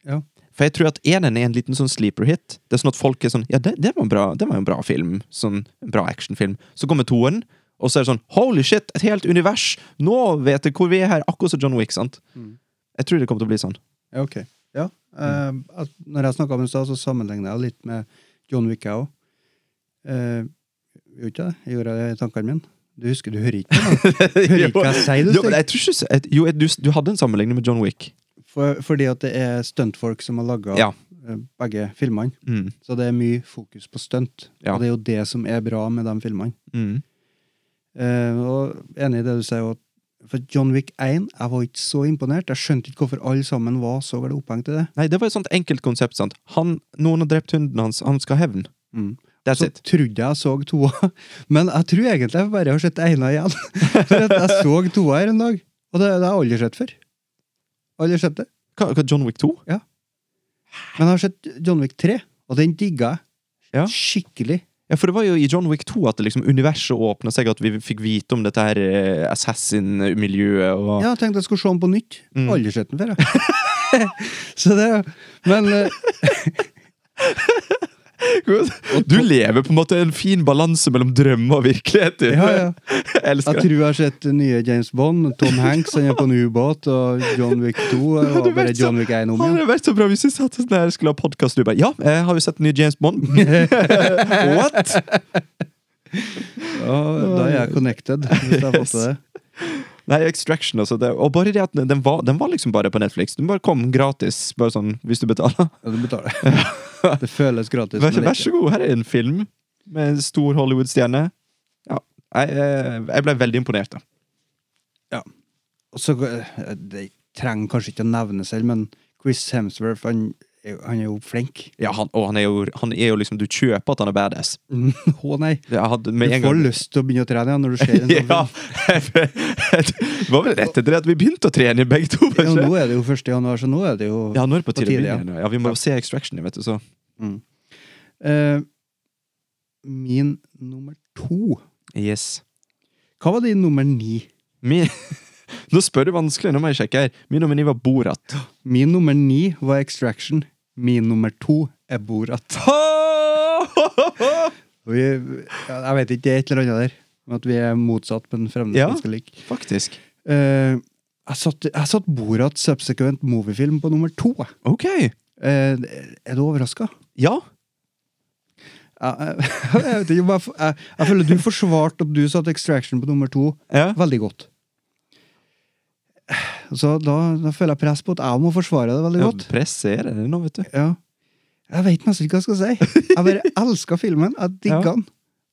Ja.
For jeg tror at enen er en liten sånn sleeper hit. Det er sånn at folk er sånn Ja, det, det, var, en bra, det var en bra film. Sånn en bra actionfilm. Så kommer toeren, og så er det sånn Holy shit, et helt univers! Nå vet jeg hvor vi er her! Akkurat som John Wick, sant?
Mm.
Jeg tror det kommer til å bli sånn.
Ja, ok. Ja. eh, at når jeg snakka om det i stad, så sammenligna jeg litt med John Wick, jeg òg. Eh, gjorde ikke det? Jeg gjorde det i tankene mine. Du husker, du hører ikke på meg. Du hører ikke hva jeg sier, du,
Jo, men
Stig.
jeg tror ikke, jeg, jo, jeg, du, du hadde en sammenligning med John Wick.
For, fordi at det er stuntfolk som har laga
Ja.
begge filmene.
Mm,
Så det er mye fokus på stunt.
Ja.
Og det er jo det som er bra med de filmene.
mm,
Eh, og enig i det du sier, og- for John Wick 1 jeg var ikke så imponert. Jeg skjønte ikke hvorfor alle sammen var så veldig opphengt i det.
Nei, det var et sånt enkelt konsept. sant? Han, noen har drept hunden hans, han skal ha hevn.
Mm.
That's
Så
it.
trodde jeg jeg så toa, men jeg tror egentlig jeg bare har sett ena igjen. For at jeg så toa her en dag, og det, det har jeg aldri sett før. Aldri sett det.
Hva, hva, John Wick 2?
Men jeg har sett John Wick 3, og den digga jeg.
Ja.
Skikkelig.
Ja, for det var jo i John Wick 2 at det liksom universet åpna seg, at vi fikk vite om dette her eh, assassin-miljøet og
Ja, jeg tenkte jeg skulle se den på nytt.
Mm.
Aldri sett den før, jeg. så det Men eh,
Du lever på en måte en fin balanse mellom drøm og virkelighet, du!
ja, ja.
Jeg elsker
Jeg
det.
tror jeg har sett nye James Bond. Tom Hanks han er på en ubåt, og John Wick 2 og
Hadde
bare
vært så-
John Wick 1 om
Hadde
igjen.
det vært så bra hvis vi satt sånn her og skulle ha podkast, du bare Ja, jeg har jo sett den nye James Bond. What?!
Ja, da er jeg connected, hvis jeg har fått til det.
Nei, Extraction, altså. Det, og bare det at den den var, den var liksom bare på Netflix. Den bare kom gratis, bare sånn, hvis du betaler.
Ja, du betaler. Det føles gratis.
Vær,
men
vær
det er
så god, her er en film med en stor Hollywood-stjerne. Ja. Jeg, jeg, jeg ble veldig imponert, da.
ikke- Så, eh, det trenger kanskje ikke å nevne selv, men Chris Hemsworth han, er jo- han er jo flink.
Ja, han, og han er, jo, han er jo liksom Du kjøper at han er badass.
Å nei!
Jeg hadde
Du
med Mm. en
får
gang
lyst til å begynne å trene igjen når du ser en sånn
ja,
film.
Det var vel rett etter det at vi begynte å trene begge to.
Ja,
kanskje?
nå er det jo 1. januar, så nå er det jo
Ja, nå er det på
På
tide. å
tide,
begynne. Ja, vi må jo se Extraction, vet du, så
Eh, Min nummer to
Yes.
Hva var din nummer ni?
Min, nå spør du vanskelig, nå må jeg sjekke her. Min nomini var Borat.
Min nummer ni var Extraction. Min nummer to er Borat. Og Vi, ja, jeg vet ikke, det er et eller annet der. Men At vi er motsatt, men fremdeles
Ja.
ganske like.
Faktisk.
Eh, jeg satt, jeg satt Borat subsequent moviefilm på nummer to. jeg.
Ok.
Eh, er du overraska?
Ja.
Jeg, jeg, jeg, vet ikke om jeg, f- jeg, jeg føler du forsvarte at du satte Extraction på nummer to
Ja.
veldig godt. Så da, da føler jeg press på at jeg må forsvare det veldig
ja
godt.
Presset er det nå, vet du.
Ja. Jeg veit nesten ikke hva jeg skal si. Jeg bare elska filmen. Jeg digga
Ja.
den.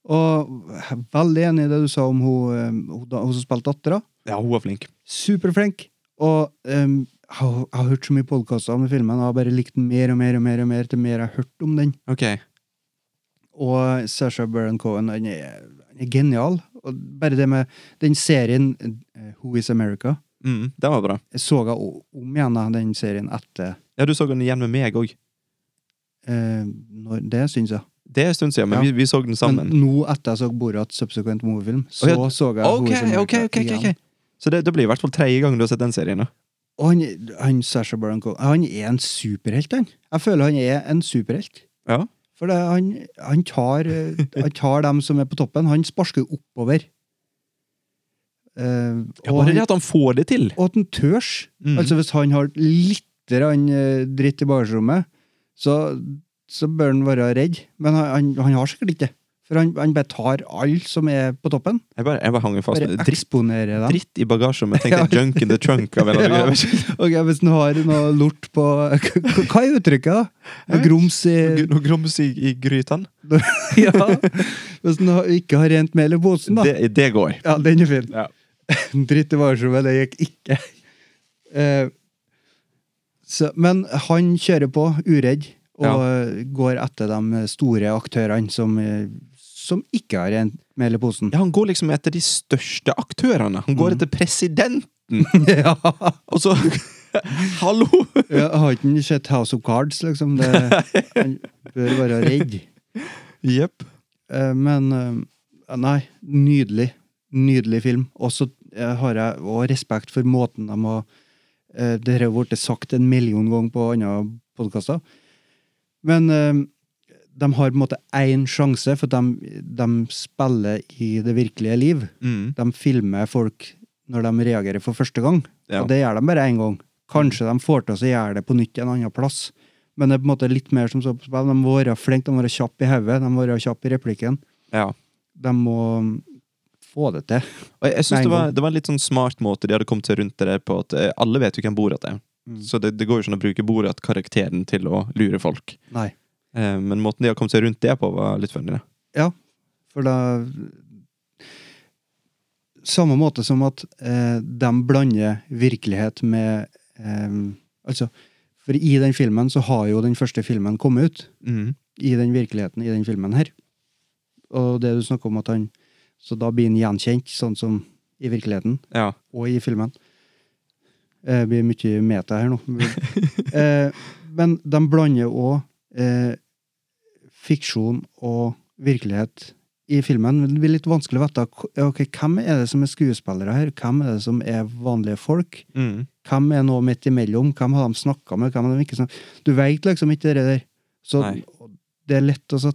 Og jeg er veldig enig i det du sa om hun, eh, hun, da- hun som spilte dattera.
Ja, hun var flink.
Superflink. Og em, jeg har- jeg har hørt så mye podkaster om filmen, og jeg har bare likt den mer og mer og mer og mer til mer jeg har hørt om den.
Ok.
Og Sasha Baron Cohen han er, han er genial. Og bare det med den serien eh, Who is America
Mm, den var bra.
Jeg så jeg o- om igjen da, den serien etter
Ja, du så den igjen med meg òg.
eh, når, Det syns jeg.
Det er en stund siden, men
Ja.
vi, vi så den sammen.
Men nå etter jeg så Borat Subsequent Moviefilm,
Å,
så
ja.
så jeg
ok,
Who is America
ok, ok, ok, ok.
igjen.
Så det, det blir i hvert fall tredje gang du har sett den serien. da.
Og han, han Sasha Baron Cohen, han er en superhelt, han. Jeg føler han er en superhelt.
Ja.
For det, han, han, tar, eh, han tar dem som er på toppen. Han sparker oppover. Eh,
Ja,
og,
bare det
han,
at han får det til.
og at han tørs.
Mm.
Altså Hvis han har litt grann, eh, dritt i bagasjerommet, så, så bør han være redd. Men han, han, han har sikkert ikke det. For han, han bare tar alle som er på toppen.
Jeg bare, jeg bare hang fast.
Bare
med Altså, Dritt,
eksponerer dem.
dritt i bagasjen. men Jeg tenkte
Ja.
junk in the trunk. av en eller annen
Ja.
grunn. Jeg
Ok, Hvis han har noe lort på Hva er uttrykket, da? Noe grums i
vet ikke. Noe grums i, i grytene.
ja. Hvis han har- ikke har rent mel i posen, da.
Det, det går.
Ja, den er fin.
Ja.
Dritt i varsomme, det gikk ikke. Eh, så, men han kjører på, uredd, og eh, går etter de store aktørene som, eh, som ikke har rent mel i posen.
Ja, han går liksom etter de største aktørene. Han
Mm.
går etter presidenten!
Ja.
Og så Hallo!
Ja, har ikke han sett House of Cards, liksom? Det, han bør være redd.
Jepp.
Eh, men eh, Nei, nydelig. Nydelig film. Og så eh, har jeg også respekt for måten de har eh, Det har jo blitt sagt en million ganger på andre podkaster. Men eh, de har på en måte én sjanse, for de, de spiller i det virkelige liv.
Mm.
De filmer folk når de reagerer for første gang.
Ja.
Og det gjør de bare én gang. Kanskje de får til å så gjøre det på nytt en annen plass. Men det er på en måte litt mer som så på spill. De må være flinke, de må være kjappe i hodet, de må være kjappe i replikken.
Ja.
De må få det til.
Og jeg, jeg
Nei,
synes det, var,
god.
det var en litt sånn smart måte de hadde kommet seg rundt det der på at eh, alle vet jo hvem Borat er.
Mm.
Så det, det går jo ikke an å bruke Borat-karakteren til å lure folk.
Nei.
Eh, men måten de har kommet seg rundt det på, var litt funny. da.
Ja, for da Samme måte som at eh, de blander virkelighet med eh, Altså, for i den filmen så har jo den første filmen kommet ut.
Mm.
i den virkeligheten i den filmen her. Og det du snakker om at han Så da blir han gjenkjent, sånn som i virkeligheten
Ja.
og i filmen. Det blir mye meta her nå. eh, men de blander òg eh, fiksjon og virkelighet i filmen. Men Det blir litt vanskelig å vite k- ok, hvem er det som er skuespillere her, hvem er det som er vanlige folk.
Mm.
Hvem er nå midt imellom? Hvem har de snakka med? Hvem har de ikke snakket? Du veit liksom ikke det der. Så
Nei.
det er lett å så,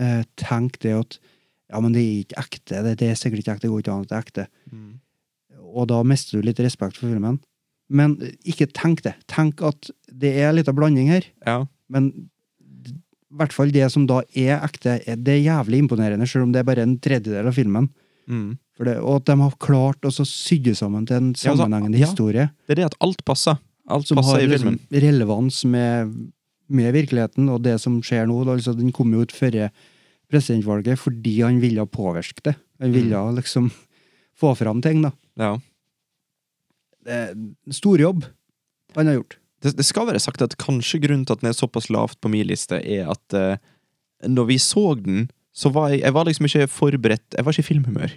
eh, tenke det at ja, men det er ikke ekte. Det, det er sikkert ikke ekte. Det går ikke an at det er ekte.
Mm.
Og da mister du litt respekt for filmen. Men eh, ikke tenk det. Tenk at det er litt av blanding her,
Ja.
men d- i hvert fall det som da er ekte, er- det er jævlig imponerende, selv om det er bare en tredjedel av filmen.
Mm.
For det, og at de har klart å så sydde sammen til en
Ja, altså,
sammenhengende
ja.
historie
Det er det at alt passer. Alt
som har
passer i
liksom
filmen.
relevans med, med virkeligheten og det som skjer nå. da, Altså, den kom jo ut før presidentvalget fordi han ville påvirke det. Han ville
Mm.
liksom få fram ting, da.
Ja.
Det er en stor jobb han har gjort.
det, det skal være sagt at kanskje grunnen til at den er såpass lavt på min liste, er at eh, når vi så den, så var jeg, jeg var liksom ikke forberedt Jeg var ikke i filmhumør.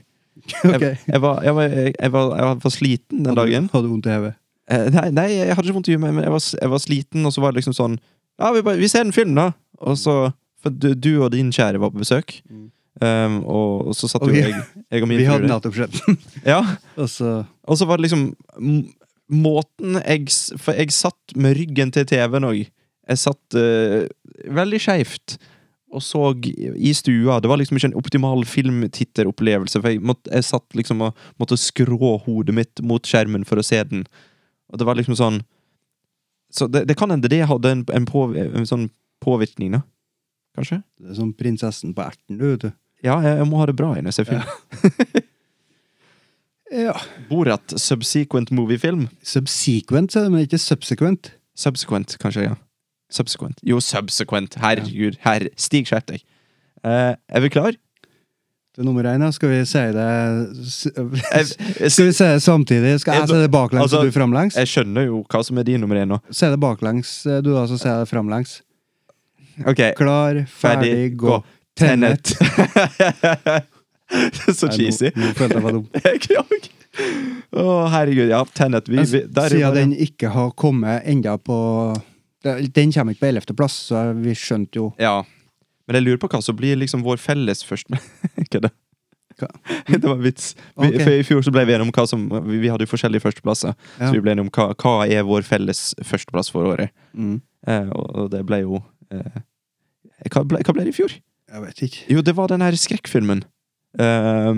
Jeg, jeg, var, jeg, var, jeg, var, jeg var sliten den dagen.
Hadde vondt i hodet.
Eh, nei, nei, jeg hadde ikke vondt i huet, men jeg var, jeg var sliten, og så var det liksom sånn Ja, vi, bare, vi ser en film, da! Og så For du, du og din kjære var på besøk. Um, og, og så satt
Mm.
jo
Og vi-
jeg, jeg og min
Vi hadde
frue
nettopp
ja,
Og så
Og så var det liksom m- Måten jeg s- For jeg satt med ryggen til TV-en òg. Jeg satt eh, veldig skeivt og så i stua. Det var liksom ikke en optimal filmtitteropplevelse. For jeg, måtte, jeg satt liksom og måtte skrå hodet mitt mot skjermen for å se den. Og det var liksom sånn Så det, det kan hende det hadde en, en, på, en sånn påvirkning, da. Kanskje?
det er som prinsessen på erten, du, vet du.
Ja, jeg, jeg må ha det bra når jeg ser film.
Ja.
Borat subsequent moviefilm.
Subsequent, sier de, men ikke subsequent.
Subsequent, kanskje, ja. Subsequent. Jo, subsequent. Herregud. Herre. Stig, skjerp deg. Eh, er vi klar?
Det er nummer én, da. Skal vi si det
Jeg, jeg,
Skal vi si det samtidig? Skal jeg si det baklengs
Altså,
og du framlengs?
jeg skjønner jo hva som er din nummer én nå.
Si det baklengs, du da, så sier jeg det framlengs.
Ok,
Klar, ferdig, gå. Tenet.
Så
Nei,
cheesy.
Nå, nå følte jeg meg dum.
Jeg òg. Å, herregud. Ja, Tenet. Vi, vi, der er jo
Siden
bare-
den ikke har kommet enda på Den kommer ikke på 11. plass, så vi skjønte jo
Ja. Men jeg lurer på hva som blir liksom vår felles først Kødda.
Hva?
Det var en vits. Vi,
Ok.
for I fjor så ble vi enige om hva som Vi, vi hadde jo forskjellige førsteplasser.
Ja.
Så vi ble enige om hva, hva er vår felles førsteplass for året.
Mm.
Eh, og, og det ble jo eh, hva, ble, hva ble det i fjor?
Jeg vet ikke.
Jo, det var den her skrekkfilmen. Uh,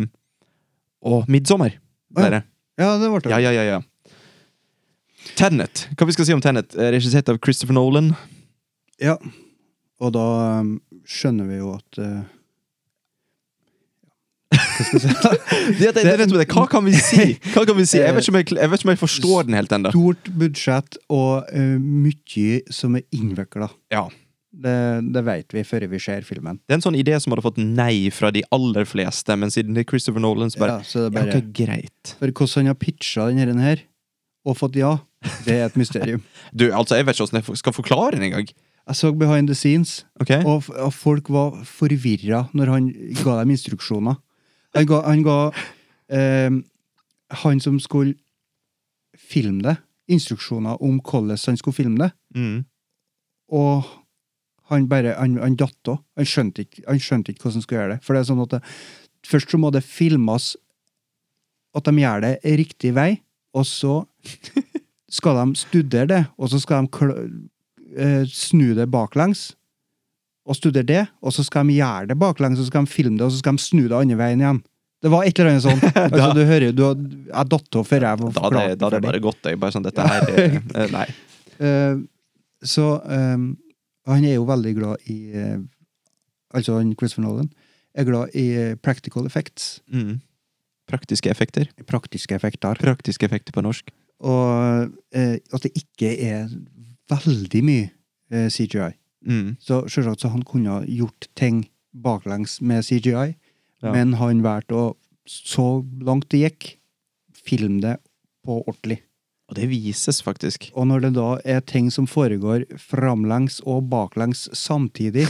og 'Midsommer'.
Å, ja.
Der,
Ja, det ble det.
ja, ja, ja, ja. Tenet. Hva vi skal si om Tenet? Eh, Regissert av Christopher Nolan.
Ja. Og da um, skjønner vi jo at eh,
Det, det, det, vet du det. Hva kan vi si? Hva kan vi si? Jeg, vet ikke om jeg, jeg vet ikke om jeg forstår den helt ennå.
Stort budsjett og eh, mye som er innvikla.
Ja.
Det, det vet vi før vi ser filmen.
Det er en sånn idé som hadde fått nei fra de aller fleste, men siden det er Christopher Nolan, så bare
ja, så det er
Ja,
bare
ok, greit.
For hvordan han har pitcha denne her, og fått ja, det er et mysterium.
Du, altså, jeg vet ikke hvordan jeg skal forklare den engang.
Jeg så behind the scenes,
Ok?
og, f- og folk var forvirra når han ga dem instruksjoner. Han ga, han, ga eh, han som skulle filme det, instruksjoner om hvordan han skulle filme det,
Mm.
og han bare, han, han datt òg. Han, skjønte ikke- han skjønte ikke hvordan han skulle gjøre det. For det er sånn at det, først så må det filmes at de gjør det riktig vei, og så skal de studere det, og så skal de kl- eh, snu det baklengs, og studere det, og så skal de gjøre det baklengs, og så skal de filme det, og så skal de snu det andre veien igjen. Det var et eller annet sånn. altså, du hører, jo, du, har- jeg datt av før jeg var
Da hadde da hadde jeg bare gått, jeg. Bare sånn, dette her er, eh, Nei.
Eh, så eh, han er jo veldig glad i eh, Altså han Christopher Nolan er glad i eh, practical effects.
Mm. Praktiske effekter.
Praktiske effekter.
Praktiske effekter på norsk.
Og eh, at det ikke er veldig mye eh, CGI.
Mm.
Så selvsagt så han kunne ha gjort ting baklengs med CGI,
Ja.
men han valgte å, så langt det gikk, filme det på ordentlig.
Og det vises faktisk.
Og når det da er ting som foregår framlengs og baklengs samtidig,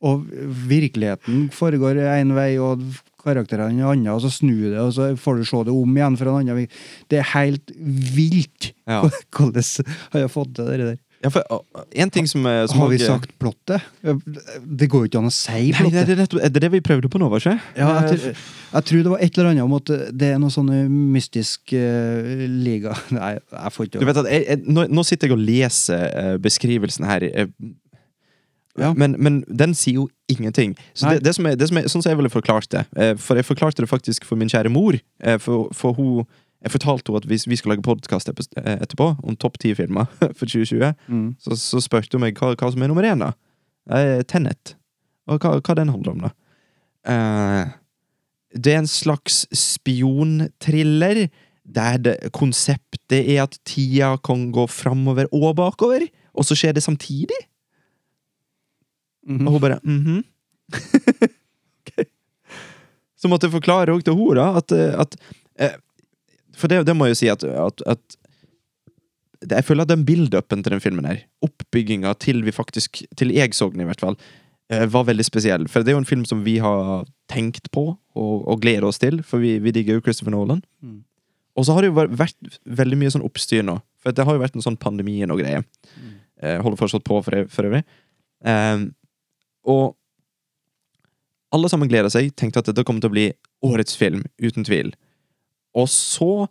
og virkeligheten foregår én vei, og karakterene en annen, og så snur det, og så får du se det om igjen fra en annen vei. Det er helt vilt
Ja.
hvordan har jeg fått til det der.
Ja, for uh, en ting som, eh, som
Har vi
også-
sagt plottet? Det går jo ikke an å si
Nei, nei,
plottet.
det er nettopp- er det det vi prøvde på nå, var ikke det?
Ja, jeg, tror, jeg tror det var et eller annet om at det er noe sånn mystisk eh, liga Nei, jeg får
Du
ikke
vet at jeg, jeg, nå, nå sitter jeg og leser eh, beskrivelsen her, eh,
Ja.
men, men den sier jo ingenting. Så
Nei.
det, det som er, det som er, sånn som jeg ville forklart det eh, For jeg forklarte det faktisk for min kjære mor. eh, for, for hun jeg fortalte henne at hvis vi skulle lage podkast etterpå om topp ti-filmer for 2020,
Mm.
så, så spurte hun meg hva, hva som er nummer én. da eh, Tenet. Og hva, hva den handler om, da. Eh, det er en slags spionthriller der det, konseptet er at tida kan gå framover og bakover, og så skjer det samtidig.
Mhm.
Og hun bare mhm. Ok. Så måtte jeg forklare òg til henne da, at, eh, at eh, For det, det må jeg jo si at, at, at det- jeg føler at den build-upen til den filmen her, oppbygginga til vi faktisk Til jeg så den, i hvert fall, eh, var veldig spesiell. For det er jo en film som vi har tenkt på og, og gleder oss til, for vi, vi digger jo Christopher Nolan.
Mm.
Og så har det jo vært- vært veldig mye sånn oppstyr nå, for det har jo vært en sånn pandemien og greier. Eh, holder fortsatt på, for, for øvrig. Ehm, og alle sammen gleder seg, tenkte at dette kommer til å bli årets film, uten tvil. Og så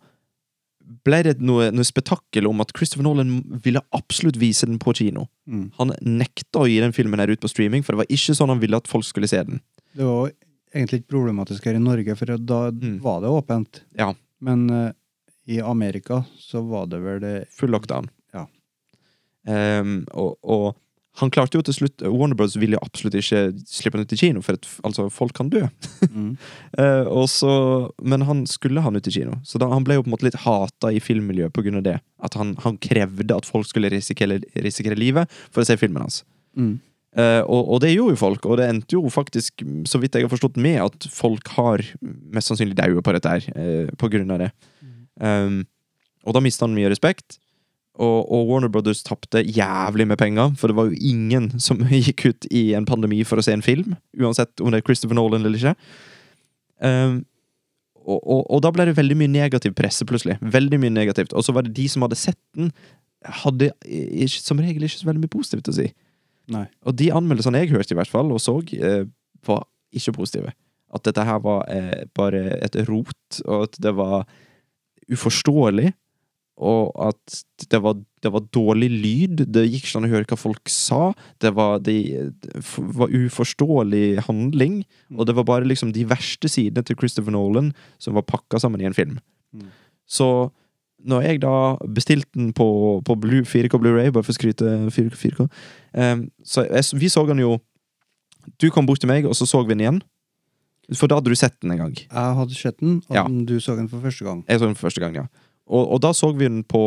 ble det noe, noe spetakkel om at Christopher Nolan ville absolutt vise den på kino.
Mm.
Han nekta å gi den filmen her ut på streaming, for det var ikke sånn han ville at folk skulle se den.
Det var jo egentlig ikke problematisk her i Norge, for da
Mm.
var det åpent.
Ja.
Men eh, i Amerika så var det vel det
Full lockdown.
Ja.
Ehm, og, og han klarte jo til slutt Warner Bros. ville jo absolutt ikke slippe den ut i kino, for at, altså, folk kan dø.
mm.
Eh, og så, men han skulle ha den ut i kino, så da, han ble jo på en måte litt hata i filmmiljøet pga. det. At han, han krevde at folk skulle risikere, risikere livet for å se filmen hans.
Mm.
Eh, og, og det gjorde jo folk, og det endte jo faktisk, så vidt jeg har forstått, med at folk har mest sannsynlig daua på dette her, eh, på grunn av det.
Mm.
Um, og da mista han mye respekt, og, og Warner Brothers tapte jævlig med penger, for det var jo ingen som gikk ut i en pandemi for å se en film, uansett om det er Christopher Nolan eller ikke. Ehm, og, og, og da ble det veldig mye negativ presse, plutselig. Veldig mye negativt. Og så var det de som hadde sett den, hadde i- ikke, som regel ikke så veldig mye positivt å si.
Nei.
Og de anmeldelsene jeg hørte, i hvert fall, og så, eh, var ikke positive. At dette her var eh, bare et rot, og at det var uforståelig. Og at det var, det var dårlig lyd. Det gikk ikke an å høre hva folk sa. Det var, det, f- var uforståelig handling. Og det var bare liksom de verste sidene til Christopher Nolan som var pakka sammen i en film.
Mm.
Så når jeg da bestilte den på, på Blu- 4K Blu-ray, bare for å skryte 4K, 4K Ehm, så jeg, vi så den jo Du kom bort til meg, og så så vi den igjen. For da hadde du sett den en gang.
Jeg hadde sett den, og
Ja.
du så den for første gang.
Jeg så den for første gang, ja. Og, og da så vi den på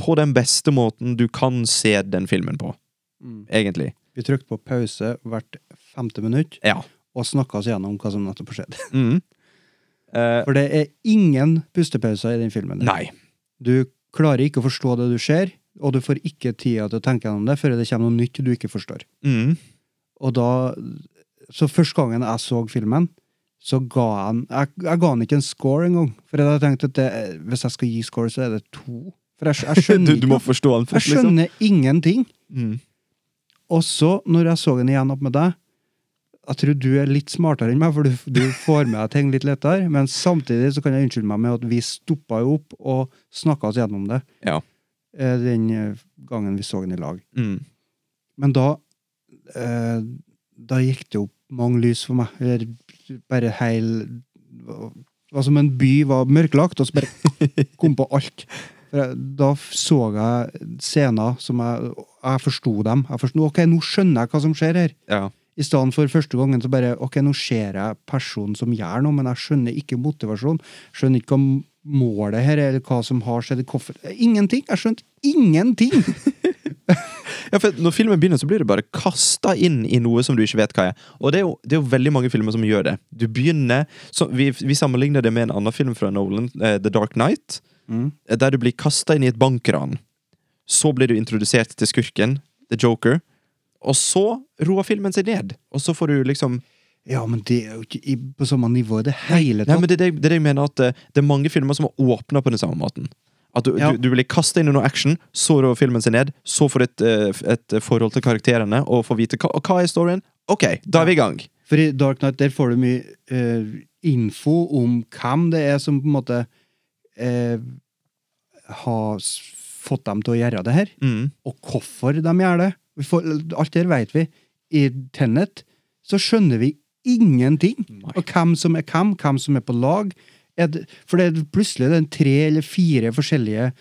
På den beste måten du kan se den filmen på, egentlig.
Vi trykte på pause hvert femte minutt
Ja.
og snakka oss gjennom hva som nettopp har skjedd.
Mm. Eh,
For det er ingen pustepauser i den filmen. der.
nei.
Du klarer ikke å forstå det du ser, og du får ikke tida til å tenke gjennom det før det kommer noe nytt du ikke forstår.
Mm.
Og da, Så første gangen jeg så filmen, så ga han Jeg, jeg ga han ikke en score engang. For jeg hadde tenkt at det, hvis jeg skal gi score, så er det to. For jeg, jeg
Du,
skjønner
du må
ikke.
forstå den
Jeg
først, liksom.
skjønner ingenting.
Mm.
Og så, når jeg så den igjen opp med deg Jeg tror du er litt smartere enn meg, for du, du får med deg ting litt lettere. Men samtidig så kan jeg unnskylde meg med at vi stoppa jo opp og snakka oss gjennom det
Ja.
eh, den eh, gangen vi så den i lag.
Mm.
Men da eh, Da gikk det opp mange lys for meg. Eller bare heil Det var som en by var mørklagt, og så bare kom på alt. For jeg, da f- så jeg scener som jeg Jeg forsto dem. Jeg forsto, ok, nå skjønner jeg hva som skjer her.
Ja.
I stedet for første gangen så bare Ok, nå ser jeg personen som gjør noe, men jeg skjønner ikke motivasjonen. Skjønner ikke hva målet her er, eller hva som har skjedd. Hvorfor Ingenting! Jeg skjønte ingenting!
Ja, for Når filmen begynner, så blir du bare kasta inn i noe som du ikke vet hva er. Og det er jo, det er jo veldig mange filmer som gjør det. Du begynner så vi, vi sammenligner det med en annen film fra Nolan, eh, The Dark Knight, eh, der du blir kasta inn i et bankran. Så blir du introdusert til skurken, The Joker, og så roer filmen seg ned. Og så får du liksom
Ja, men det er jo ikke i, på samme nivå i det hele
Nei,
tatt.
men det, er det, jeg- det er det jeg mener at eh, det er mange filmer som har åpna på den samme måten. At du,
Ja.
du, du blir kasta inn i noe action, så rår filmen seg ned, så får du et, eh, et forhold til karakterene og får vite hva, og hva er storyen. Ok, da er vi i gang.
For i Dark Knight der får du mye eh, info om hvem det er som på en måte eh, har s- fått dem til å gjøre det her,
Mm.
og hvorfor de gjør det. Vi får, alt det her vet vi. I Tenet så skjønner vi ingenting. Og hvem som er hvem, hvem som er på lag. Er det, for det er plutselig det er tre eller fire forskjellige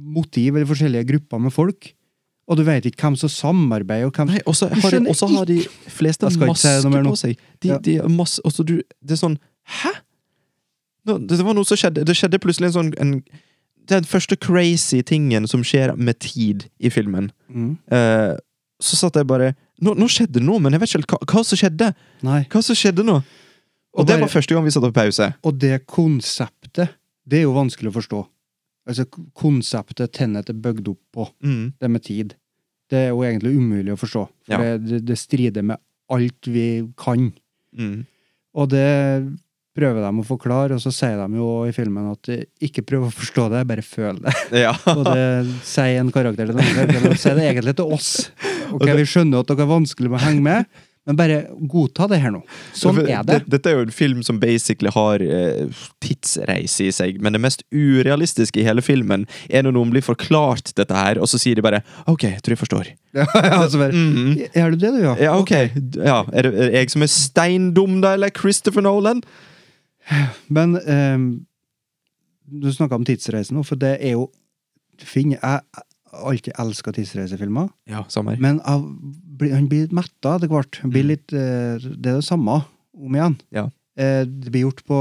motiv eller forskjellige grupper med folk. Og du vet ikke hvem som samarbeider, og hvem
Nei, og så
Du
har, de-
skjønner
og så har de fleste
Jeg skal ikke si
maske
noe mer nå.
på seg. De,
Ja.
de har masse, og så du, det er sånn Hæ?! Nå, det var noe som skjedde Det skjedde plutselig en sånn en, Den første crazy tingen som skjer med tid i filmen.
Mm.
Eh, så satt jeg bare nå, nå skjedde det noe, men jeg vet ikke helt hva, hva som skjedde.
Nei.
Hva som skjedde nå? Og,
Og
det
bare-
var første gang vi satt på pause.
Og det konseptet, det er jo vanskelig å forstå. Altså, k- konseptet Tennet er bygd opp på,
Mm.
det med tid, det er jo egentlig umulig å forstå. For
Ja.
det- det, det strider med alt vi kan.
Mm.
Og det prøver de å forklare, og så sier de jo i filmen at eh, ikke prøv å forstå det, bare føl det.
Ja.
Og det sier en karakter til den andre, men de sier det egentlig til oss. Ok, vi skjønner at dere er vanskelig med å henge med, men bare godta det her nå. Sånn
For
er det.
Dette er jo en film som basically har eh, tidsreise i seg, men det mest urealistiske i hele filmen er når noen blir forklart dette her, og så sier de bare OK, jeg tror jeg forstår.
Ja, altså bare, Er du det, du, ja?
Mm. Ja, ok. Ja, er det er det jeg som er steindum, da, eller Christopher Nolan?
Men ehm, du snakka om tidsreise nå, for det er jo Finn, jeg har alltid elska tidsreisefilmer,
Ja, samme her.
men av, blir- han blir metta etter hvert. Han blir litt, eh, det er det samme om igjen.
Mm. Ja.
Eh, det blir gjort på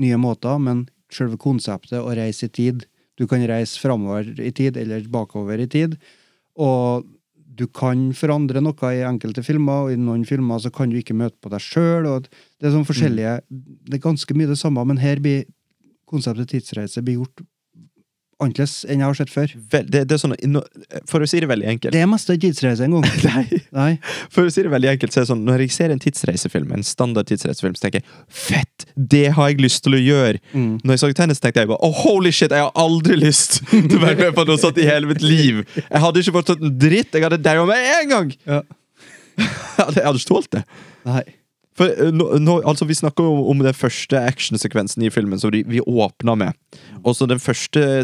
nye måter, men selve konseptet å reise i tid Du kan reise framover i tid eller bakover i tid, og du kan forandre noe i enkelte filmer, og i noen filmer så kan du ikke møte på deg sjøl. Det er sånn
Mm.
forskjellige Det er ganske mye det samme, men her blir konseptet tidsreise blir gjort annerledes enn jeg har sett før.
Vel, det, det er sånn, nå- For å si det veldig enkelt
Det er mest en tidsreise en gang.
Nei.
Nei.
For å si det veldig enkelt, så er det sånn Når jeg ser en tidsreisefilm, en standard tidsreisefilm, så tenker jeg Fett! Det har jeg lyst til å gjøre! Når jeg så tennis, tenkte jeg bare oh, Holy shit, jeg har aldri lyst til å være med på noe sånt i hele mitt liv! Jeg hadde ikke forstått en dritt! Jeg hadde daua med en gang!
Ja.
Jeg hadde jeg hadde ikke tålt det.
Nei.
For eh, nå, nå, altså Vi snakker jo om den første actionsekvensen i filmen som de, vi åpna med. Også den første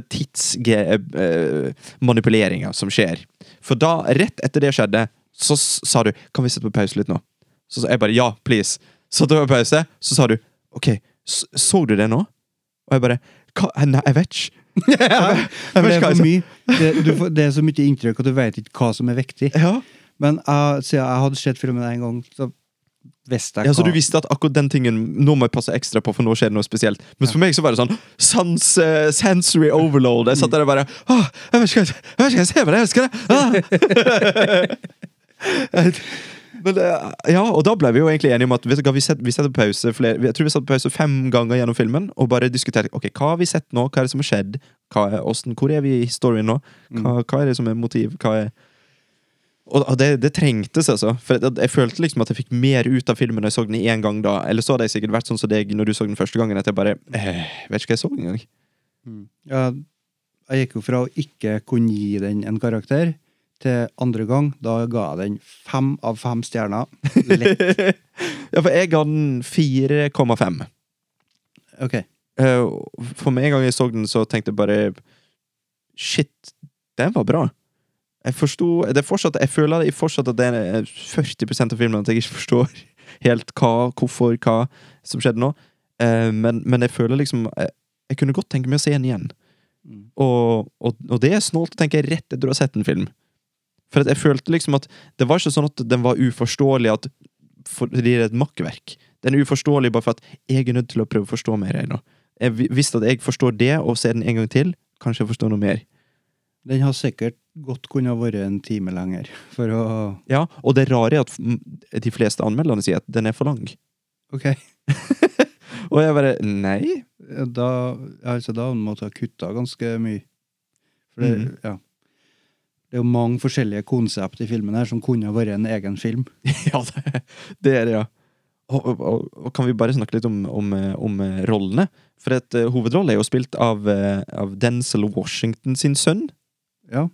tidsmanipuleringa som skjer. For da, rett etter det skjedde, så s- sa du Kan vi sette på pause litt nå? Så sa jeg bare ja, please. Satte på pause, så sa du OK, s- så du det nå? Og jeg bare Hva? Nei, jeg vet ikke. Jeg
Det
vet ikke
er,
hva jeg
for
sa.
mye, det, du får, det er så mye inntrykk at du vet ikke hva som er viktig.
Ja.
Men jeg, siden jeg hadde sett filmen en gang, så visste jeg
ja, Så du
hva
visste at akkurat den tingen Nå må jeg passe ekstra på, for nå skjer det noe spesielt. Men for meg så var det sånn sans, eh, sensory overload. Jeg satt der og bare Åh, jeg vet ikke hva jeg- jeg vet ikke hva jeg ser, men jeg elsker det! Ah. Men, eh, ja, og da ble vi jo egentlig enige om at vet du hva, vi, set, vi setter pause flere, Jeg tror vi satte pause fem ganger gjennom filmen og bare diskuterte Ok, hva har vi sett nå, hva er det som har skjedd, hva er, hvordan, hvor er vi i historien nå, hva, hva er det som er motiv, hva er og og det, det trengtes, altså. For jeg, jeg følte liksom at jeg fikk mer ut av filmen når jeg så den i en gang da. Eller så hadde jeg sikkert vært sånn som deg når du så den første gangen, at jeg bare eh, vet ikke hva jeg så engang.
ja, Jeg gikk jo fra å ikke kunne gi den en karakter, til andre gang. Da ga jeg den fem av fem stjerner. Lett.
Ja, for jeg ga den 4,5.
Ok.
Eh, For med en gang jeg så den, så tenkte jeg bare Shit, den var bra. Jeg forsto det er fortsatt, Jeg føler det fortsatt at det er 40 av filmen at jeg ikke forstår helt hva, hvorfor, hva som skjedde nå. Eh, Men, men jeg føler liksom Jeg, jeg kunne godt tenke meg å se den igjen. Og, og, og det er snålt å tenke rett etter du har sett en film. For at jeg følte liksom at det var ikke sånn at den var uforståelig at, fordi det er et makkverk. Den er uforståelig bare for at jeg er nødt til å prøve å forstå mer ennå. Jeg vi- visste at jeg forstår det, og ser den en gang til, kanskje jeg forstår noe mer.
Den har sikkert godt kunne ha vært en time lenger. For å
Ja, Og det rare er at mm, de fleste anmelderne sier at den er for lang.
Ok.
Og jeg bare nei.
Da, altså, da måtte jeg ha kutta ganske mye. For det,
Mhm.
ja. det er jo mange forskjellige konsept i filmen her som kunne ha vært en egen film.
ja, det, det er det, ja. Og, og, og, og kan vi bare snakke litt om, om, eh, om eh, rollene? For et uh, hovedrolle er jo spilt av, eh, av Denzil Washington sin sønn.
Ja.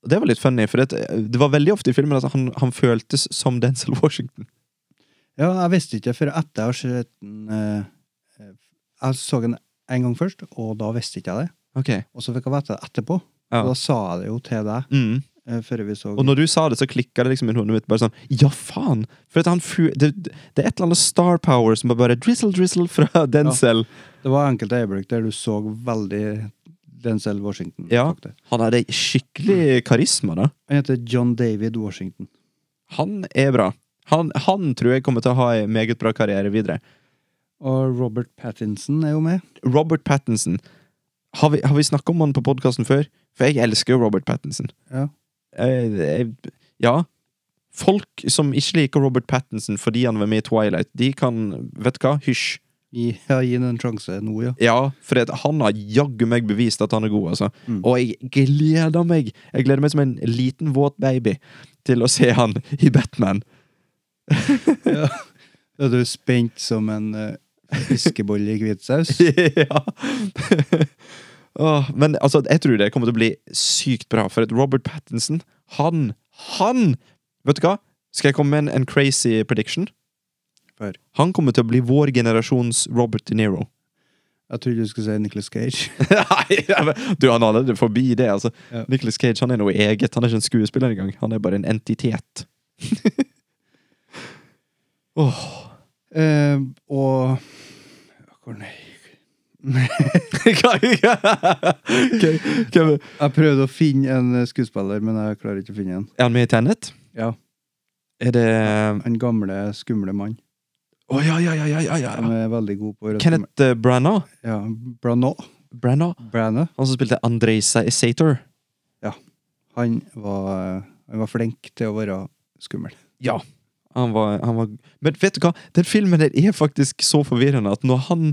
Og Det var litt funny, for at, eh, det var veldig ofte i filmen at han, han føltes som Denzil Washington.
Ja, jeg visste ikke før etter jeg har sett den eh, eh, Jeg så den en gang først, og da visste ikke jeg det.
Ok.
Og så fikk jeg vite det etterpå.
Ja.
Og da sa jeg det jo til deg
Mm.
eh, før vi så
Og når du sa det, så klikka det liksom i hodet mitt. Bare sånn, ja faen! For at han fu det, det er et eller annet star power som bare drizzle, drizzle fra Denzel.
Det var enkelte øyeblikk der du så veldig Denzel Washington.
Ja.
faktisk.
Han hadde skikkelig karisma, da.
Han heter John David Washington.
Han er bra. Han, han tror jeg kommer til å ha en meget bra karriere videre.
Og Robert Pattinson er jo med.
Robert Pattinson. Har vi, har vi snakka om han på podkasten før? For jeg elsker jo Robert Pattinson.
Ja.
Eh, jeg, ja. Folk som ikke liker Robert Pattinson fordi han var med i Twilight, de kan Vet du hva? Hysj.
Gi, ja, gi ham en sjanse nå, ja.
Ja, for at han har jaggu meg bevist at han er god, altså. Og jeg gleder meg! Jeg gleder meg som en liten, våt baby til å se han i Batman.
Da er du spent som en eh, fiskebolle i hvit saus.
ja. Åh, men altså, jeg tror det kommer til å bli sykt bra, for at Robert Pattinson, han Han! Vet du hva? Skal jeg komme med en, en crazy prediction?
Hør.
Han kommer til å bli vår generasjons Robert De Niro.
Jeg trodde du skulle si Nicholas Cage.
Nei, ja, men- du, han er allerede forbi det. altså.
Ja.
Nicholas Cage han er noe eget. Han er ikke en skuespiller engang. Han er bare en entitet. Åh.
Eh, og Hvor nei?
Hva- Hvem- hvem-
Jeg prøvde å finne en eh, skuespiller, men jeg klarer ikke å finne en.
Er han med i Tenet?
Ja.
Er det
En gamle, skumle mann
Å ja, ja, ja, ja, ja, ja.
som er veldig god på å røste med-
Kenneth eh, Branagh.
Ja, Branagh.
Branagh.
Branagh.
Han som spilte Andrej Sa- Sator.
Han var, eh, han var flink til å være skummel.
Ja. Han var, han var Men vet du hva? Den filmen der er faktisk så forvirrende at når han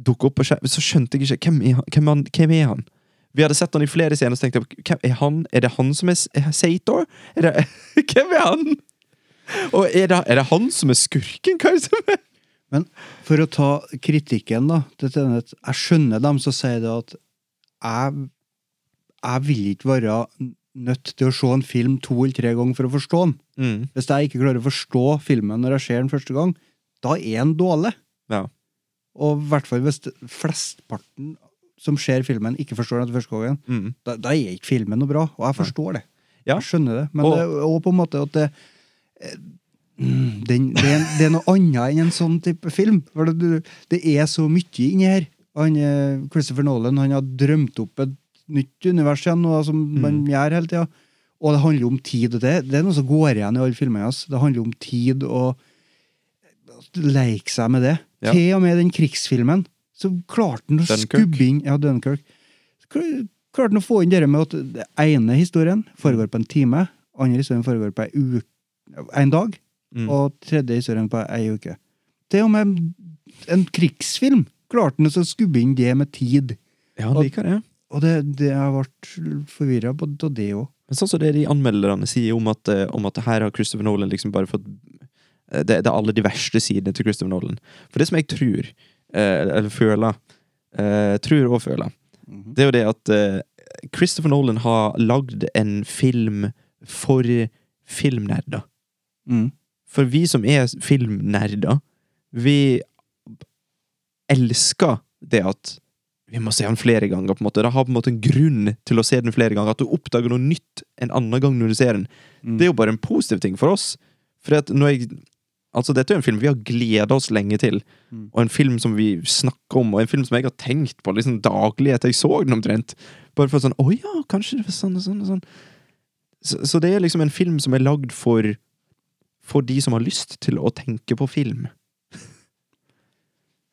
dukket opp på skjermen, så skjønte jeg ikke hvem er han, hvem er han, hvem er han? Vi hadde sett han i flere scener, så tenkte jeg hvem er, han? er det han som er S- er Sator? Er det, hvem er han? Og er det, er det han som er skurken? Hva er det som er?
Men for å ta kritikken da, til Tenet, jeg skjønner dem som sier det at jeg, jeg vil ikke være nødt til å se en film to eller tre ganger for å forstå den.
Mm,
Hvis jeg ikke klarer å forstå filmen når jeg ser den første gang, da er den dårlig.
ja.
Og i hvert fall hvis det- flestparten som ser filmen, ikke forstår den etter første gangen,
Mm.
da, da er ikke filmen noe bra. Og jeg forstår det.
Ja.
Jeg skjønner det. Men
Og-
det er også på en måte at det eh, mm, den, det, er, det er noe annet enn en sånn type film. For det, du- det er så mye inni her. Han, eh, Christopher Nolan han har drømt opp et nytt univers igjen, noe som
Mm.
man gjør hele tida. Og det handler om tid. og Det, det er noe som går igjen i alle filmene hans. Det handler om tid og leke seg med det.
Ja.
Til og med den krigsfilmen, så klarte han å
Dunkirk.
skubbe inn Ja, Dunkirk. Kl- Klarte han å få inn det med at den ene historien foregår på en time, andre historien foregår på ei uke, en dag,
Mm.
og tredje historien på ei uke. Til og med en krigsfilm klarte han å skubbe inn det med tid.
ja, han liker det.
Og det, det jeg ble forvirra på av det òg.
Men sånn som det de anmelderne sier om at, eh, om at her har Christopher Nolan liksom bare fått eh, det, det er alle de verste sidene til Christopher Nolan. For det som jeg tror, eh, eller føler, eh, tror og føler, det er jo det at eh, Christopher Nolan har lagd en film for filmnerder.
Mm.
For vi som er filmnerder, vi elsker det at vi må se den flere ganger. på en måte. Det har på en måte en grunn til å se den flere ganger. At du oppdager noe nytt en annen gang når du ser den. Det er jo bare en positiv ting for oss. For at når jeg, altså dette er jo en film vi har gleda oss lenge til. Og en film som vi snakker om, og en film som jeg har tenkt på liksom daglig etter jeg så den omtrent. Bare for sånn Å ja, kanskje det var sånn og sånn og sånn. Så, så det er liksom en film som er lagd for for de som har lyst til å tenke på film.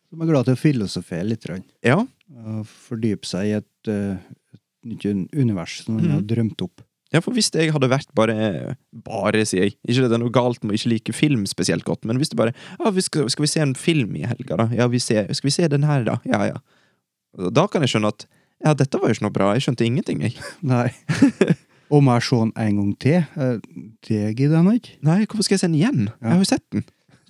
Som er glad til å filosofere litt. grann.
Ja.
Og fordype seg i et, eh, et nytt un- univers som
Mm.
han har drømt opp.
Ja, for hvis jeg hadde vært bare Bare, sier jeg. Ikke at det er noe galt med å ikke like film spesielt godt, men hvis det bare ja, vi skal, skal vi se en film i helga, da? Ja, vi ser, skal vi se den her, da? Ja, ja. Da kan jeg skjønne at ja, dette var jo ikke noe bra. Jeg skjønte ingenting, jeg.
Nei. Om jeg så den en gang til, eh, det gidder jeg nå ikke.
Nei, hvorfor skal jeg se den igjen? Jeg har jo sett den.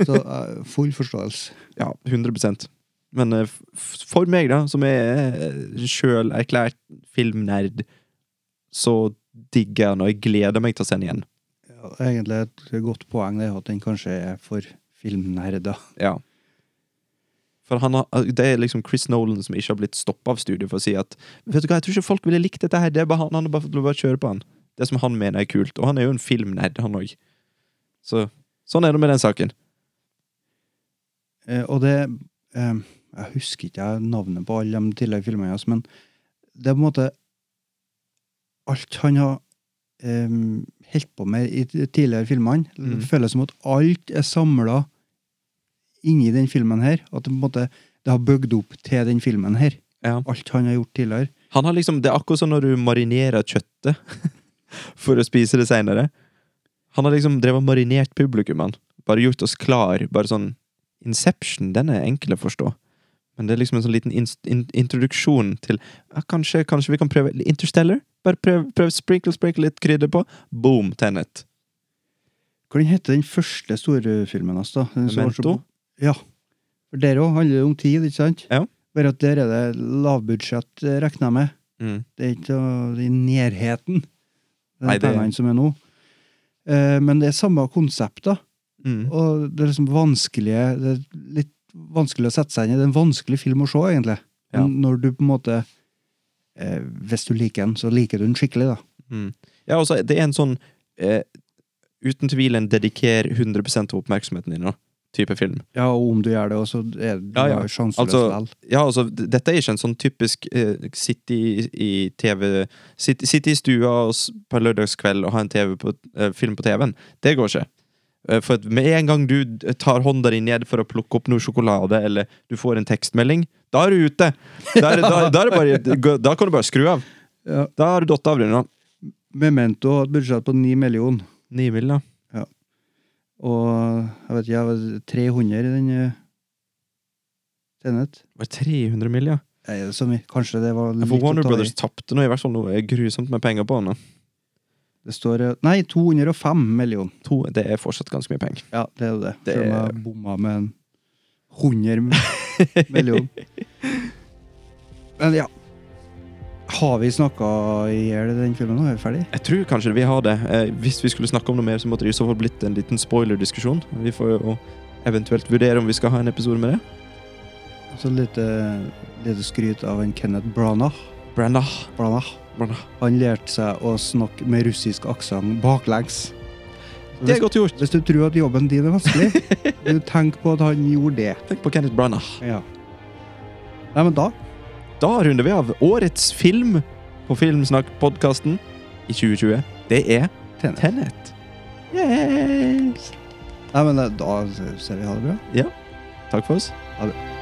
Så eh, full forståelse.
Ja, 100 Men eh, f- for meg, da, som er eh, sjøl erklært filmnerd, så digger jeg den, og jeg gleder meg til å se den igjen.
Ja, Egentlig et godt poeng det er at den kanskje er for filmnerder.
Ja. For han har, det er liksom Chris Nolan som ikke har blitt stoppa av studio for å si at Vet du hva, jeg tror ikke folk ville likt dette her. Det er bare han, han har bare fått lov å kjøre på han. Det som han mener er kult. Og han er jo en filmnerd, han òg. Så sånn er det med den saken.
Eh, Og det eh, Jeg husker ikke jeg navnet på alle de tidligere filmene hans, men det er på en måte Alt han har eh, holdt på med i de tidligere filmene,
Mm.
det føles som at alt er samla inni den filmen her. At det på en måte det har bygd opp til den filmen her.
Ja.
Alt han har gjort tidligere.
Han har liksom, Det er akkurat sånn når du marinerer kjøttet for å spise det seinere. Han har liksom drevet og marinert publikum, han. Bare gjort oss klar. Bare sånn Inception, den er enkel å forstå. Men det er liksom en sånn liten inst- in introduksjon til ja, kanskje, kanskje vi kan prøve Interstellar? Bare prøv, prøv sprinkle, sprinkle litt krydder på. Boom, Tenet.
Hva den heter den første store filmen hans, da? Den som var så-
Memento?
Ja. For Der òg handler det om tid, ikke sant?
Ja.
Bare at der er det lavbudsjett, eh, regner jeg med.
Mm.
Det er ikke noe- i nærheten.
Nei,
Den
det-
pengene som er nå. Eh, Men det er samme konsept, da.
Mm.
Og det er liksom vanskelige Det er litt vanskelig å sette seg inn i. Det er en vanskelig film å se, egentlig.
Ja.
Men Når du på en måte eh, Hvis du liker den, så liker du den skikkelig, da.
Mm. Ja, altså, det er en sånn eh, Uten tvil en dediker 100 av oppmerksomheten din nå. Type film.
Ja, og om du gjør det også, så er det
Ja, ja.
jo sjanseløst
Altså,
vel.
ja, altså, d- dette er ikke en sånn typisk eh, sitte i, i TV sitte, sitte i stua og s- på en lørdagskveld og ha en TV på, eh, film på TV-en. Det går ikke. Eh, for at med en gang du d- tar hånda di ned for å plukke opp noe sjokolade, eller du får en tekstmelding, da er du ute! Da, er, da, da, er det bare, gå- da kan du bare skru av.
Ja.
Da har du datt av, Rune.
Memento har et budsjett på 9 millioner,
Ni mil, da.
og jeg vet ikke, jeg var 300 i den eh, Tenet.
Var det 300 mil, ja?
Er det så mye? Kanskje det var
For
litt
Warner
å ta i.
Brothers tapte nå i hvert fall noe grusomt med penger på den.
Det står eh, Nei, 205 million.
To, det er fortsatt ganske mye penger.
Ja, det er jo det.
Det
Selv om
er-
jeg bomma med en 100 million. Men ja. Har vi snakka i hjel i den filmen? nå? Er vi ferdig?
Jeg tror kanskje vi har det. Eh, hvis vi skulle snakke om noe mer, så måtte det i så fall blitt en liten spoiler-diskusjon. Vi får jo eventuelt vurdere om vi skal ha en episode med det.
Så Altså, lite, lite skryt av en Kenneth Branagh.
Branda.
Branagh.
Branda.
Han lærte seg å snakke med russisk aksent baklengs. Så
Det er
Hvis,
godt gjort.
hvis du tror at jobben din er vanskelig, du tenk på at han gjorde det.
Tenk på Kenneth Branda.
Ja. Nei, men da
Da runder vi av årets film på Filmsnakk-podkasten i 2020. Det er
Tenet.
Tenet. Yes.
Nei, men eh, da sier vi ha det bra.
Takk for oss.
Ha det.